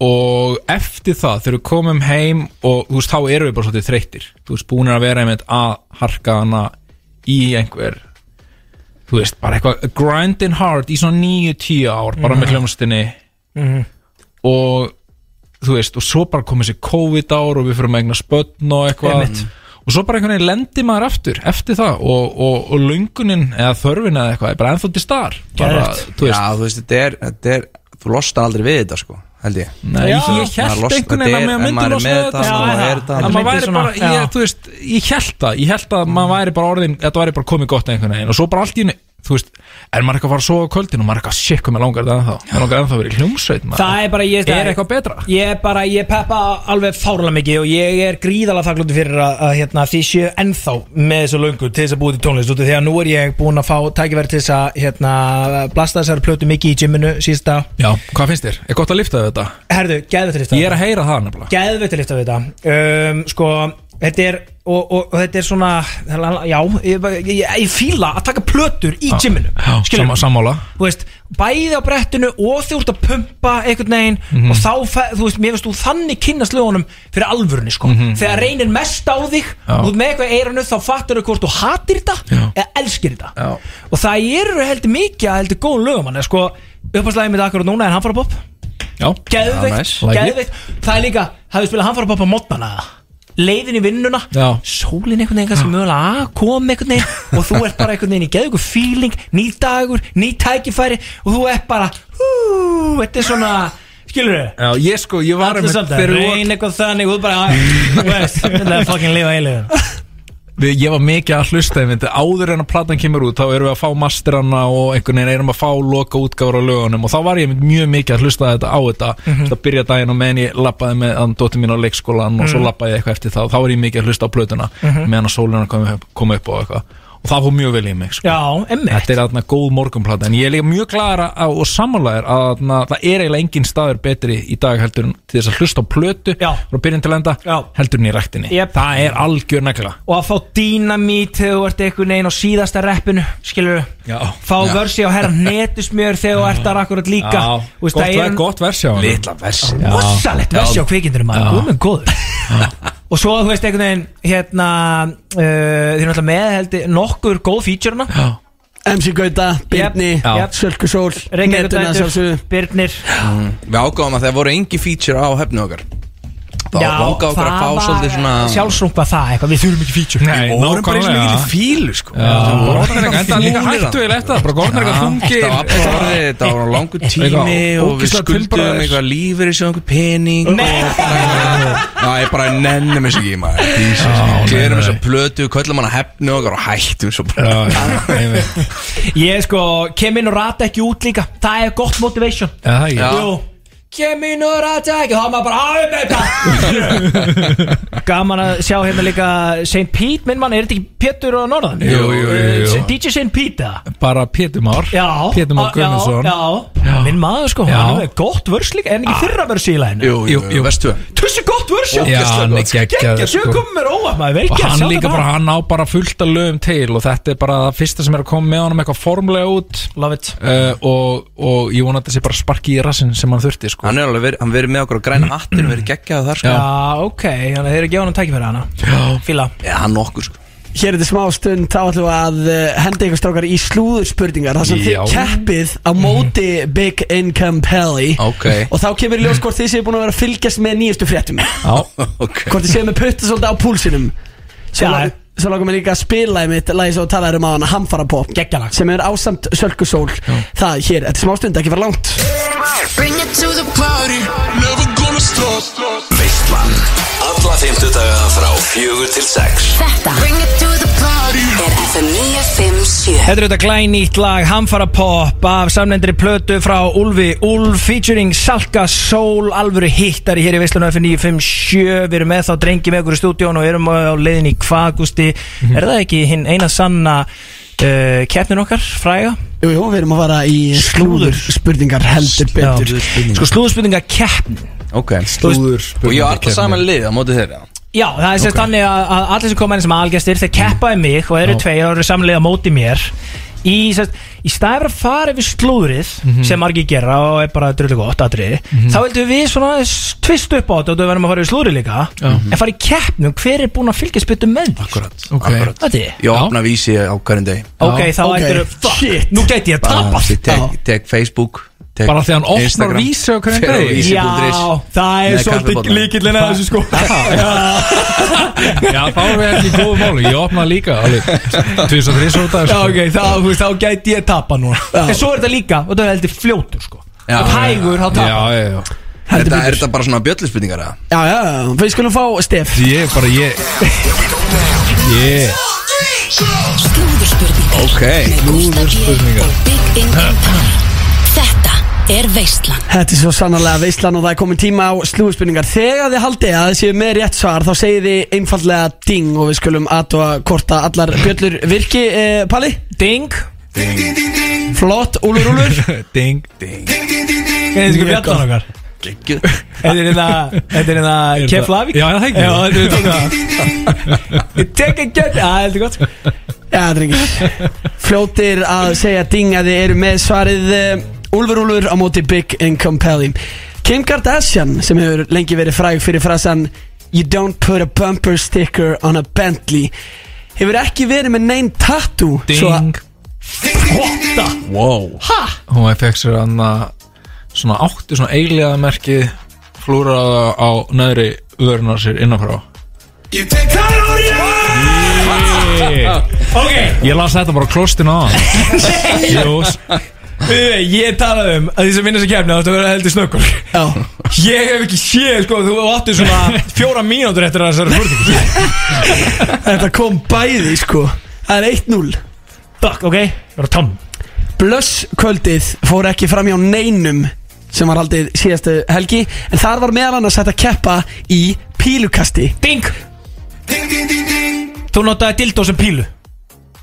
Speaker 13: Og eftir það þegar við komum heim Og þú veist þá erum við bara svolítið þreyttir Þú veist búin að vera einmitt að harka hana Í einhver Þú veist bara eitthvað Grinding hard í svona 9-10 ár Bara
Speaker 2: Mhm.
Speaker 13: með hljómsdini
Speaker 2: Mhm.
Speaker 13: Og þú veist Og svo bara komið sér COVID ár Og við fyrir með eigna spötn og eitthvað
Speaker 2: Einmitt.
Speaker 13: og svo bara einhvern veginn lendir maður aftur eftir það og, og, og löngunin eða þörfin eða eitthvað er bara ennþá til staðar bara, þú veist,
Speaker 14: Já, þú veist, þetta er, þetta er Þú lostar aldri við þetta, sko, held ég
Speaker 13: Nei, ég, ég
Speaker 14: Maður
Speaker 13: held
Speaker 14: losnar-
Speaker 13: einhvern
Speaker 14: þetta
Speaker 13: veginn að
Speaker 14: er-
Speaker 13: maður
Speaker 14: ef
Speaker 13: myndi
Speaker 14: maður er
Speaker 13: losna
Speaker 14: með þetta,
Speaker 13: þetta
Speaker 14: þá er þetta
Speaker 13: að
Speaker 14: þannig.
Speaker 13: maður væri
Speaker 2: Svona,
Speaker 13: bara,
Speaker 2: já.
Speaker 13: ég, þú veist, ég held það ég held að maður væri bara orðin, þetta væri bara komið gott einhvern veginn og svo bara allt í henni þú veist, er maður eitthvað að fara að sofa á kvöldin og maður er eitthvað, shit, hvað mér langar þetta ennþá mér langar ennþá að vera í hljómsveit maður.
Speaker 2: Það er bara ég
Speaker 13: Er eitthvað betra?
Speaker 2: Ég er bara, ég peppa alveg fárlega mikið og ég er gríðalega þakklúti fyrir að, að hérna, því séu ennþá með þessu löngu til þess að búið til tónlist út af því að nú er ég búin að fá tækifæri til þess að hérna, blasta þessari plötu mikið í gyminu síðasta
Speaker 13: Já, hvað finnst þér? Er gott að lifta þetta?
Speaker 2: Herðu, geðveitt að lifta
Speaker 13: Ég er að heyra það nefnilega
Speaker 2: Geðveitt að lifta við þetta um, Sko, þetta er og, og, og þetta er svona já, ég, ég, ég, ég fíla að taka plötur í gyminu
Speaker 13: Já,
Speaker 2: Skilurðu?
Speaker 13: sama, sammála
Speaker 2: þú veist, bæði á brettinu og þú ert að pumpa einhvern veginn
Speaker 13: Mhm.
Speaker 2: og þá, fe- þú veist, mér veist þú þannig kynnast lögunum fyrir alvörunni, sko
Speaker 13: Mhm.
Speaker 2: þegar reynir mest á þig
Speaker 13: Já.
Speaker 2: og þú ert með eitthvað í eiranu, þá fattar þau hvort þú hatir þetta eða elskir þetta Já. og það eru heldur mikið að heldur góð lögum hann er sko, uppáðslæðið mitt akkur núna er Hanfara Pop
Speaker 13: Já,
Speaker 2: geðveikt,
Speaker 13: nice. Like it.
Speaker 2: geðveikt það er líka, hafið spilað Hanfara Pop á mótnana leiðin í vinnuna
Speaker 13: Já.
Speaker 2: sólin einhvern veginn kannski mögulega að koma einhvern veginn og þú ert bara einhvern veginn í geðu einhver feeling, ný dagur, ný tækifæri og þú ert bara hú, þetta er svona, skilur þau
Speaker 13: Já, ég sko, ég var
Speaker 2: Allir samt að
Speaker 13: þegar við
Speaker 2: reyn eitthvað þannig og þú bara, æ, þú veist, þetta er fucking lifa eilíðin
Speaker 13: við, ég var mikið að hlusta einmitt, áður en að platan kemur út þá erum við að fá masterana og einhvern veginn erum að fá loka útgáfur á lögunum og þá var ég einmitt mjög mikið að hlusta þetta á þetta mm
Speaker 2: Mhm.
Speaker 13: -hmm. að byrja daginn og meðan ég lappaði með andan dóttir mín á leikskólan og svo
Speaker 2: Mhm.
Speaker 13: lappaði ég eitthvað eftir það og þá var ég mikið að hlusta á plötuna
Speaker 2: Mhm.
Speaker 13: meðan að sólina kom, upp- kom upp og eitthvað og það fór mjög vel í mig sko.
Speaker 2: Já, emmi
Speaker 13: Þetta er aðna góð morgunplata en ég er líka mjög glæðara að, og sammálaðir að aðna, það er eiginlega engin staður betri í dag heldur en til þess að hlusta á plötu Já. frá byrjun til enda Já. heldur en í ræktinni
Speaker 2: Jep.
Speaker 13: Það er algjör negla
Speaker 2: og að fá dýnamít þegar þú ert einhvern veginn á síðasta reppinu, skilur
Speaker 13: Já.
Speaker 2: fá
Speaker 13: Já.
Speaker 2: vörsi á herra netusmjör þegar þú ert þar akkurat líka
Speaker 13: Já.
Speaker 2: Þú veist,
Speaker 13: Gott
Speaker 2: það er-
Speaker 13: ver- gott versi á honum. Litla versi. Já.
Speaker 2: rosalegt versi á
Speaker 13: Já.
Speaker 2: kvikindurum
Speaker 13: Já.
Speaker 2: maður, góðmenn góður og svo þú veist einhvern veginn hérna uh, þið erum alltaf með heldur nokkur góð featurena
Speaker 3: MC Gauta, Birni,
Speaker 14: Já.
Speaker 3: yep. Sölku Sól Netuna sjálfsögðu.
Speaker 2: Reykjavík Birnir
Speaker 14: Mm. Við ágáðum að það voru engi feature á hefni okkar Þá
Speaker 2: Já,
Speaker 14: ágáðum okkur að
Speaker 2: það
Speaker 14: fá svolítið svona
Speaker 2: var sjálfsrumpa það eitthvað, við þurfum ekki feature
Speaker 14: Við vorum bara eins og mikil fílu sko
Speaker 13: Gordon er eitthvað- enda líka hættuvel eftir það, bara Gordon er eitthvað þungir.
Speaker 14: Þetta var bara orðið, þetta var
Speaker 2: Eh,
Speaker 14: langur tími
Speaker 13: Eitthvað
Speaker 14: og við
Speaker 13: ógeðslega
Speaker 14: skuldum
Speaker 13: tilbragðir.
Speaker 14: eitthvað lífur í sig einhver pening og- Já, ég bara nennum þessu ekki maður Glerum þessu plötu, köllum hann að hefni okkar og hættum svo bara
Speaker 2: ég sko, kem inn og rata ekki út líka það er gott motivation
Speaker 13: Já, það er ekki.
Speaker 2: Jú. kem inn og rata ekki þá er maður bara "Á, upp eitthvað." gaman að sjá hérna líka St. Pete, minn mann, er þetta ekki Pétur og Norðan? Eh,
Speaker 13: Jú, jú, jú, jú.
Speaker 2: DJ St. Pete eða?
Speaker 13: Bara Pétur Már
Speaker 2: Já, Ah,
Speaker 13: Pétur Már
Speaker 2: já,
Speaker 13: Gunnarsson
Speaker 2: já, Minn maður sko,
Speaker 13: Já. Ah.
Speaker 2: hann er með gott vörs líka En ekki fyrra vörs í læginu
Speaker 14: Jú, jú, jú, vestu
Speaker 2: Tussi gott vörs
Speaker 13: Já, hann er geggjaður,
Speaker 2: Gekkja, sjö
Speaker 13: sko.
Speaker 2: komum mér óvart maður vel
Speaker 13: og
Speaker 2: gert,
Speaker 13: hann
Speaker 2: sjá
Speaker 13: líka
Speaker 2: þetta
Speaker 13: bara, hann á bara fullt að lögum til og þetta er bara það fyrsta sem er að koma með honum eitthvað formlega út eh,
Speaker 2: Love it
Speaker 13: og, og ég vona að þetta sé bara sparki í rassin sem hann þurfti sko
Speaker 14: Hann er alveg verið, hann verið með okkur á græna hattin verið geggjað þar sko
Speaker 2: Já, ok, þannig að þeir eru að gefa hann tækifæri hana Já Fíla
Speaker 14: Já, hann okkur sko
Speaker 3: Hér er þetta smá stund, þá ætlum við að eh, henda ykkur strákar í slúðurspurningar þar sem
Speaker 14: Já. Mhm.
Speaker 3: þið keppið á móti Big Income Pally
Speaker 14: Ok.
Speaker 3: og þá kemur í ljós hvort þið séu búin að vera að fylgjast með nýjastu fréttum
Speaker 13: Já,
Speaker 14: ok
Speaker 3: hvort þið séu með putta svolítið á púlsinum Svo,
Speaker 2: Já.
Speaker 3: lang, svo langum við líka að spila í mitt lagi svo talaður um á hana Hamfara Pop
Speaker 2: Gekkjalag
Speaker 3: sem er ásamt Sölkusól Það hér, þetta er smá stund, ekki fara langt
Speaker 8: Bring it to the party, never gonna stop Veistlan, alla fymtudaga frá fjögur til sex
Speaker 6: Þetta Bring it to the party Er FM 957
Speaker 2: Þetta er þetta glænýtt lag Hamfara Pop af samnendri plötu frá Úlfi Úlf featuring Salka Soul alvöru hittari hér í Veislun F957 Við erum með þá drengi með okkur í stúdíón og erum á leiðinni í Kvagusti Er það ekki hinn eina sanna uh, keppnin okkar, fræga?
Speaker 3: Jú, jú, við erum að fara í slúðurspurningar heldur betur
Speaker 2: Sko slúðspurninga keppn
Speaker 14: Ok, slúður Og ég á alltaf saman lið á móti þeirra
Speaker 2: Já, það er sérst þannig að, að allir sem koma inn sem algjastir þeir keppaði mig og eru
Speaker 14: Já.
Speaker 2: tveir og eru samlega á móti mér í, sérst, í staðið að fara yfir slúðrið
Speaker 14: Mhm.
Speaker 2: sem margir gera og er bara drullu gott aðrið þá heldum við svona aðeins tvist upp á þetta og þú verðum að fara yfir slúðrið líka en fara í keppnum hver er búinn að fylgjast betur með því Akkurat,
Speaker 14: Akkurat.
Speaker 2: Þetta?
Speaker 14: Ég opna vísi á hverjum deg
Speaker 2: Ok, þá okay. ættir Fuck, nú gæti ég að tapa
Speaker 14: Tek, tek Facebook tek
Speaker 13: Bara því hann opnar
Speaker 14: Instagram,
Speaker 13: Vísi á hverjum
Speaker 14: fer á
Speaker 13: degi?
Speaker 14: Vísi
Speaker 2: Já,
Speaker 14: punktur is.
Speaker 2: það er
Speaker 14: Með
Speaker 2: svolítið
Speaker 14: kaffibollan.
Speaker 2: líkillin að þessu sko
Speaker 13: Já, þá erum við ekki í góðu máli, ég opnaði líka alveg 2003 svo dag sko.
Speaker 2: Já, ok, þá, þú veist, þá gæti ég að tapa nú Sko. En svo er þetta líka, og þetta er heldur fljótur sko
Speaker 14: Já,
Speaker 2: Og hægur, þá tapar
Speaker 13: Já, já, já
Speaker 14: Er þetta- er þetta bara svona bjöllispurningar eða?
Speaker 3: Já, já, já, við skulum fá Stef
Speaker 13: Ég bara, ég Ég
Speaker 6: Slúðurspurningar
Speaker 14: Ok,
Speaker 6: með Gústa B og Big in Company Þetta er veislan
Speaker 3: Þetta er svo sannarlega veislan og það er komin tíma á slúðspurningar Þegar þið haldið að þið séu með rétt svar þá segið þið einfallega ding og við skulum aðtúa hvort að allar bjöllur virki, eh, Palli? Ding Flott, úlur, úlur
Speaker 13: Ding, ding
Speaker 2: Þetta er sko bjallan okkar Þetta er hérna Þetta er hérna Keflavík
Speaker 13: Já, það ekki
Speaker 2: Já, þetta er hérna- tókað Ég tek ekki gæti Já, þetta er gott sko.
Speaker 3: Já, drengir Fljótir að segja ding að þið eru með svarið eh, Úlfur, úlur á móti Big and Compelling Kim Kardashian sem hefur lengi verið fræg fyrir frasan You don't put a bumper sticker on a Bentley hefur ekki verið með neinn tattoo svo að-
Speaker 13: Ding.
Speaker 3: What the
Speaker 13: Wow
Speaker 3: Ha?
Speaker 13: Hún fekk sér hann svona áttu svona eigliða merkið flúraða á neðri vörunar sér innanfrá
Speaker 2: Ok
Speaker 13: Ég las þetta bara klostinu á hann Jós
Speaker 2: Við veit, Ég talaði um að því sem vinna sem kefni áttu að vera heldur snökkur
Speaker 3: Já
Speaker 2: Ég hef ekki séð, sko, þú áttu svona fjóra mínútur eftir að þessari spurningu sko.
Speaker 3: Þetta kom bæði sko Það er 1-0
Speaker 2: Takk, ok Það var tam
Speaker 3: Blöss kvöldið fór ekki fram hjá neinum sem var haldið síðastu helgi en þar var meðal annars hægt að keppa í pílukasti
Speaker 2: Ding Þú notaði dildó sem pílu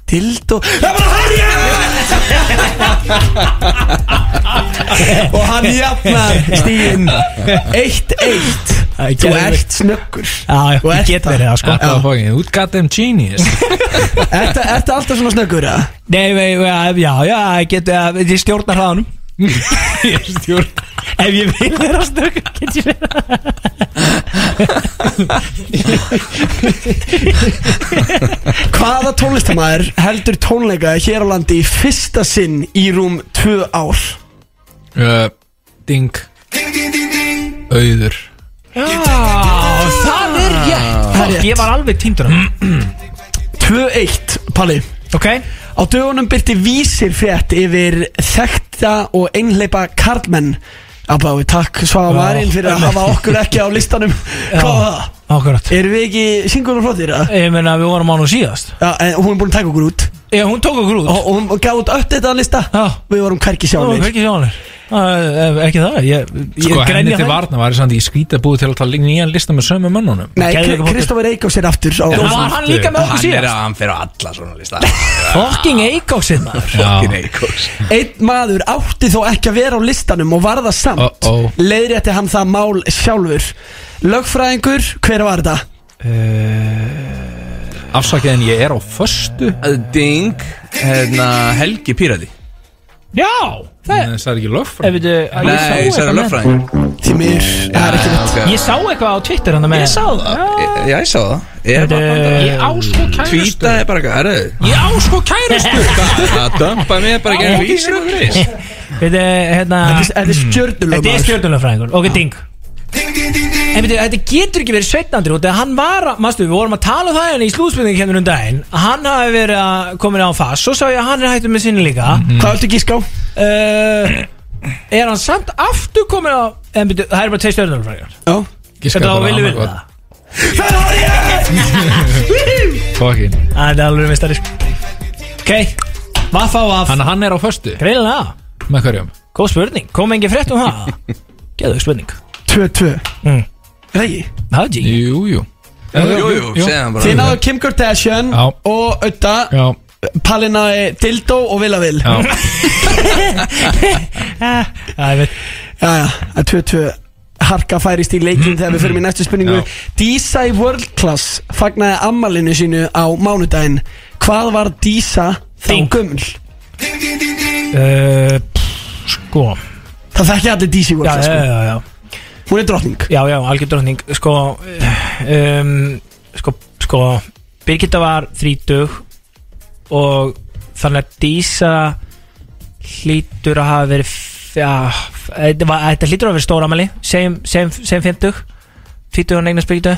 Speaker 3: Dildó og hann jafnar stíðin 1-1 Þú ert snöggur
Speaker 2: Já,
Speaker 3: Þú
Speaker 2: ég
Speaker 3: ert
Speaker 2: get verið það sko
Speaker 13: Þetta var fokkin, þú gat þeim genius
Speaker 3: Ertu ertu alltaf svona snöggur að?
Speaker 2: Nei, vei, já, já, já, ég get, eh, ég stjórnar hraðanum Ég stjórn Ef ég vil vera snöggur, get ég vera
Speaker 3: Hvaða tónlistamæður heldur tónleika hér á landi í fyrsta sinn í rúm 2 ár?
Speaker 13: uh, Ding Auður
Speaker 2: Já, það er rétt
Speaker 3: Það er rétt.
Speaker 2: Fuck, Ah. Ég var alveg týndur af
Speaker 3: 2-1, Palli
Speaker 2: Ok
Speaker 3: Á dögunum byrti vísir frétt yfir þekkta og einhleipa karlmenn Abba, takk Svafa Marinn fyrir að hafa okkur ekki á listanum Hvað var það?
Speaker 2: Akkurat
Speaker 3: Erum við ekki singur og flottir? eða?
Speaker 2: Ég meina við vorum á nú síðast
Speaker 3: Já, en hún er búin að taka okkur út
Speaker 2: Já, hún tók okkur út
Speaker 3: Og, og hún gaf út öll þetta lista
Speaker 2: Já
Speaker 3: Við vorum hverki
Speaker 2: Nú,
Speaker 3: sjálfir
Speaker 2: ekki sjónir e, Ekki það, ég, ég
Speaker 13: Sko henni
Speaker 2: grenja
Speaker 13: til
Speaker 2: það.
Speaker 13: varna var samt í skýta búið til að tala nýjan lista með sömu mönnunum
Speaker 3: Nei, Kristófur Eikófs er aftur á
Speaker 2: Já, var hann líka með okkur síðast?
Speaker 14: hann fyrir alla svona lista
Speaker 2: Fucking Eikóksinn maður
Speaker 14: Fokkin eikos
Speaker 3: Einn maður átti þó ekki að vera á listanum og var það samt uh
Speaker 13: Uh-oh.
Speaker 3: Leiðrétti hann það mál sjálfur Lögfræðingur, hver var þetta?
Speaker 13: Eh, Afsakið en ég er á föstu
Speaker 14: Ding Hérna Helgi Pírati
Speaker 2: Já Það
Speaker 13: Nei, Það er ekki
Speaker 2: Ef
Speaker 13: löffræð
Speaker 2: veitu, að ég sá
Speaker 14: Nei, ég sagði
Speaker 2: eitthvað með
Speaker 14: löffræðing
Speaker 3: Því mér,
Speaker 2: Mm,
Speaker 3: það er ekki rétt
Speaker 2: Ég sá eitthvað á Twitter hann með
Speaker 14: Ég sá það Ég- Já, ég sá það Ég var
Speaker 2: Ég á
Speaker 14: bara
Speaker 2: sko kærustu
Speaker 14: Tvítaði bara eitthvað Herru
Speaker 2: Ég á sko kærustu
Speaker 14: Það dömpaði mig bara
Speaker 2: Á,
Speaker 14: Gerði
Speaker 2: ekki
Speaker 14: vísir og gris
Speaker 2: Þetta er hérna
Speaker 3: Þetta er stjörnulega
Speaker 2: Þetta er stjórnulegfræðingur
Speaker 13: Ah.
Speaker 2: Ok, ding En veitir, þetta getur ekki verið sveitnandri út Þegar hann var, að- manstu, við vorum að tala um það hérna í slúðspilningu kemur um daginn að Hann hafi verið að komin á fast Svo sá ég að hann er hættur með sinni líka
Speaker 13: Mhm.
Speaker 3: Hvað viltu gíska á?
Speaker 2: uh, Er hann samt aftur komin á En veitir, það er bara tveir stjórnulegfræðingar
Speaker 3: Já
Speaker 13: Giska
Speaker 2: Þetta
Speaker 13: bara
Speaker 2: var vilja
Speaker 13: annað
Speaker 2: vinna
Speaker 13: gott.
Speaker 2: Það
Speaker 13: Fokkin
Speaker 2: Ah, er alveg mistari Ok, vaff á vaff
Speaker 13: Þannig að hann er á föstu
Speaker 2: Greinilega,
Speaker 13: Með hverjum?
Speaker 2: góð spurning Kom engin frétt um það Geðu spurning
Speaker 3: 2-2
Speaker 2: Mm.
Speaker 3: Regi
Speaker 2: Það er ekki
Speaker 13: Jú, jú
Speaker 14: Jú, jú, segði hann
Speaker 3: Þið
Speaker 14: bara
Speaker 3: náðu Kim Kardashian
Speaker 13: Já.
Speaker 3: og Ötta
Speaker 13: Já,
Speaker 3: Pallinaði Dildó og Vilavil
Speaker 13: já
Speaker 2: Það er veit
Speaker 3: Jæja, að 22 harka færist í leikin þegar við förum í næstu spurningu
Speaker 13: Já.
Speaker 3: Dísa í World Class fagnaði ammalinu sínu á mánudaginn Hvað var Dísa þá
Speaker 2: Ding.
Speaker 3: gömul?
Speaker 2: Uh, pff, sko
Speaker 3: Það þekki allir Dísa í World
Speaker 2: já,
Speaker 3: Class
Speaker 2: já,
Speaker 3: sko.
Speaker 2: já, já,
Speaker 3: Hún er drottning
Speaker 2: já, já, algjör drottning sko, eh, um, sko, sko Birgitta var þrítug og þannig að Dísa hlýtur að hafa verið f- já, f- þetta var- þetta hlýtur að hafa verið stóramæli sem, sem, sem 50 Tvítug hann eignast Birgitta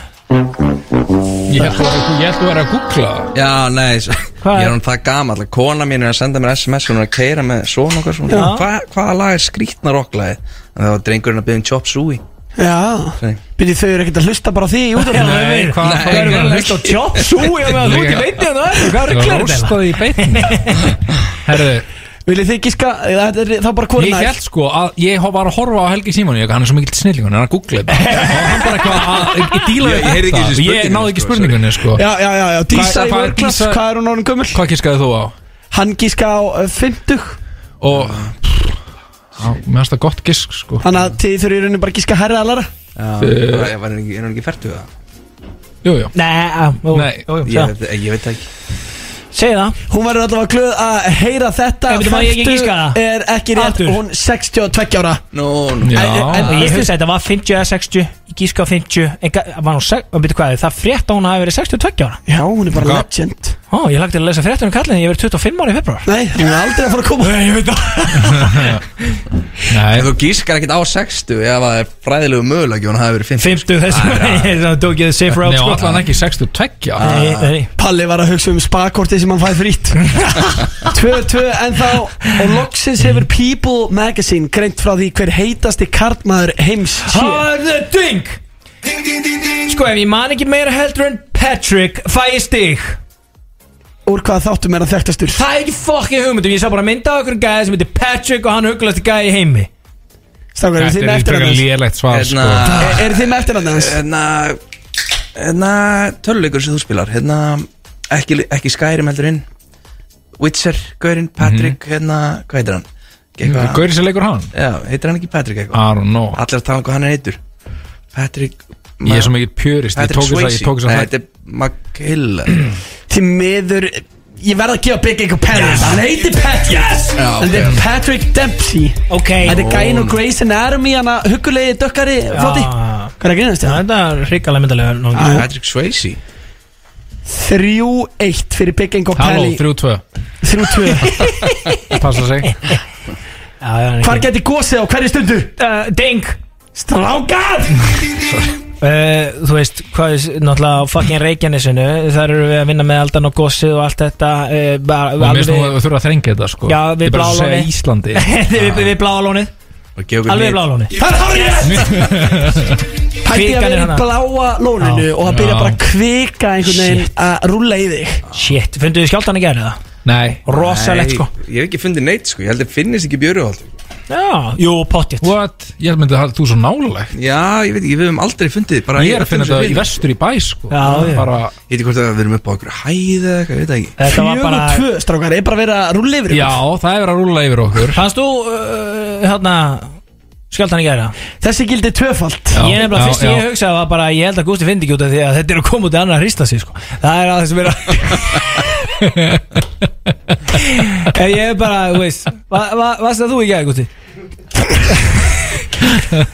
Speaker 13: Ég held þú- ég held þú verið að googla það.
Speaker 14: Já, nei s-
Speaker 2: Hvað
Speaker 14: Ég
Speaker 2: er-
Speaker 14: er hann það gamall að Kona mín er að senda mér sms Hún er að keira með svona okkar svona
Speaker 2: Já.
Speaker 14: Hva- Hvaða lag er skrítna rocklæði En það var drengurinn að byggja um Chop Suey
Speaker 3: Já,
Speaker 14: Nei.
Speaker 3: Byrju þau eru ekkert að hlusta bara á því í út
Speaker 2: Nei, hvað- Nei, hvað eru bara að hlusta á Chop Suey á meðan þú hérna, ert í beinni þarna á eftir? Hvað eru að gera þetta?
Speaker 13: Róstaði í beinni Herðu
Speaker 3: Viljið þið giska, eða þetta er þá bara hvort
Speaker 13: Ég
Speaker 3: nær?
Speaker 13: held sko að ég var að horfa á Helgi Simóni Hann er svo mikill snillingun, hann er að googla þetta Og hann bara eitthvað að ég díla
Speaker 3: Ég-
Speaker 13: við
Speaker 3: ég heyrði ekki
Speaker 13: þetta.
Speaker 3: þessi
Speaker 13: Ég
Speaker 3: spurningu,
Speaker 13: náði ekki
Speaker 3: sko,
Speaker 13: spurningunni sko
Speaker 3: Já, já, já, já, Dísa
Speaker 13: Hvað-
Speaker 3: í
Speaker 13: hvað er
Speaker 3: vörglas,
Speaker 13: Dísa-
Speaker 3: hvað er hún orðin gömul?
Speaker 13: Hvað gískaði þú á?
Speaker 3: Hann gíska á uh, 50
Speaker 13: Og á, Mér finnst það gott gisk sko
Speaker 3: Þannig að þið þurfið í rauninni bara að gíska herra allara
Speaker 14: Það var hann ekki, er hann ekki fært við það?
Speaker 13: Jú, jú
Speaker 14: Nei,
Speaker 2: Nei,
Speaker 14: ég, veit- ég veit það ekki
Speaker 2: Segð það
Speaker 3: Hún verður allavega glöð að heyra þetta
Speaker 2: Nei, veitum að ég ekki gíska það?
Speaker 3: er ekki rétt
Speaker 2: Aldur?
Speaker 3: Hún 62 ára
Speaker 14: Nú,
Speaker 13: Ah.
Speaker 2: En ég finnst að þetta var 50 eða 60 Ég gíska á 50 En ga- var hún seg- og byrju hvað, Það frétt að hún hafi verið 62 ára
Speaker 3: Já, hún er bara Hvað? legend
Speaker 2: Ó, ég lagt til að lesa fréttur um kallin Ég hef verið 25 ára í februar
Speaker 3: Nei, hún er aldrei að fara að koma
Speaker 2: Nei, ég veit það
Speaker 13: Nei
Speaker 14: Þú gískar ekkert á 60 ef það er fræðilegu mögulega og hann hafi verið 50
Speaker 2: 50 þessum Það tók ég þið safe route sko.
Speaker 13: ekki 62
Speaker 2: Nei, nei.
Speaker 3: Palli var að hugsa um spakorti sem hann fæði frýtt 2-2 en þá og loksins hefur People Magazine greint frá því hver heitasti kartmaður heims sé
Speaker 2: Harðu ding Sko ef ég man ekki meira heldur en Patrick Fæ ég stig
Speaker 3: Úr hvaða þáttum er hann þekktastur?
Speaker 2: Það er ekki fokkin hugmyndum Ég sá bara mynda okkur um gæði sem heitir Patrick Og hann huglasti gæði í heimi
Speaker 3: Strákar, eru þið með eftirnafnið hans?
Speaker 13: lélegt svar
Speaker 14: sko.
Speaker 3: Er- Eru þið með eftirnafnið hans?
Speaker 14: Hérna Hérna Töluleikur sem þú spilar Hérna Ekki, ekki Skyrim heldur inn Witcher Gaurinn Patrick
Speaker 13: Mhm.
Speaker 14: Hérna Hvað heitir hann?
Speaker 2: Hérna-
Speaker 14: Eitthvað-
Speaker 13: Gauri sem leikur hann
Speaker 14: Já, heitir hann ekki Patrick eitthvað
Speaker 13: I don't know
Speaker 14: Allir að tala um hvað hann er heitur Patrick
Speaker 13: Ég er svo mikill purist, ég
Speaker 14: Patrick
Speaker 13: tók þess að- ég
Speaker 14: Swayze.
Speaker 13: tók þess að
Speaker 14: Nei,
Speaker 13: það-
Speaker 14: Þetta er McHill
Speaker 3: Því miður Ég verð að gefa Big einhver Patrick
Speaker 14: Yes.
Speaker 3: Hann heitir Patrick
Speaker 14: Yes. Já,
Speaker 3: En þetta
Speaker 14: ok.
Speaker 3: er Patrick Dempsey
Speaker 2: Ok
Speaker 3: Þetta er gæin og Grey's Anatomy Hanna huggulegi dökkari floti Hvað er að grínast
Speaker 2: Já,
Speaker 3: hérna?
Speaker 2: Þetta er hrikalega myndalega
Speaker 3: Já.
Speaker 14: Patrick Swayze
Speaker 3: 3-1 fyrir Big Ingo Pelli
Speaker 13: 3-2
Speaker 3: 3-2
Speaker 13: Passa sig
Speaker 3: Hvar geti gósið á hverju stundu?
Speaker 2: Uh, ding
Speaker 3: Strákar
Speaker 2: Uh, þú veist, hvað er náttúrulega á fucking Reykjanesinu, þar eru við að vinna með aldan og gossið og allt þetta uh, bara,
Speaker 13: Og mér finnst þú þurfa að þrengja þetta sko
Speaker 2: Já, við
Speaker 13: Ég er bara að
Speaker 2: bláa
Speaker 13: segja
Speaker 2: lónið.
Speaker 13: Íslandi
Speaker 2: við, við, við bláa lónið Alveg bláa lónið
Speaker 3: Það er hárið Hætti að
Speaker 2: Kvikan er hérna.
Speaker 3: vera í
Speaker 2: hana.
Speaker 3: bláa lóninu
Speaker 2: Já.
Speaker 3: Og það byrja
Speaker 2: Já.
Speaker 3: bara að kvika einhvern veginn að rúlla í þig
Speaker 2: Shit, funduðu skjáltan í gerði það?
Speaker 13: Nei
Speaker 2: Rosalegt, sko.
Speaker 14: Ég hef ekki fundið neitt sko Ég held að finnist ekki björuhald
Speaker 2: Já, jú, pottjett
Speaker 13: What? Ég myndi að þú er svo nálulegt
Speaker 14: Já, ég veit ekki, við höfum aldrei fundið bara,
Speaker 13: Ég er að finna þetta í vestur í bæ sko Bara
Speaker 14: Ég veit hvort að við erum upp á okkur hæð eða eitthvað, ég veit það ekki
Speaker 2: Þetta var bara-
Speaker 3: 4-2 strákar, er bara að vera að rúlla yfir
Speaker 13: Já, það er verið að rúla yfir okkur
Speaker 2: Fannst þú, uh, hérna, skjáltan í gerði það?
Speaker 3: Þessi gildi tvöfalt
Speaker 2: Ég er nefnilega, fyrst ég hugsaði var bara, ég held að Gústi finna ekki út af því að þetta er að koma út í annar að hrista sig, sko Það er að þess að vera En ég er bara, þú veist, va- va- varst það þú í gerði, Gústi?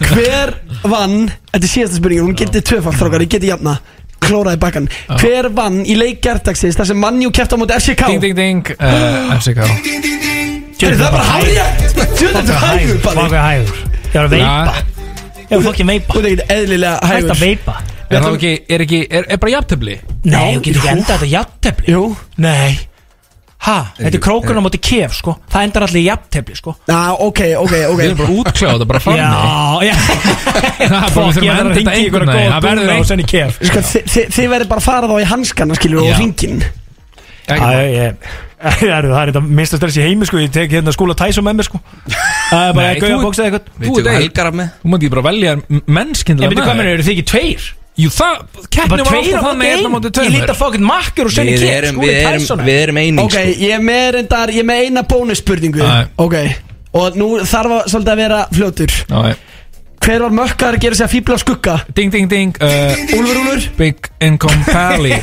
Speaker 3: Hver vann Þetta er síðasta spurningin, hún gildi tvöfalt strákar Ég geti jafna, klóraði bakkan Hver vann í leik gerðdagsins þar sem mannjú kæft á móti FCK
Speaker 13: Ding, ding, ding uh, FCK
Speaker 3: Heyrðu, Það er bara hárið Tjöndum hægur Palli.
Speaker 2: Baka hægur Ég var að veipa Ég var fokkin veipa
Speaker 3: Þú ert ekkert eðlilega
Speaker 2: Hægt
Speaker 3: hægur
Speaker 2: að veipa
Speaker 13: Er það ekki, er ekki, er, er bara jafntöfli?
Speaker 2: Nei, þú getur ekki endað þetta jafntefli
Speaker 3: Jú
Speaker 2: Nei Ha, þetta er krókurinn á
Speaker 13: Eh.
Speaker 2: móti kef sko Það endar allir í jafntefli sko
Speaker 3: Já, Ah, ok, ok, ok
Speaker 13: Við erum bara útkláð þetta bara frammi
Speaker 2: Já, já
Speaker 13: bara, við
Speaker 2: Fokk,
Speaker 13: þurfum
Speaker 2: ég
Speaker 13: að
Speaker 2: er
Speaker 13: enda
Speaker 2: að
Speaker 13: þetta
Speaker 2: ringa í
Speaker 13: einhvern
Speaker 2: ykkur að
Speaker 13: veginn,
Speaker 2: góða
Speaker 13: það verður
Speaker 2: dúna og
Speaker 13: ein-
Speaker 2: senni kef
Speaker 3: Ska, þi, þi, Þið verður bara að fara þá í hanskana skilur og
Speaker 13: Já.
Speaker 3: ringin
Speaker 2: Æ, ég- Það er það er þetta minnsta stress í heimi sko Ég tek hérna skúla tæs og með mér sko Það er bara
Speaker 13: Nei,
Speaker 2: að gauja
Speaker 13: þú-
Speaker 2: að bóksa eitthvað
Speaker 13: Þú ert
Speaker 14: hvað
Speaker 13: ekki-
Speaker 14: helgar af með
Speaker 13: Þú mátt ekki bara velja
Speaker 2: Ég
Speaker 13: mennskindlega
Speaker 2: veit hvað mér eru þið ekki tveir
Speaker 13: Jú það, keppni
Speaker 2: Bara
Speaker 13: var
Speaker 2: tveir hérna á
Speaker 13: alltaf
Speaker 2: móti einum Ég
Speaker 13: þannig einn á móti tveimur
Speaker 2: líti að fokkin makkar og senni
Speaker 14: Við
Speaker 2: kef sko,
Speaker 14: erum,
Speaker 2: Skúli
Speaker 14: við
Speaker 2: tæs
Speaker 14: erum, við erum eining sko.
Speaker 3: Ok,
Speaker 13: sko.
Speaker 3: ég er með reyndar, ég er með eina bónusspurningu
Speaker 13: Æ.
Speaker 3: Ok, og nú þarf að svolítið að vera fljótur Hver var mökkar að gera sig að fýbla á skugga?
Speaker 13: Ding ding ding uh,
Speaker 3: Úlfur Úlfur
Speaker 13: Big Income Pally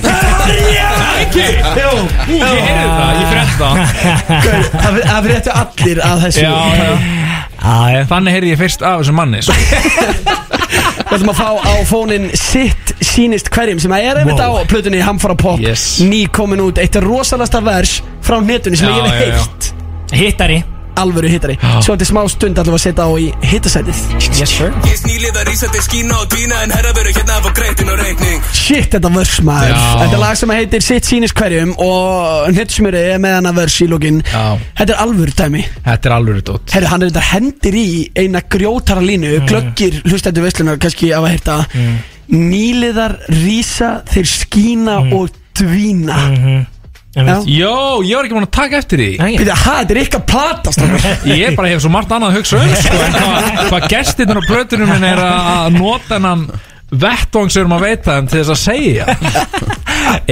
Speaker 3: Jó,
Speaker 13: Ég heyrði það, ég fyrir það
Speaker 3: gaur, það það fréttu allir að þessu
Speaker 13: Já, já.
Speaker 2: já.
Speaker 13: Þannig heyrði ég fyrst af þessum manni sko.
Speaker 3: Við ætlum að fá á fónin sitt sínist hverjum sem að er einmitt
Speaker 13: Wow.
Speaker 3: á plötunni Hamfara Pop
Speaker 13: Yes.
Speaker 3: Ný komin út, eitt rosalasta vers frá netunni sem
Speaker 13: Já,
Speaker 3: ég hef
Speaker 13: já, já.
Speaker 3: heilt
Speaker 2: Hittari
Speaker 3: Alvöru hittari Svo til smá stund ætlum við að setja á í hittasætið
Speaker 2: Yes sir
Speaker 8: Ég snýlið að rísa til skína og dvína En herra veru hérna að fá greitin og reikning
Speaker 3: Shit, þetta vörs maður
Speaker 13: Já.
Speaker 3: Þetta er lag sem heitir Sitt sínis hverjum Og hnittsmjöri er með hana vörs í lókin Þetta er alvöru dæmi
Speaker 13: Þetta er alveg dótt
Speaker 3: Herru, hann er þetta hendir í eina grjótara línu Glöggir hlustættu veislunar kannski af að hérta Nýliðar rísa þeir skína og dvína
Speaker 13: Jó, ég var ekki mann að taka eftir því
Speaker 3: Býta, ha, þetta er ykkar plata strákar.
Speaker 13: Ég bara hef svo margt annað að hugsa um sko, en hvað- Hvað gestirnir á brötunum minn er að að nota hennan vettvang sem við erum að veita þeim til þess að segja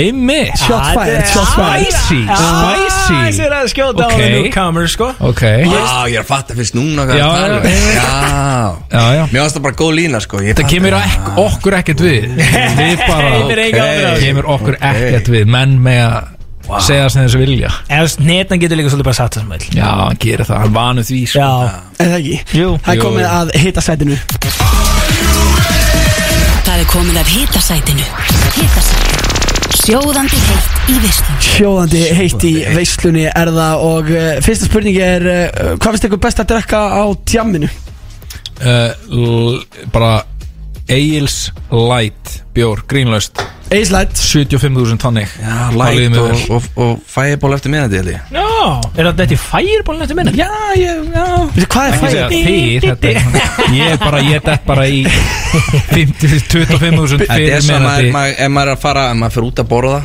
Speaker 13: Einmi
Speaker 2: Shot fired, shot fired.
Speaker 13: Spicy,
Speaker 2: Ah, þessi
Speaker 13: spicy
Speaker 2: er að skjóta á
Speaker 13: Ok.
Speaker 2: hennu kamur sko
Speaker 13: Ok
Speaker 14: Vá, ég er að fatta fyrst núna hvað
Speaker 13: Já,
Speaker 14: það er að tala um. já, já, já Mér varst það bara góð lína sko Ég
Speaker 13: Það
Speaker 14: fatta
Speaker 13: kemur
Speaker 14: það.
Speaker 13: ek okkur ekkert við Við bara
Speaker 2: Kemur ekki okkur á því.
Speaker 13: Kemur okkur ekkert við Menn með að segja sem þessu vilja
Speaker 2: En snetna getur líka svolítið bara satt þessum öll
Speaker 13: Já, hann gerir það, hann vanu því sko.
Speaker 3: Er það ekki? Jú Það er
Speaker 13: Jú.
Speaker 3: komið að hita sætinu
Speaker 6: Það er komið af hitasætinu Hitasætinu Sjóðandi heitt í veistlun
Speaker 3: Sjóðandi heitt í veislunni er það Og uh, fyrsta spurning er uh, Hvað finnst ykkur best að drekka á tjamminu?
Speaker 13: uh, l- bara Eils Light bjór, grínlaust
Speaker 3: Eils Light
Speaker 13: 75.000 tannig
Speaker 14: Já, light og, og, og fireball eftir minnandi held ég
Speaker 2: Já, er þetta þetta í fireball nættu minna? Já, ég, já
Speaker 3: Veitu, hvað
Speaker 13: Ekki segja þið, þetta er Ég er bara, ég er dett bara í 50, 25.000
Speaker 14: Þetta er svo að
Speaker 13: fyrir
Speaker 14: maður,
Speaker 13: minnandi
Speaker 14: maður, ef maður er að fara ef maður fyrir út að borða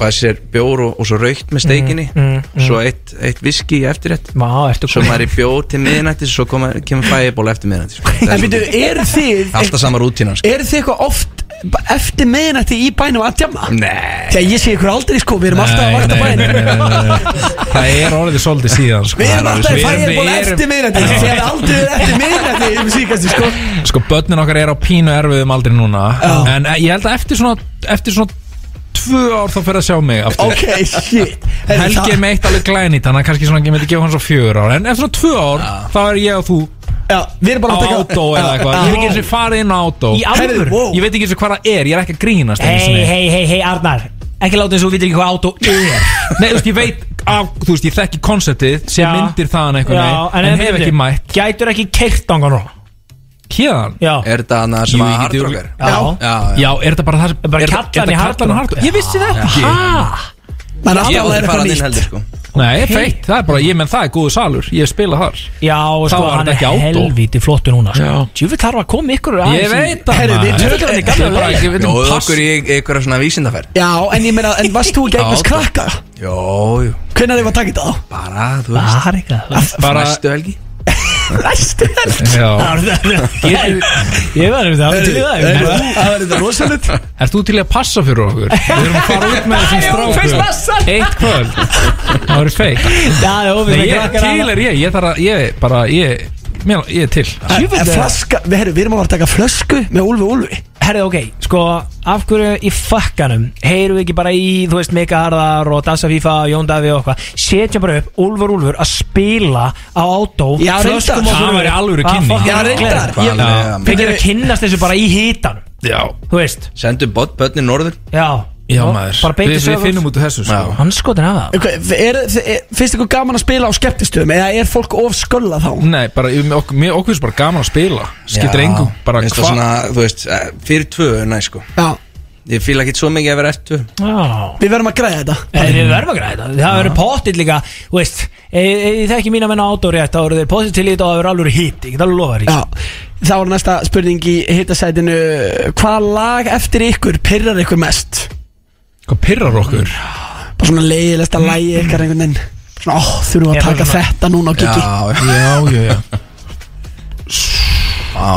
Speaker 14: fæði sér bjór og, og svo raukt með steikinni
Speaker 2: Mm, mm, mm.
Speaker 14: svo eitt, eitt viski í eftirrétt
Speaker 2: Má, ertu
Speaker 14: svo maður er í bjór til miðnætti svo koma, kemur fireball eftir miðnætti sko. Það er
Speaker 3: En býtu,
Speaker 14: svolítið-
Speaker 3: eru þið
Speaker 14: alltaf sama rútínan sko.
Speaker 3: Eru þið eitthvað oft ba- eftir meðinætti í bænum að djamma?
Speaker 14: Nei
Speaker 3: Þegar ég sé ykkur aldrei sko, við erum alltaf að
Speaker 13: Nei,
Speaker 3: vakta
Speaker 13: nei, nei, nei, nei,
Speaker 3: bænum
Speaker 13: nei. Það er orðið svolítið síðan sko.
Speaker 3: Við erum alltaf í
Speaker 13: Við erum-
Speaker 3: fæðból
Speaker 13: við erum-
Speaker 3: eftir meðinætti
Speaker 13: Já.
Speaker 3: Þegar aldrei er eftir meðinætti um síkast sko
Speaker 13: Sko, börnin okkar er á pínu erfiðum aldrei núna En eh, ég held að eftir svona, eftir svona Tvö ár þá fyrir að sjá mig aftur
Speaker 3: Ok, shit
Speaker 13: Helgi er meitt alveg glænýtt Þannig að kannski svona, ég myndi gefa hann svo fjögur ár En eftir svona tvö ár, þá er ég og þú
Speaker 3: Já, við erum bara
Speaker 13: á
Speaker 3: að taka-
Speaker 13: átó eða
Speaker 3: Já,
Speaker 13: eitthvað
Speaker 3: já.
Speaker 13: Ég er ekki eins og farið inn á átó
Speaker 2: Í alvöru? Heyrðu, wow.
Speaker 13: Ég veit ekki eins og hvað það er, ég er ekki að grínast einu
Speaker 2: Hei,
Speaker 13: sinni.
Speaker 2: hei, hei, hei, Arnar Ekki láta eins og þú vitir ekki hvað átó er
Speaker 13: Nei, þú veist, ég veit af, Þú veist, ég þekki konceptið sem
Speaker 2: Já.
Speaker 13: myndir þaðan
Speaker 2: Já,
Speaker 13: einhvern veginn En, hef
Speaker 2: veitir,
Speaker 13: ekki mætt
Speaker 2: Gætur ekki keirt ángan rá
Speaker 13: Híðan
Speaker 14: Er þetta annað sem að hardrocker?
Speaker 2: Já.
Speaker 14: já,
Speaker 13: já er þetta bara það sem
Speaker 2: Bara
Speaker 13: Er-
Speaker 2: kallan
Speaker 13: er
Speaker 2: í
Speaker 13: þetta
Speaker 2: harlan og harlan Ég vissi þetta
Speaker 13: Já.
Speaker 3: Það
Speaker 14: Ég hef aldrei farað inn heldur sko
Speaker 13: Nei, feitt, það er bara, ég menn það er góðu salur Ég spila þar
Speaker 2: Já, og
Speaker 13: Þá
Speaker 2: sko,
Speaker 13: var
Speaker 2: hann er
Speaker 13: þetta ekki átó.
Speaker 2: helviti flottu núna sko. Djúfitt þarf að koma ykkur
Speaker 13: Ég veit það,
Speaker 2: Herru, við
Speaker 13: maður.
Speaker 2: tökum hann í
Speaker 13: Þetta
Speaker 2: gamla
Speaker 13: er bara
Speaker 2: leið.
Speaker 13: ekki- Ég veit um
Speaker 14: Jóðu
Speaker 13: pass.
Speaker 14: okkur í einhverja svona vísindaferð
Speaker 3: Já, en ég meina, en varst þú ekki eignast
Speaker 14: Átó.
Speaker 3: krakka?
Speaker 14: Jó, jú,
Speaker 3: Hvenær er að taka þetta á?
Speaker 14: bara, Ah, þú veist
Speaker 2: Bara eitthvað
Speaker 13: Bara-
Speaker 14: Næstu helgi
Speaker 3: Næstu
Speaker 13: Já
Speaker 2: Ég var um það til í
Speaker 3: Það
Speaker 2: það
Speaker 3: er þetta rosalit
Speaker 13: Erst þú til í að passa fyrir okkur? Við erum að fara út með þessum
Speaker 2: Jú, fyrst passar.
Speaker 13: strákum Eitt kvöld Það verður feitt
Speaker 2: Já, já, við
Speaker 13: Nei,
Speaker 2: erum
Speaker 13: ég
Speaker 2: krakkar
Speaker 13: til
Speaker 2: alla.
Speaker 13: er ég, ég þarf að, ég bara, ég, mér, ég er til
Speaker 3: En flaska, við, herru, við erum að fara að taka flösku með Úlfi Úlfi
Speaker 2: Herðu, ok, sko, af hverju í fakkanum heyrum við ekki bara í, þú veist, Mika Harðar og Dasa Fífa og Jón Davi og eitthvað setja bara upp Úlfur Úlfur að spila á átó
Speaker 3: Já, reyndar.
Speaker 13: Það væri alvöru kynning.
Speaker 2: Já,
Speaker 3: Já, reyndar.
Speaker 14: Já.
Speaker 2: reyndar Fengir að kynnast þessu bara í hitan
Speaker 13: Já,
Speaker 2: Þú veist,
Speaker 14: Sendu börnin norður
Speaker 2: já
Speaker 13: já maður
Speaker 2: Bara beint í
Speaker 13: Við- Við
Speaker 2: sögur.
Speaker 13: finnum út úr þessu sko
Speaker 2: Hanskotin af það
Speaker 3: Ok, er, er, Finnst ykkur gaman að spila á skeptistöðum eða er fólk of skölla þá?
Speaker 13: Nei, bara, mér okkur, mér okkur finnst bara gaman að spila Skiptir engum, bara
Speaker 14: Finnst það
Speaker 13: hvað
Speaker 14: svona, þú veist, eh, fyrir tvö er næ sko
Speaker 3: Já,
Speaker 14: Ég fíla ekki svo mikið að vera eftir tvö
Speaker 2: Já
Speaker 3: við verðum að græða þetta
Speaker 2: En við verðum að græða þetta, það verður pottill líka Þú veist, e, e, það ekki mín að menna átó rétt Það verður pottill til í þetta og það verður alveg hitt Ég get alveg lofa því
Speaker 3: Já, þá er næsta spurning í hittasætinu Hvað lag eftir ykkur pyrrar ykkur mest?
Speaker 13: Hvað pyrrar okkur?
Speaker 3: Bara svona leiðilegsta lagi ykkar einhvern veginn Svona, ó,
Speaker 2: Ég
Speaker 3: þurfum við að
Speaker 2: er
Speaker 3: taka
Speaker 2: svona-
Speaker 3: þetta núna á gigi
Speaker 13: Já, já, já
Speaker 14: Vá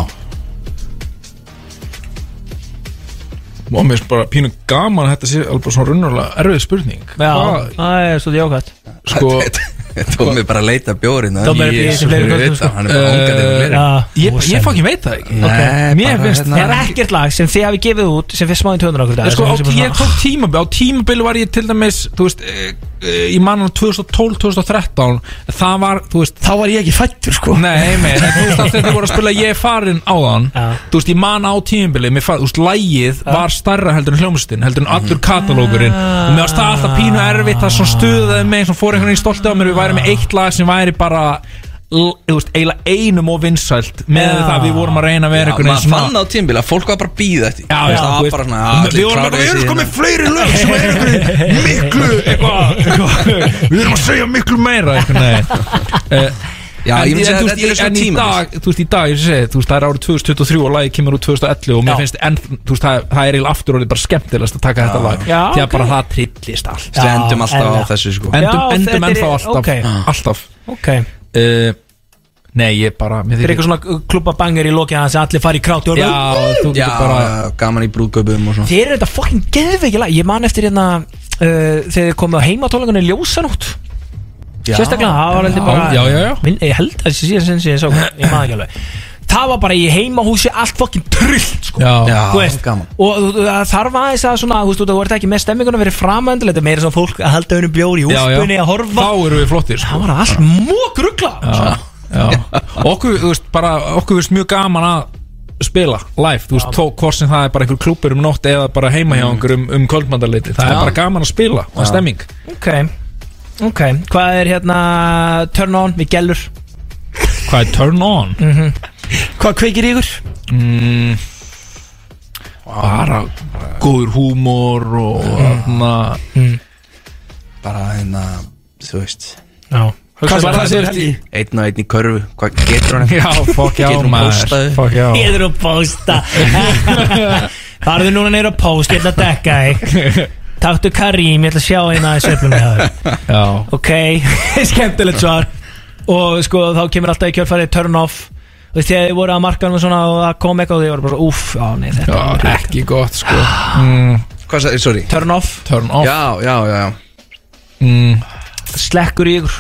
Speaker 13: Og mér finnst bara pínu gaman að þetta sé alveg bara svona runnarlega erfið spurning
Speaker 2: Já,
Speaker 13: Hvað-
Speaker 2: það er svolítið jókvæmt
Speaker 13: Sko,
Speaker 14: Tómi bara að leita bjórin
Speaker 2: Tómi er að bíða eftir fleiri gögnum, sko.
Speaker 13: eh,
Speaker 14: Hann er bara ongandi um fleiri
Speaker 2: Já,
Speaker 13: ég,
Speaker 2: og
Speaker 13: ég
Speaker 2: sem-
Speaker 13: fokkin veit það ekki
Speaker 14: Nei,
Speaker 13: Mér
Speaker 14: bara
Speaker 13: finnst
Speaker 14: hérna-
Speaker 2: Það er ekkert lag sem þið hafi gefið út sem fyrir smáðin 200 okkur dag
Speaker 13: Sko, ok, ég tók tímabil, á tímabil var ég til dæmis, þú veist, eh, eh, ég man hann 2012-2013, það var, þú veist,
Speaker 3: Þá var ég ekki fættur, sko
Speaker 13: Nei, mei, en þú veist að þetta voru að spila ég er farin á þann
Speaker 2: Já.
Speaker 13: Þú veist, ég man á tímabilið, mér fa- Þú veist, lægið var starra heldur en hljómsveitin Heldur en allur
Speaker 14: Ah.
Speaker 13: katalógurinn Og mér varst það alltaf pínu erfitt að svona stuðaði mig Svo fór einhvern veginn stoltið á mér Við væri með eitt lag sem væri bara l- þú veist, eiginlega einum og vinsælt með
Speaker 14: Já.
Speaker 13: það að við vorum að reyna að vera
Speaker 14: Já,
Speaker 13: einhvern
Speaker 14: Ah, maður fann á tímbil að fólk var bara að býða eftir Ah,
Speaker 13: Já,
Speaker 14: Þú veist,
Speaker 13: já,
Speaker 14: það
Speaker 13: þú
Speaker 14: var
Speaker 13: veist,
Speaker 14: bara svona
Speaker 13: við vorum bara, við erum sko með
Speaker 14: fleiri lög sem er einhverju miklu
Speaker 13: eitthvað, eitthvað, við erum að segja miklu meira einhvern veginn uh,
Speaker 14: Já, ég myndi segja að
Speaker 13: þú veist,
Speaker 14: þetta eru svona
Speaker 13: en í
Speaker 14: tímar.
Speaker 13: dag, þú veist, í dag, ég segi, þú veist, það er árið 2023 og lagið kemur úr 2011 og mér
Speaker 14: Já.
Speaker 13: finnst enn, þú veist, það, það er eiginlega aftur orðið bara skemmtilegast að taka þetta lag
Speaker 14: Já,
Speaker 13: því að
Speaker 14: ok.
Speaker 13: bara það trillist allt
Speaker 14: Við endum alltaf á þessu, sko.
Speaker 13: Endum,
Speaker 14: Já,
Speaker 13: endum
Speaker 14: þetta er-
Speaker 13: ennþá alltaf,
Speaker 14: ok.
Speaker 13: alltaf.
Speaker 2: Ok.
Speaker 13: Uh, Nei, ég bara mér
Speaker 2: Þetta er
Speaker 13: þykir-
Speaker 2: eitthvað svona klubbabangar í lokið hans að allir fari í krátt og-
Speaker 14: já, bara gaman í brúðgöpum og svona
Speaker 2: Þér er þetta fucking geðveikja lag Ég man eftir hérna uh, Þegar þið komið á heimatólingunni ljósanótt
Speaker 14: Já.
Speaker 2: Sérstaklega, það var heldur bara
Speaker 14: Já, já, já.
Speaker 2: Minn, Ég held að þessi síðan sinni sem ég sá Ég man ekki alveg Það var bara í heimahúsi allt fucking trillt sko.
Speaker 13: Já,
Speaker 2: Þú veist,
Speaker 14: gaman
Speaker 2: Og þú- þú- það þarf aðeins að svona Þú veist, þú ert ekki með stemminguna fyrir framöndulega Þetta er meira svona fólk að halda önum bjóri í
Speaker 13: Já, já.
Speaker 2: úlpunni að horfa
Speaker 13: Þá erum við flottir sko.
Speaker 2: Það var allt mókrugla
Speaker 13: Já, já. Okkur, þú veist, bara okkur veist mjög gaman að spila live, þú veist, þó hvort sem það er bara einhver klúpur um nótt eða bara heima
Speaker 14: Mm.
Speaker 13: hjá okkur um, um kvöldmandaleiti, það
Speaker 2: Já.
Speaker 13: er bara gaman að spila og
Speaker 2: Já.
Speaker 13: að stemming
Speaker 2: Ok, ok Hvað er hérna turn on við gellur?
Speaker 13: Hvað er turn on?
Speaker 2: Mm
Speaker 3: Hvað kveikir ykkur?
Speaker 13: Mm, bara góður húmor og hérna
Speaker 14: Bara hérna, þú veist
Speaker 2: Já
Speaker 14: Hvað
Speaker 13: Hvað
Speaker 14: var
Speaker 13: það sér
Speaker 14: eftir? Einn og einn í körfu, hvað getur hann?
Speaker 13: Já, fuck já,
Speaker 14: Getur hún
Speaker 13: maður,
Speaker 14: postaði?
Speaker 13: fuck já.
Speaker 2: Ég þurf að posta Farðu núna neyra að posta, ég ætla að dekka þig Taktu Karim, ég ætla að sjá hérna í sveiflum með það
Speaker 13: Já
Speaker 2: Ok, skemmtilegt svar Og sko þá kemur alltaf í kjörfærið turn off Þú veist þegar þið voru að markanum og svona og það kom eitthvað og þið voru bara svo uff, á nei þetta var
Speaker 13: Já, ekki gott sko mm.
Speaker 14: Ah. Hvað sagði, sorry?
Speaker 2: Turn off
Speaker 13: Turn off
Speaker 14: Já, já, já, já
Speaker 13: mm.
Speaker 2: Slekkur í ykkur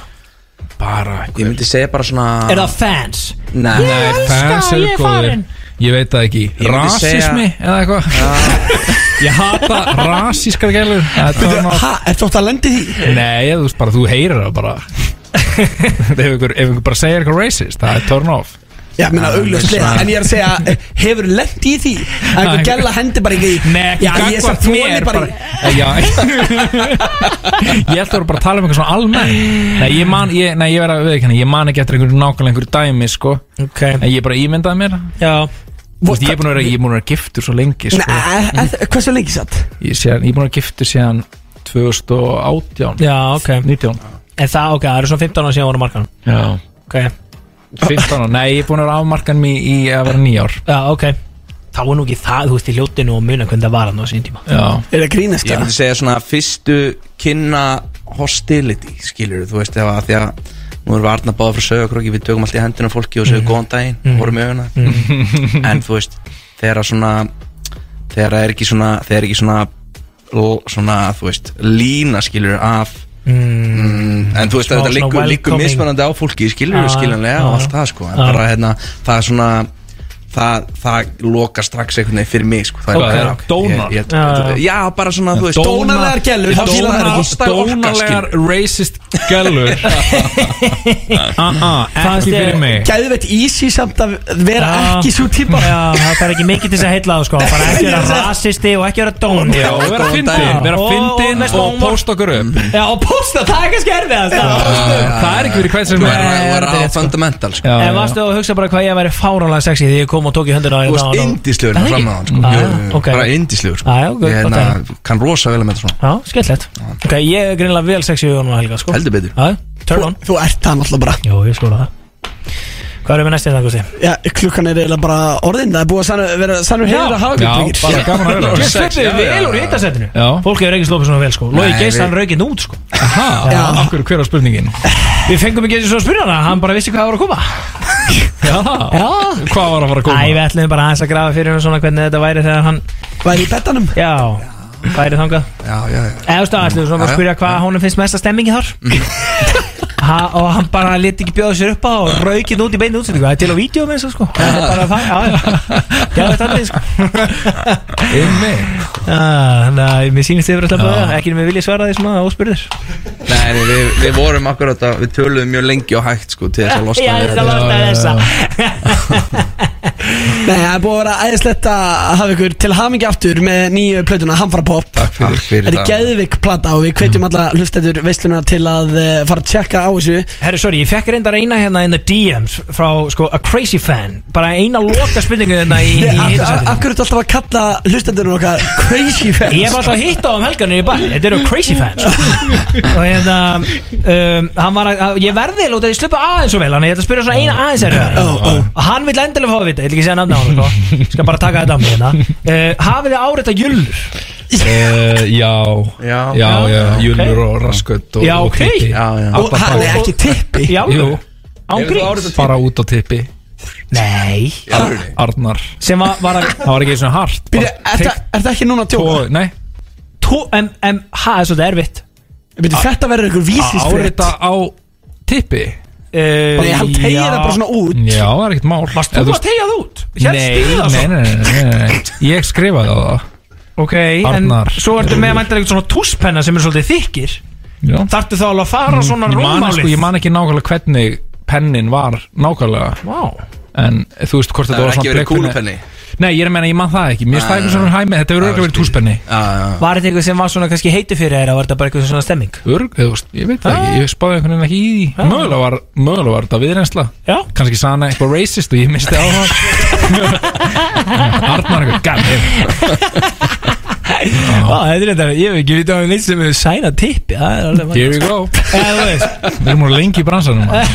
Speaker 13: Bara
Speaker 14: Ég myndi segja bara svona
Speaker 2: Er það fans?
Speaker 14: Nei. Ég elska,
Speaker 13: fans
Speaker 2: ég
Speaker 13: eru
Speaker 2: er
Speaker 13: góðir
Speaker 2: farin.
Speaker 13: Ég veit það ekki
Speaker 14: Ég myndi segja-
Speaker 13: Rasismi eða eitthvað Ég hata rasískar gælur
Speaker 3: Ha, er þetta að lendi því?
Speaker 13: Nei, þú veist bara, þú heyrir það bara Ef einhver, ef einhver bara segir eitthvað racist Það er turn off
Speaker 3: Já, minna augljóslega, en ég er að segja eh, Hefur lent í því að einhver gæla hendi bara ekki í-
Speaker 13: Nei, ekki
Speaker 3: Já, ég er
Speaker 13: gagnvart
Speaker 3: samt
Speaker 13: mér,
Speaker 3: mér bara
Speaker 13: Eh, Já Ég ætla að vera bara að tala um eitthvað svona almenn Nei, ég man, ég, nei, ég verða að veðkjanna Ég man ekki eftir einhverju nákvæmlega einhverju dæmi, sko
Speaker 2: okay.
Speaker 13: En ég bara ímyndaði mér
Speaker 2: Já
Speaker 13: Þú veist, ég er búin að vera, ég er búin að vera giftur svo lengi, sko
Speaker 3: Nei, eh, hvað svo lengi satt?
Speaker 13: Ég, sé, ég er búin að vera giftur síðan 2018
Speaker 2: Já, ok
Speaker 13: 19
Speaker 2: En það, ok, það eru svona 15 ára síðan voru á markanum
Speaker 13: Já
Speaker 2: Ok
Speaker 13: 15 ára, nei, ég er búin að vera afmarkan mér í að vera nýjár
Speaker 2: Já, ok Þá er nú ekki það, þú veist, í hljótinu og muna hvernig það var hann á sín tíma
Speaker 13: Já
Speaker 3: Er það grínast
Speaker 14: Ég myndi segja svona fyrstu kynna hostility, skilur þú veist, ef að því að nú erum við Arna báða frá sögakróki, við tökum allt í hendina á fólki og
Speaker 13: Mhm.
Speaker 14: segjum góðan daginn, mm. horfum í auguna en þú veist, þegar að svona þegar það er ekki svona þegar er ekki svona, l- svona þú veist, lína skilur af Mm, en þú veist að þetta
Speaker 13: Smá svona
Speaker 14: liggur, liggur
Speaker 13: welcoming.
Speaker 14: mismunandi á fólki skilur
Speaker 13: Já,
Speaker 14: skiljanlega
Speaker 13: já,
Speaker 14: og allt það sko en
Speaker 13: já.
Speaker 14: bara hérna, það er svona það, það loka strax einhvern veginn fyrir mig sko, það
Speaker 13: Hvað,
Speaker 14: bara,
Speaker 13: er
Speaker 14: ok,
Speaker 13: dónar?
Speaker 14: ég- ég- Já, bara svona, þú veist
Speaker 13: Dónalegar racist gælur Aha,
Speaker 2: Fannst
Speaker 13: Ah, ekki
Speaker 2: þér-
Speaker 13: fyrir mig
Speaker 3: Gæðveitt easy samt að vera
Speaker 2: Já.
Speaker 3: ekki svo típa
Speaker 2: Já, það er ekki mikið til þess að heilla það sko Bara ekki vera rasisti og ekki vera dón
Speaker 13: Já, og vera fyndin, vera fyndin
Speaker 2: með smá
Speaker 13: og
Speaker 2: humor.
Speaker 13: posta okkur upp
Speaker 2: Já, og posta, það er kannski erfið
Speaker 13: Það er ekki fyrir hvað sem
Speaker 14: Þú
Speaker 13: er
Speaker 14: er að fundamental sko.
Speaker 2: En varstu að hugsa bara hvað ég væri fáránlega sexy Því ég kom og tók í höndina á
Speaker 14: Þú
Speaker 2: þér
Speaker 14: veist,
Speaker 2: þá-
Speaker 14: indislegur
Speaker 2: Er það
Speaker 14: fram
Speaker 2: ekki?
Speaker 14: að hann sko.
Speaker 2: Já,
Speaker 14: Jú, jú, jú,
Speaker 2: ok. Ah,
Speaker 14: Bara indislegur sko.
Speaker 2: Já, já, ok,
Speaker 14: Ég hérna,
Speaker 2: ok.
Speaker 14: kann rosa vel með þetta svona
Speaker 2: Já, skemmtilegt Ok, ég er greinilega vel sexy við honum að helga sko
Speaker 14: Heldur betur
Speaker 2: Já, turn on
Speaker 3: Þú ert það náttúrulega bara
Speaker 2: Jó, ég skóla það Hvað erum við næst í þetta, Gusti?
Speaker 3: Já, klukkan er eiginlega bara orðin Það er búið að sann- vera sannur heiður að hafa
Speaker 13: Já, bara gaman að vera
Speaker 2: Ég slöppi vel úr hittasettinu Fólk hefur ekki slópið svona vel sko Lói
Speaker 13: Nei,
Speaker 2: Geist,
Speaker 13: við-
Speaker 2: hann rauk hérna út sko
Speaker 13: Aha,
Speaker 2: Já.
Speaker 13: okkur hver á spurningin
Speaker 2: Við fengum ekki eins og spyrjana, hann bara vissi hvað það voru að koma
Speaker 13: Já,
Speaker 2: Já
Speaker 13: hvað var að fara að koma?
Speaker 2: Æ, við ætlum bara aðeins að grafa fyrir hann svona hvernig þetta væri þegar hann
Speaker 3: Væri í betanum?
Speaker 2: Já, væri þangað
Speaker 14: Já, já, já
Speaker 2: Eða þú veist að ætlum við svona bara að spyrja hvað honum finnst mesta stemmingi þar ha, Og hann bara leti ekki bjóða sér upp á og raukinn út í beinu útsendingu Það er til á vídeo með þessu sko Það er bara það, já, já Já, þetta er sko
Speaker 13: Inni
Speaker 2: Ah, Þannig að mér sýnist þið verið alltaf bara Ekki með vilja svara því svona óspyrðir
Speaker 14: Nei, nei, við, við vorum akkurat að Við töluðum mjög lengi og hægt sko Til þess að losna
Speaker 2: Já,
Speaker 14: við
Speaker 2: til að
Speaker 14: þetta.
Speaker 2: losna við þessa.
Speaker 3: Nei, það er búið að vera æðislegt að hafa ykkur til hamingi aftur með nýju plötuna Hamfara Pop Takk
Speaker 14: fyrir. Takk fyrir
Speaker 3: Þetta er
Speaker 14: það.
Speaker 3: geðvik plata og við hvetjum alla hlustendur veisluna til að eh, fara að tjekka á þessu
Speaker 2: Herru, sorry, ég fekk reyndar eina hérna in the DMs frá, sko, a crazy fan Bara eina loka spurningu hérna í, í
Speaker 3: Af af-
Speaker 2: hittasætinu.
Speaker 3: af hverju ertu alltaf að kalla hlustendurinn okkar crazy fans?
Speaker 2: Ég hef alltaf að hitta á um helganir í bæ Þetta eru crazy fans Og hérna um, Hann var að Ég verði lóta Ég sluppa aðeins svo vel Þannig ég ætla að spyrja svona eina
Speaker 3: Oh.
Speaker 2: aðeins er Og hann vil endilega fá að vita Ég vil ekki segja nafna á hann sko. Ég Skal bara taka þetta á mig hérna uh, Hafið þið áreita jullur
Speaker 13: Eh, Já, já, já,
Speaker 2: já,
Speaker 13: Júlur og Raskut og,
Speaker 2: Já,
Speaker 13: og
Speaker 2: ok.
Speaker 13: Tippi
Speaker 2: Já, já. Og
Speaker 13: Alla
Speaker 2: hann
Speaker 13: daga.
Speaker 2: er ekki Tippi? Já,
Speaker 13: Jú.
Speaker 2: Án Eru þú gríns? árið á Tippi?
Speaker 13: Bara út á Tippi
Speaker 2: Nei
Speaker 13: Arnar
Speaker 2: Sem var, var að
Speaker 13: Það var ekki svona hart
Speaker 2: Byrja,
Speaker 3: Er þetta ekki núna að tjóka?
Speaker 13: Nei
Speaker 2: tó, en, en, ha, það er svolítið erfitt
Speaker 3: Byrju, þetta verður einhver vísisfrétt.
Speaker 13: Árita á Tippi
Speaker 2: Bara
Speaker 3: ég- hann teygir það bara svona út.
Speaker 13: Já, það er ekkert mál
Speaker 2: Varst þú að tegja það út?
Speaker 13: Nei, nei, nei, nei, nei, nei Ég skrifaði á það
Speaker 2: Ok,
Speaker 13: Arnar.
Speaker 2: en svo ertu með mæntar eitthvað svona túspenna sem er svolítið þykir
Speaker 13: Já.
Speaker 2: Þarftu þá alveg að fara svona
Speaker 13: Ég man,
Speaker 2: rúmálið
Speaker 13: sko, ég man ekki nákvæmlega hvernig pennin var nákvæmlega
Speaker 2: Vá.
Speaker 13: En þú veist hvort
Speaker 14: Það
Speaker 13: þetta
Speaker 14: hefur
Speaker 13: var
Speaker 14: ekki
Speaker 13: svona
Speaker 14: verið
Speaker 13: blekkpenni.
Speaker 14: kúlupenni.
Speaker 13: Nei, ég er að menna, ég man það ekki Mér
Speaker 14: Nei,
Speaker 13: stæði
Speaker 14: nei,
Speaker 13: svona
Speaker 14: nei.
Speaker 13: hæmi, þetta hefur
Speaker 14: Það
Speaker 13: örgulega verið
Speaker 14: skilur.
Speaker 13: túspenni
Speaker 2: Var þetta eitthvað sem var svona kannski heiti fyrir þér að var þetta bara eitthvað svona stemming?
Speaker 13: Örg, þú veist, ég veit það ekki, ég spáði einhvern veginn ekki í því Mögulega var, mögulega var þetta viðrensla
Speaker 2: Já
Speaker 13: Kannski sana eitthvað racist og ég misti á það Arnar eitthvað,
Speaker 2: Vá, Ah, þetta er þetta, ég hef ekki vitað að neitt sem hefur sænað tippi það er alveg-
Speaker 13: Here we go Við erum úr lengi í bransanum maður.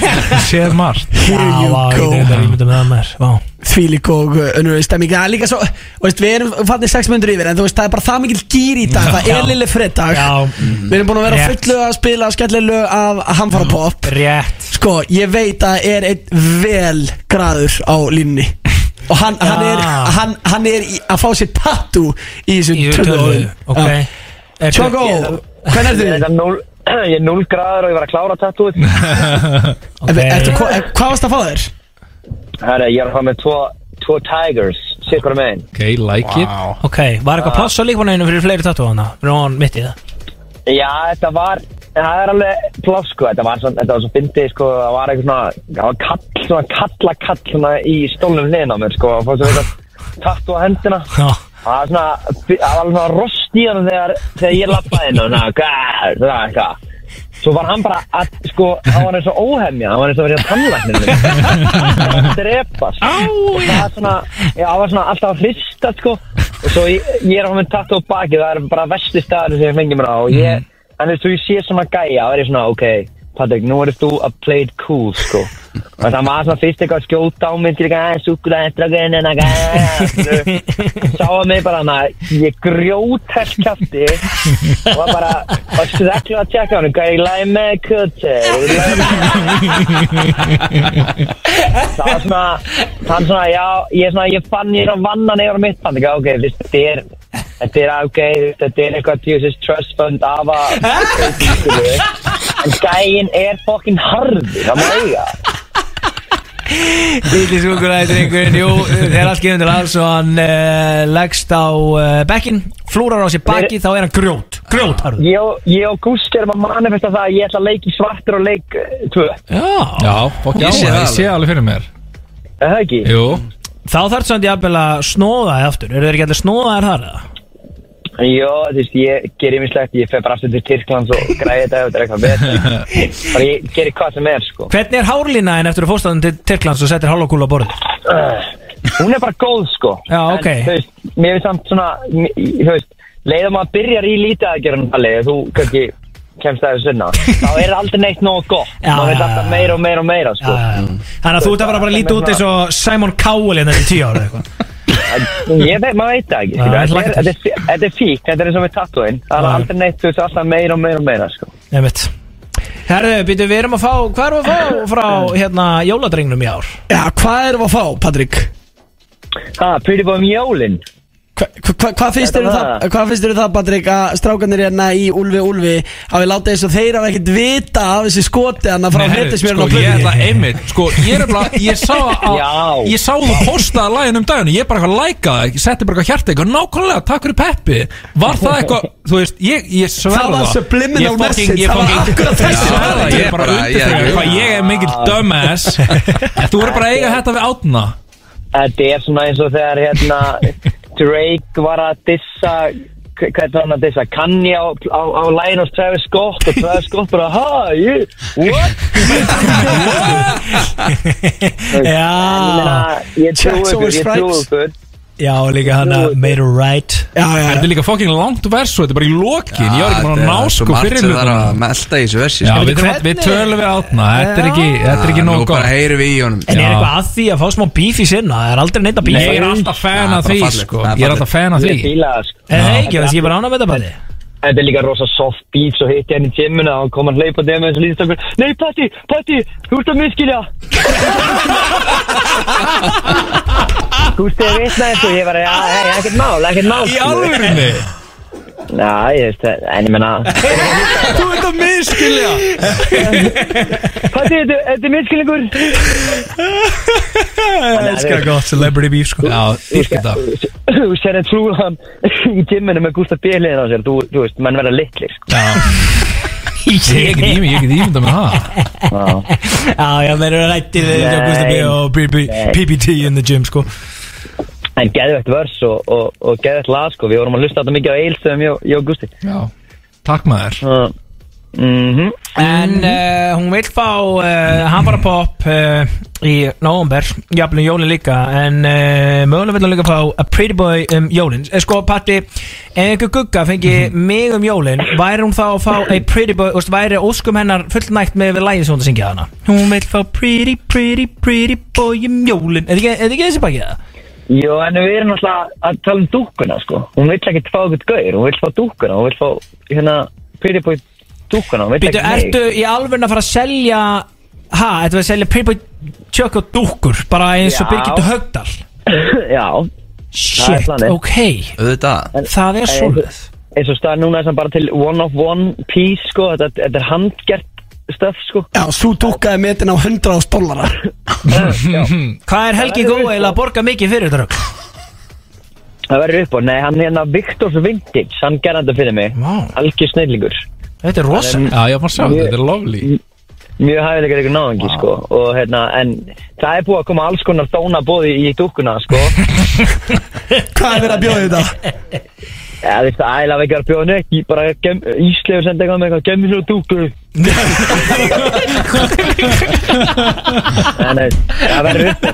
Speaker 13: Séð margt
Speaker 2: Here you vá, go. ég er myndið með það mér
Speaker 3: Þvílík og uh, önnur stemming Það er líka svo, þú veist, við erum fannir 6 minnur yfir En þú veist, það er bara það mikill gýr í dag Það
Speaker 2: Já.
Speaker 3: er lille fredag
Speaker 2: Já.
Speaker 3: Við erum búin að vera á
Speaker 2: Rétt.
Speaker 3: fullu að spila Skellilu af Hamfara Pop
Speaker 2: Rétt
Speaker 3: Sko, ég veit að er einn vel graður á línni Og hann, hann,
Speaker 2: Já.
Speaker 3: er, hann, hann er í, að fá sér tattu Í þessu tölu
Speaker 2: Ok
Speaker 3: Tjókó, hvernig ertu?
Speaker 5: Ég er núll- Ég er 0 gradur og ég var að klára tattooið
Speaker 3: Ertu, hva, er- hvað varst að fá þér?
Speaker 5: Herra, ég er að fara með tvo, tvo Tigers Sitt hvað meginn
Speaker 13: Ok, like
Speaker 5: Wow.
Speaker 2: Ok, var eitthvað
Speaker 5: Ah.
Speaker 2: pláss á líkvanaðinu fyrir fleiri tattúana? Fyrir hann mitt í það
Speaker 5: Já, þetta var Það er alveg pláss sko Þetta var, svona, þetta var svo fyndið sko Það var eitthvað svona Það var kall, svona kalla kall svona í stólnum neðan á mér sko Og fór svo eitthvað tattu á hendina
Speaker 2: Já
Speaker 5: Það var svona Það var alveg svona rost í hann þegar Þegar ég lappaði inn og svona "Gæ", Svona eitthvað Svo var hann bara að, sko, hann var eins og óhemja, hann var eins og verið að tannlækninu. Hann var að drepast. Og það var svona, já, hann var svona alltaf að hrista, sko. Og svo ég, ég er á með tattu á baki, það er bara vesti staður sem ég fengi mér á. Og ég, en þú veist, þú ég sé svona gæja, það er ég svona, ok, Patrik, nú erist þú að play it cool, sko. Og það var svona fyrst eitthvað að skjóta á mig, til eitthvað, að súkula, dragin, en að gæja. Sáða mig bara hann að ég grjótell kæfti og var bara, og sreklu að tjekka hann, hvað ég læg með kutti. það var svona, hann svona, já, ég, svona, ég fann ég er að vanna neyra mitt, hann ekki, ok, veist, þetta er, þetta er, ok, þetta er eitthvað tjóðsins trust fund af að, en gæin er fokkin harði, það má eiga.
Speaker 2: Lítið skúkulæði drengurinn, jú, þegar allt gefur til alls og hann uh, leggst á uh, bekkin, flúrar á sér baki, þá er hann grjót, grjót harður.
Speaker 5: Ég, og- ég og Gústi erum að manifesta það að ég ætla að leiki svartur og leik eh, tvö.
Speaker 2: Já,
Speaker 13: Já, ok,
Speaker 5: Ég
Speaker 13: ég
Speaker 5: sé
Speaker 13: sé
Speaker 5: það alveg.
Speaker 13: alveg fyrir mér
Speaker 5: Er það ekki?
Speaker 13: Jú
Speaker 2: Þá þarf samt jafnvel að snóða þið aftur, eru þeir ekki allir snóðaðir þar eða?
Speaker 5: Jó, þú veist, ég gerir mislegt, ég fer bara aftur til Tyrklands og græði þetta ef þetta er eitthvað betur. Bara ég gerir hvað sem er, sko.
Speaker 2: Hvernig er hárlínaðin eftir að fórstæðan til Tyrklands og settir hálfakúla á borðið?
Speaker 5: Uh, Hún er bara góð, sko.
Speaker 2: Já, ok.
Speaker 5: En, þú veist, mér finnst samt svona, m- í- þú veist, leiðum maður byrjar í lítið að gera hann leið, þú kannski kemst það þessu sinna. Þá er aldrei neitt nógu gott.
Speaker 2: Já,
Speaker 5: Má veit
Speaker 2: já,
Speaker 5: alltaf meira og meira og meira, sko.
Speaker 2: Ah, Þannig að þú ert að fara bara að líta út eins og Simon Cowell hérna til tíu ára eitthvað.
Speaker 5: Ég veit, maður veit það ekki,
Speaker 2: Já,
Speaker 5: skilur.
Speaker 2: ég
Speaker 5: Þetta
Speaker 2: hlakka
Speaker 5: er- þetta er fí- þetta er fík, þetta er eins og með tattooinn. Það er
Speaker 2: Já.
Speaker 5: aldrei neitt, þú veist, alltaf meira og meira og meira, sko.
Speaker 2: Nei mitt. Herðu, býtu, við erum að fá, hvað erum við að fá frá hérna jóladrengnum í ár?
Speaker 3: Já, hvað erum við að fá, Patrik?
Speaker 5: Ha, Pretty Boy um jólin
Speaker 3: Hva, hva, hvað finnst þér um
Speaker 5: Þetta
Speaker 3: það,
Speaker 5: var-
Speaker 3: hvað finnst þér um það Patrik, að strákanir hérna í Úlfi Úlfi hafi látið eins og þeir hafa ekkert vita af þessi skoti hann frá
Speaker 13: Nei, herru,
Speaker 3: hretismjörn
Speaker 13: sko,
Speaker 3: og
Speaker 13: ég ætla einmitt sko, ég, er bara, ég sá að
Speaker 5: Já.
Speaker 13: ég sá þú postaði lægin um daginu ég bara eitthvað læka það, ég setti bara eitthvað hjarta eitthvað nákvæmlega, takk fyrir Peppi var það eitthvað, þú veist, ég, ég sverða
Speaker 3: Það var subliminal message, það var akkurat þessi
Speaker 13: þessi ég er bara
Speaker 14: Já,
Speaker 13: undir
Speaker 14: já,
Speaker 13: þegar
Speaker 14: já.
Speaker 13: hvað ég er mikill dumbass en þú verður bara að eiga þetta við átna
Speaker 5: Þetta er svona eins og þegar hérna Drake var að dissa hva- Hvað er hann að dissa? Kanye á, á, á lægin hos Travis Scott Og Travis Scott bara Ha, you, what?
Speaker 13: Ah,
Speaker 2: Já
Speaker 5: Ég trúi
Speaker 2: Checks
Speaker 5: ykkur,
Speaker 2: over
Speaker 5: ég trúi
Speaker 2: stripes.
Speaker 5: ykkur
Speaker 2: Já, og líka hann að made a right
Speaker 13: Þetta er líka fucking langt versu, þetta er bara í lokin Ég var ekki
Speaker 14: eh,
Speaker 13: maður að ná sko fyrir
Speaker 14: Það er að melda í þessu versi
Speaker 13: Já,
Speaker 14: sko.
Speaker 13: við, við, við tölum við átna Þetta er ekki, þetta er ekki
Speaker 14: Já,
Speaker 13: nóg
Speaker 14: Nú bara heyrum við í honum
Speaker 2: En er eitthvað að því að fá smá bíf í sinna? Það er aldrei neitt að bíf
Speaker 13: Ég er alltaf fan af því sko Ég er alltaf fan af
Speaker 5: Ég
Speaker 13: því Eh?
Speaker 5: fíla það sko
Speaker 2: Er það ekki? Þessi ég bara ána með það bæði
Speaker 5: Þetta er líka rosa soft beef Svo hitti hann í timmuna Og hann kom að hleypa þeim með þessu lýðstakur Nei, Patti, Patti, þú ert að miskilja Þú veist, ég veist næst og ég bara, já, hei, ekkert mál, ekkert mál
Speaker 8: Í alvörunni?
Speaker 5: Já, ég veist, en ég menna
Speaker 8: Þú ert að miskilja
Speaker 5: Patti, þetta þetta er miskilningur
Speaker 2: Ég elskar gott celebrity beef sko
Speaker 13: Já, dýrkir það
Speaker 5: Þú sér þetta trúlan í timmuna með Gústa Bélíðin á sér Þú þú veist, menn verða litlir sko.
Speaker 13: Ég get ímynd, ég get ímynd með það
Speaker 2: Já, já, þeir eru rættið við
Speaker 5: Nei.
Speaker 2: Gústa B og BB
Speaker 5: Nei.
Speaker 2: PPT in the gym sko
Speaker 5: En geðvegt vers og, og, og geðvegt lag sko Við vorum að lusta þetta mikið á eilstöðum ég, og- ég og Gústi
Speaker 13: Já, takk maður
Speaker 5: Mhm
Speaker 2: En uh, hún vil fá uh, hann bara pop uh, í november, jafnlega jólin líka en uh, mögulega vil hann líka fá A Pretty Boy um jólin eh, Sko Patti, ef einhver gugga fengi mig um jólin, væri hún þá að fá A Pretty Boy, úst, væri óskum hennar fullnægt með við lægið sem hún er að syngja hana Hún vil fá Pretty, Pretty, Pretty Boy um jólin, er þetta ekki- er þetta ekki þessi bakið það?
Speaker 5: Jó, en við erum alltaf að tala um dúkkuna, sko. Hún vill ekkert fá eitthvað gaur, hún vill fá dúkkuna, hún vill fá, hérna, Pretty Boy dúkkuna, hún vill
Speaker 2: Býtu,
Speaker 5: ekkert
Speaker 2: ertu í alveg að fara að selja ha, ertu að selja Pretty Boy tjökk og dúkkur, bara eins og
Speaker 5: Já.
Speaker 2: Birgitta Högdal
Speaker 5: Já. Það er
Speaker 2: Shit,
Speaker 5: planið.
Speaker 2: ok
Speaker 14: Auðvitað
Speaker 2: Það er svoleiðis.
Speaker 5: Eins og staðar núna er það bara til one of one piece, sko, þetta, þetta er handgert stöf, sko.
Speaker 3: Já, svo dúkkaði metin á 100 dólarar
Speaker 2: Hvað er Helgi Gói eiginlega að borga mikið fyrir þetta rögg?
Speaker 5: Það verður upp á, nei, hann hérna Victor's Vintage, hann gerði þetta fyrir mig.
Speaker 2: Vá.
Speaker 5: Algjör snillingur.
Speaker 2: Þetta er rosalega.
Speaker 13: Já, ég var að sjá þetta, þetta er lovely
Speaker 5: Mjög hæfilegar ykkur náðungi, sko. Og hérna, en það er búið að koma alls konar dóna bóði í dúkkuna, sko.
Speaker 3: Hvað er verið að bjóða þetta?
Speaker 5: Já, þú veist, æla við ekki að bjóða neitt, ég bara gem, Ísleifur sendi eitthvað með eitthvað, gemmi svo dúku. Nei, nei, það verður upp á.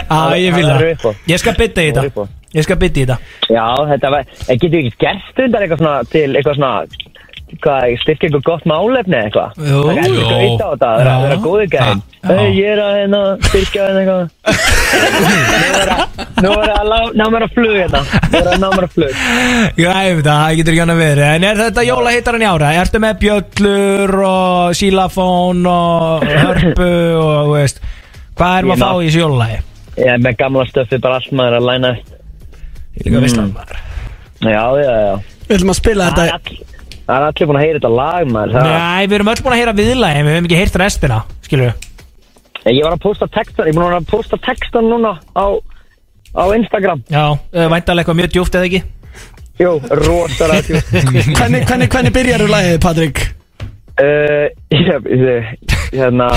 Speaker 2: Já, ég vil það
Speaker 5: Það verður upp á.
Speaker 2: Ég skal bytta í þetta Ég skal bytta í þetta
Speaker 5: Já, þetta var, en getur við ekki gert undar eitthvað svona til eitthvað svona, hvað, styrkja eitthvað gott málefni eða eitthvað?
Speaker 2: Jú,
Speaker 5: Það er
Speaker 2: jú.
Speaker 5: eitthvað eitt á þetta, það er að vera góði gæðin. Hey, ég er að hérna, styrkja hérna eitthvað. Nú er að, nú er að ná mér að flug hérna, nú er að ná mér að flug.
Speaker 2: Já, ég veit það, það getur ekki hann að vera En er þetta jólahittarinn í ára? Ertu með bjöllur og sílafón og hörpu og þú veist Hvað erum að
Speaker 5: Ég
Speaker 2: fá í
Speaker 5: má-
Speaker 2: þessu jólalagi?
Speaker 5: Ég er með gamla stöfið bara allt maður er að læna
Speaker 2: Ég líka veistlan maður
Speaker 5: Já, já, já
Speaker 3: Við ætlum að spila
Speaker 5: þetta Það er allir búin að heyra þetta lag maður það...
Speaker 2: Nei, við erum öll búin að heyra viðlagi Við höfum ekki heyrt restina, skilur
Speaker 5: Ég var að posta textan, ég er búin að vera að posta textan núna á, á Instagram
Speaker 2: Já, væntalega eitthvað mjög djúft eða ekki
Speaker 5: Jú, rosalega djúpt.
Speaker 3: Hvernig, hvernig, hvernig byrjar þú lagið, Patrik?
Speaker 5: uh, ég, ég, Hérna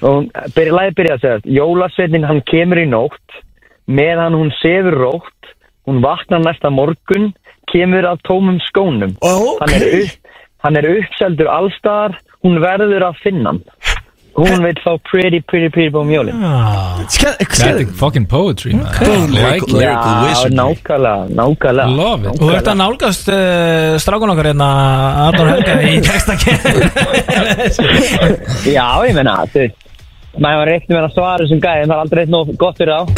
Speaker 5: hún, byrja, Lagið byrja að segja Jólasveitin hann kemur í nótt Meðan hún sefur rótt Hún vaknar næsta morgun Kemur af tómum skónum
Speaker 3: oh,
Speaker 5: hann, er upp, hann er uppseldur allstar Hún verður að finna hann Hún vil fá pretty, pretty, pretty bóm jólin
Speaker 13: Ah. Þetta er fucking poetry
Speaker 5: Boom.
Speaker 13: man Like it.
Speaker 5: Já, nákvæmlega, nákvæmlega
Speaker 13: Love it.
Speaker 2: Og þetta nálgast uh, strákun okkar hérna Arnur Helga í
Speaker 5: Já, ég menna, þú veist maður var reyndið með að svara þessum gæði en það er aldrei eitt nóg gott fyrir þá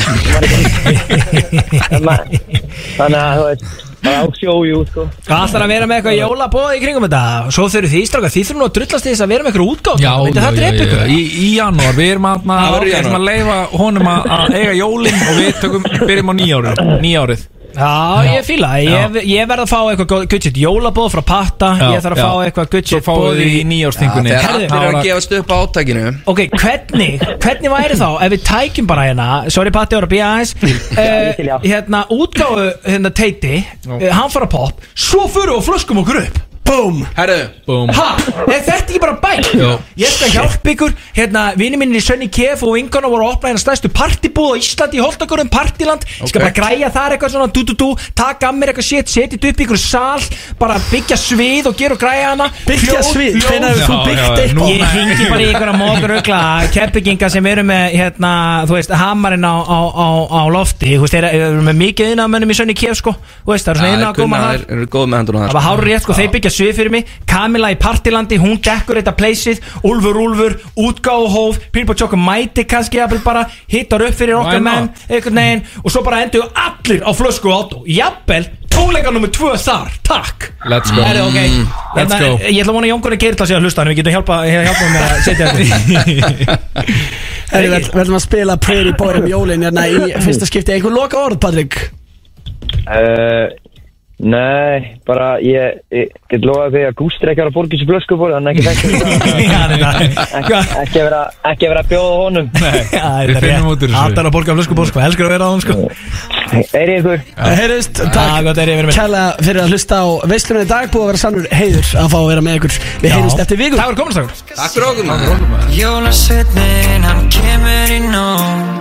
Speaker 5: Maður er ekki- þannig að þú veist það er á sjóju sko.
Speaker 2: Hvað ætlar að vera með eitthvað jólabóð í kringum þetta? Svo þurfið þið strákar, þið þurfum nú að drullast til þess að vera með eitthvað útgátt
Speaker 13: Já,
Speaker 2: Myndi
Speaker 13: já,
Speaker 2: það
Speaker 13: já,
Speaker 2: drepa
Speaker 13: já,
Speaker 2: ykkur?
Speaker 13: í, í janúar, við erum að,
Speaker 2: Það
Speaker 13: að,
Speaker 2: verður í
Speaker 13: að,
Speaker 2: janúar.
Speaker 13: að leifa honum að, að eiga jólin og við tökum, byrjum á nýjárið nýjárið
Speaker 2: Já, ég fíla, það. ég, ég verð að fá eitthvað gudget jólabóð frá Patta
Speaker 13: Já,
Speaker 2: Ég þarf að
Speaker 13: já.
Speaker 2: fá eitthvað
Speaker 13: Svo
Speaker 2: gudget
Speaker 13: fáum við í nýjársþingunni.
Speaker 14: Já, þegar allir eru að
Speaker 2: gefast upp á átakinu Ok, hvernig, hvernig væri þá ef við tækjum bara hérna Sorry Patti, ég voru að býja aðeins Eh, uh, Hérna, útgáfu hérna Teiti, uh, hann fara pop Svo förum við og flöskum okkur upp
Speaker 3: Búm
Speaker 14: Herru
Speaker 13: Búm
Speaker 2: Ha, er þetta ekki bara bæn?
Speaker 13: Jó.
Speaker 2: Ég skal hjálpa ykkur Hérna, vinni minni í Sönni KF og vingona voru að opna hérna stæðstu partibúð á Íslandi í Holtakorum, partiland Ég skal
Speaker 13: Ok.
Speaker 2: bara græja þar eitthvað svona, dú, dú, dú Taka að mér eitthvað shit, setja þetta upp í ykkur sal Bara byggja svið og gera og græja hana
Speaker 3: Byggja
Speaker 2: Hljóð,
Speaker 3: svið?
Speaker 2: ljós.
Speaker 3: Hvenær hefur þú Já, byggt já, já, eitthvað?
Speaker 2: Ég
Speaker 3: núna.
Speaker 2: hingi bara í ykkur að mókur ögla Keppiginga sem eru með, hérna, þú veist, hamarinn á, á, á, á lofti Þú veist, þeir eru með mikið innamönnum í Sönni KF, sko Þú veist, það eru
Speaker 14: Já,
Speaker 2: svona
Speaker 14: þeir kunna-
Speaker 2: innagóma þar
Speaker 14: Þeir eru góð með hendur
Speaker 2: Það var hár rétt sko, þeir byggja svið fyrir mig Kamila í partilandi, hún dekkur þetta pleysið Úlfur, Úlfur, útgáhóf Pílbó Tjóka mæti kannski jafnvel bara Hittar upp fyrir
Speaker 13: Why
Speaker 2: okkar menn einhvern veginn, Og svo bara endur allir á flösku og átó Jafnvel, tónleika nummer tvö þar Takk
Speaker 13: Let's go.
Speaker 2: Herri, okay.
Speaker 13: Mm, let's
Speaker 2: Hérna,
Speaker 13: go.
Speaker 2: Ég ætla að vona Jóngur að geirla sig að hlusta Þannig við getum hjálpa, hjálpa með að setja þetta
Speaker 3: Herri, við við ætlum að spila Prairie Boy um jólin hérna í fyrsta skipti Einhver loka orð, Patrik
Speaker 5: Uh, nei, bara ég, ég get lofa því að Gústir ekki var að borga þessu blöskubor þannig að ekki þekki ekki, vera, ekki vera að bjóða honum
Speaker 2: Við
Speaker 13: finnum út úr þessu.
Speaker 2: Hattar að borga af flösku bór sko, elskar að vera á hann sko
Speaker 5: Eirið ykkur
Speaker 3: Heyrðist,
Speaker 2: Ah,
Speaker 3: takk
Speaker 2: gott, Eiríkur, verið með.
Speaker 3: kælega fyrir að hlusta á veislunni í dag Búið að vera sannur heiður að fá að vera með ykkur Við heyrðist eftir viku
Speaker 2: Takk fyrir komin, takk
Speaker 14: Takk fyrir okkur maður
Speaker 15: Jólasveitnin, hann kemur í nóm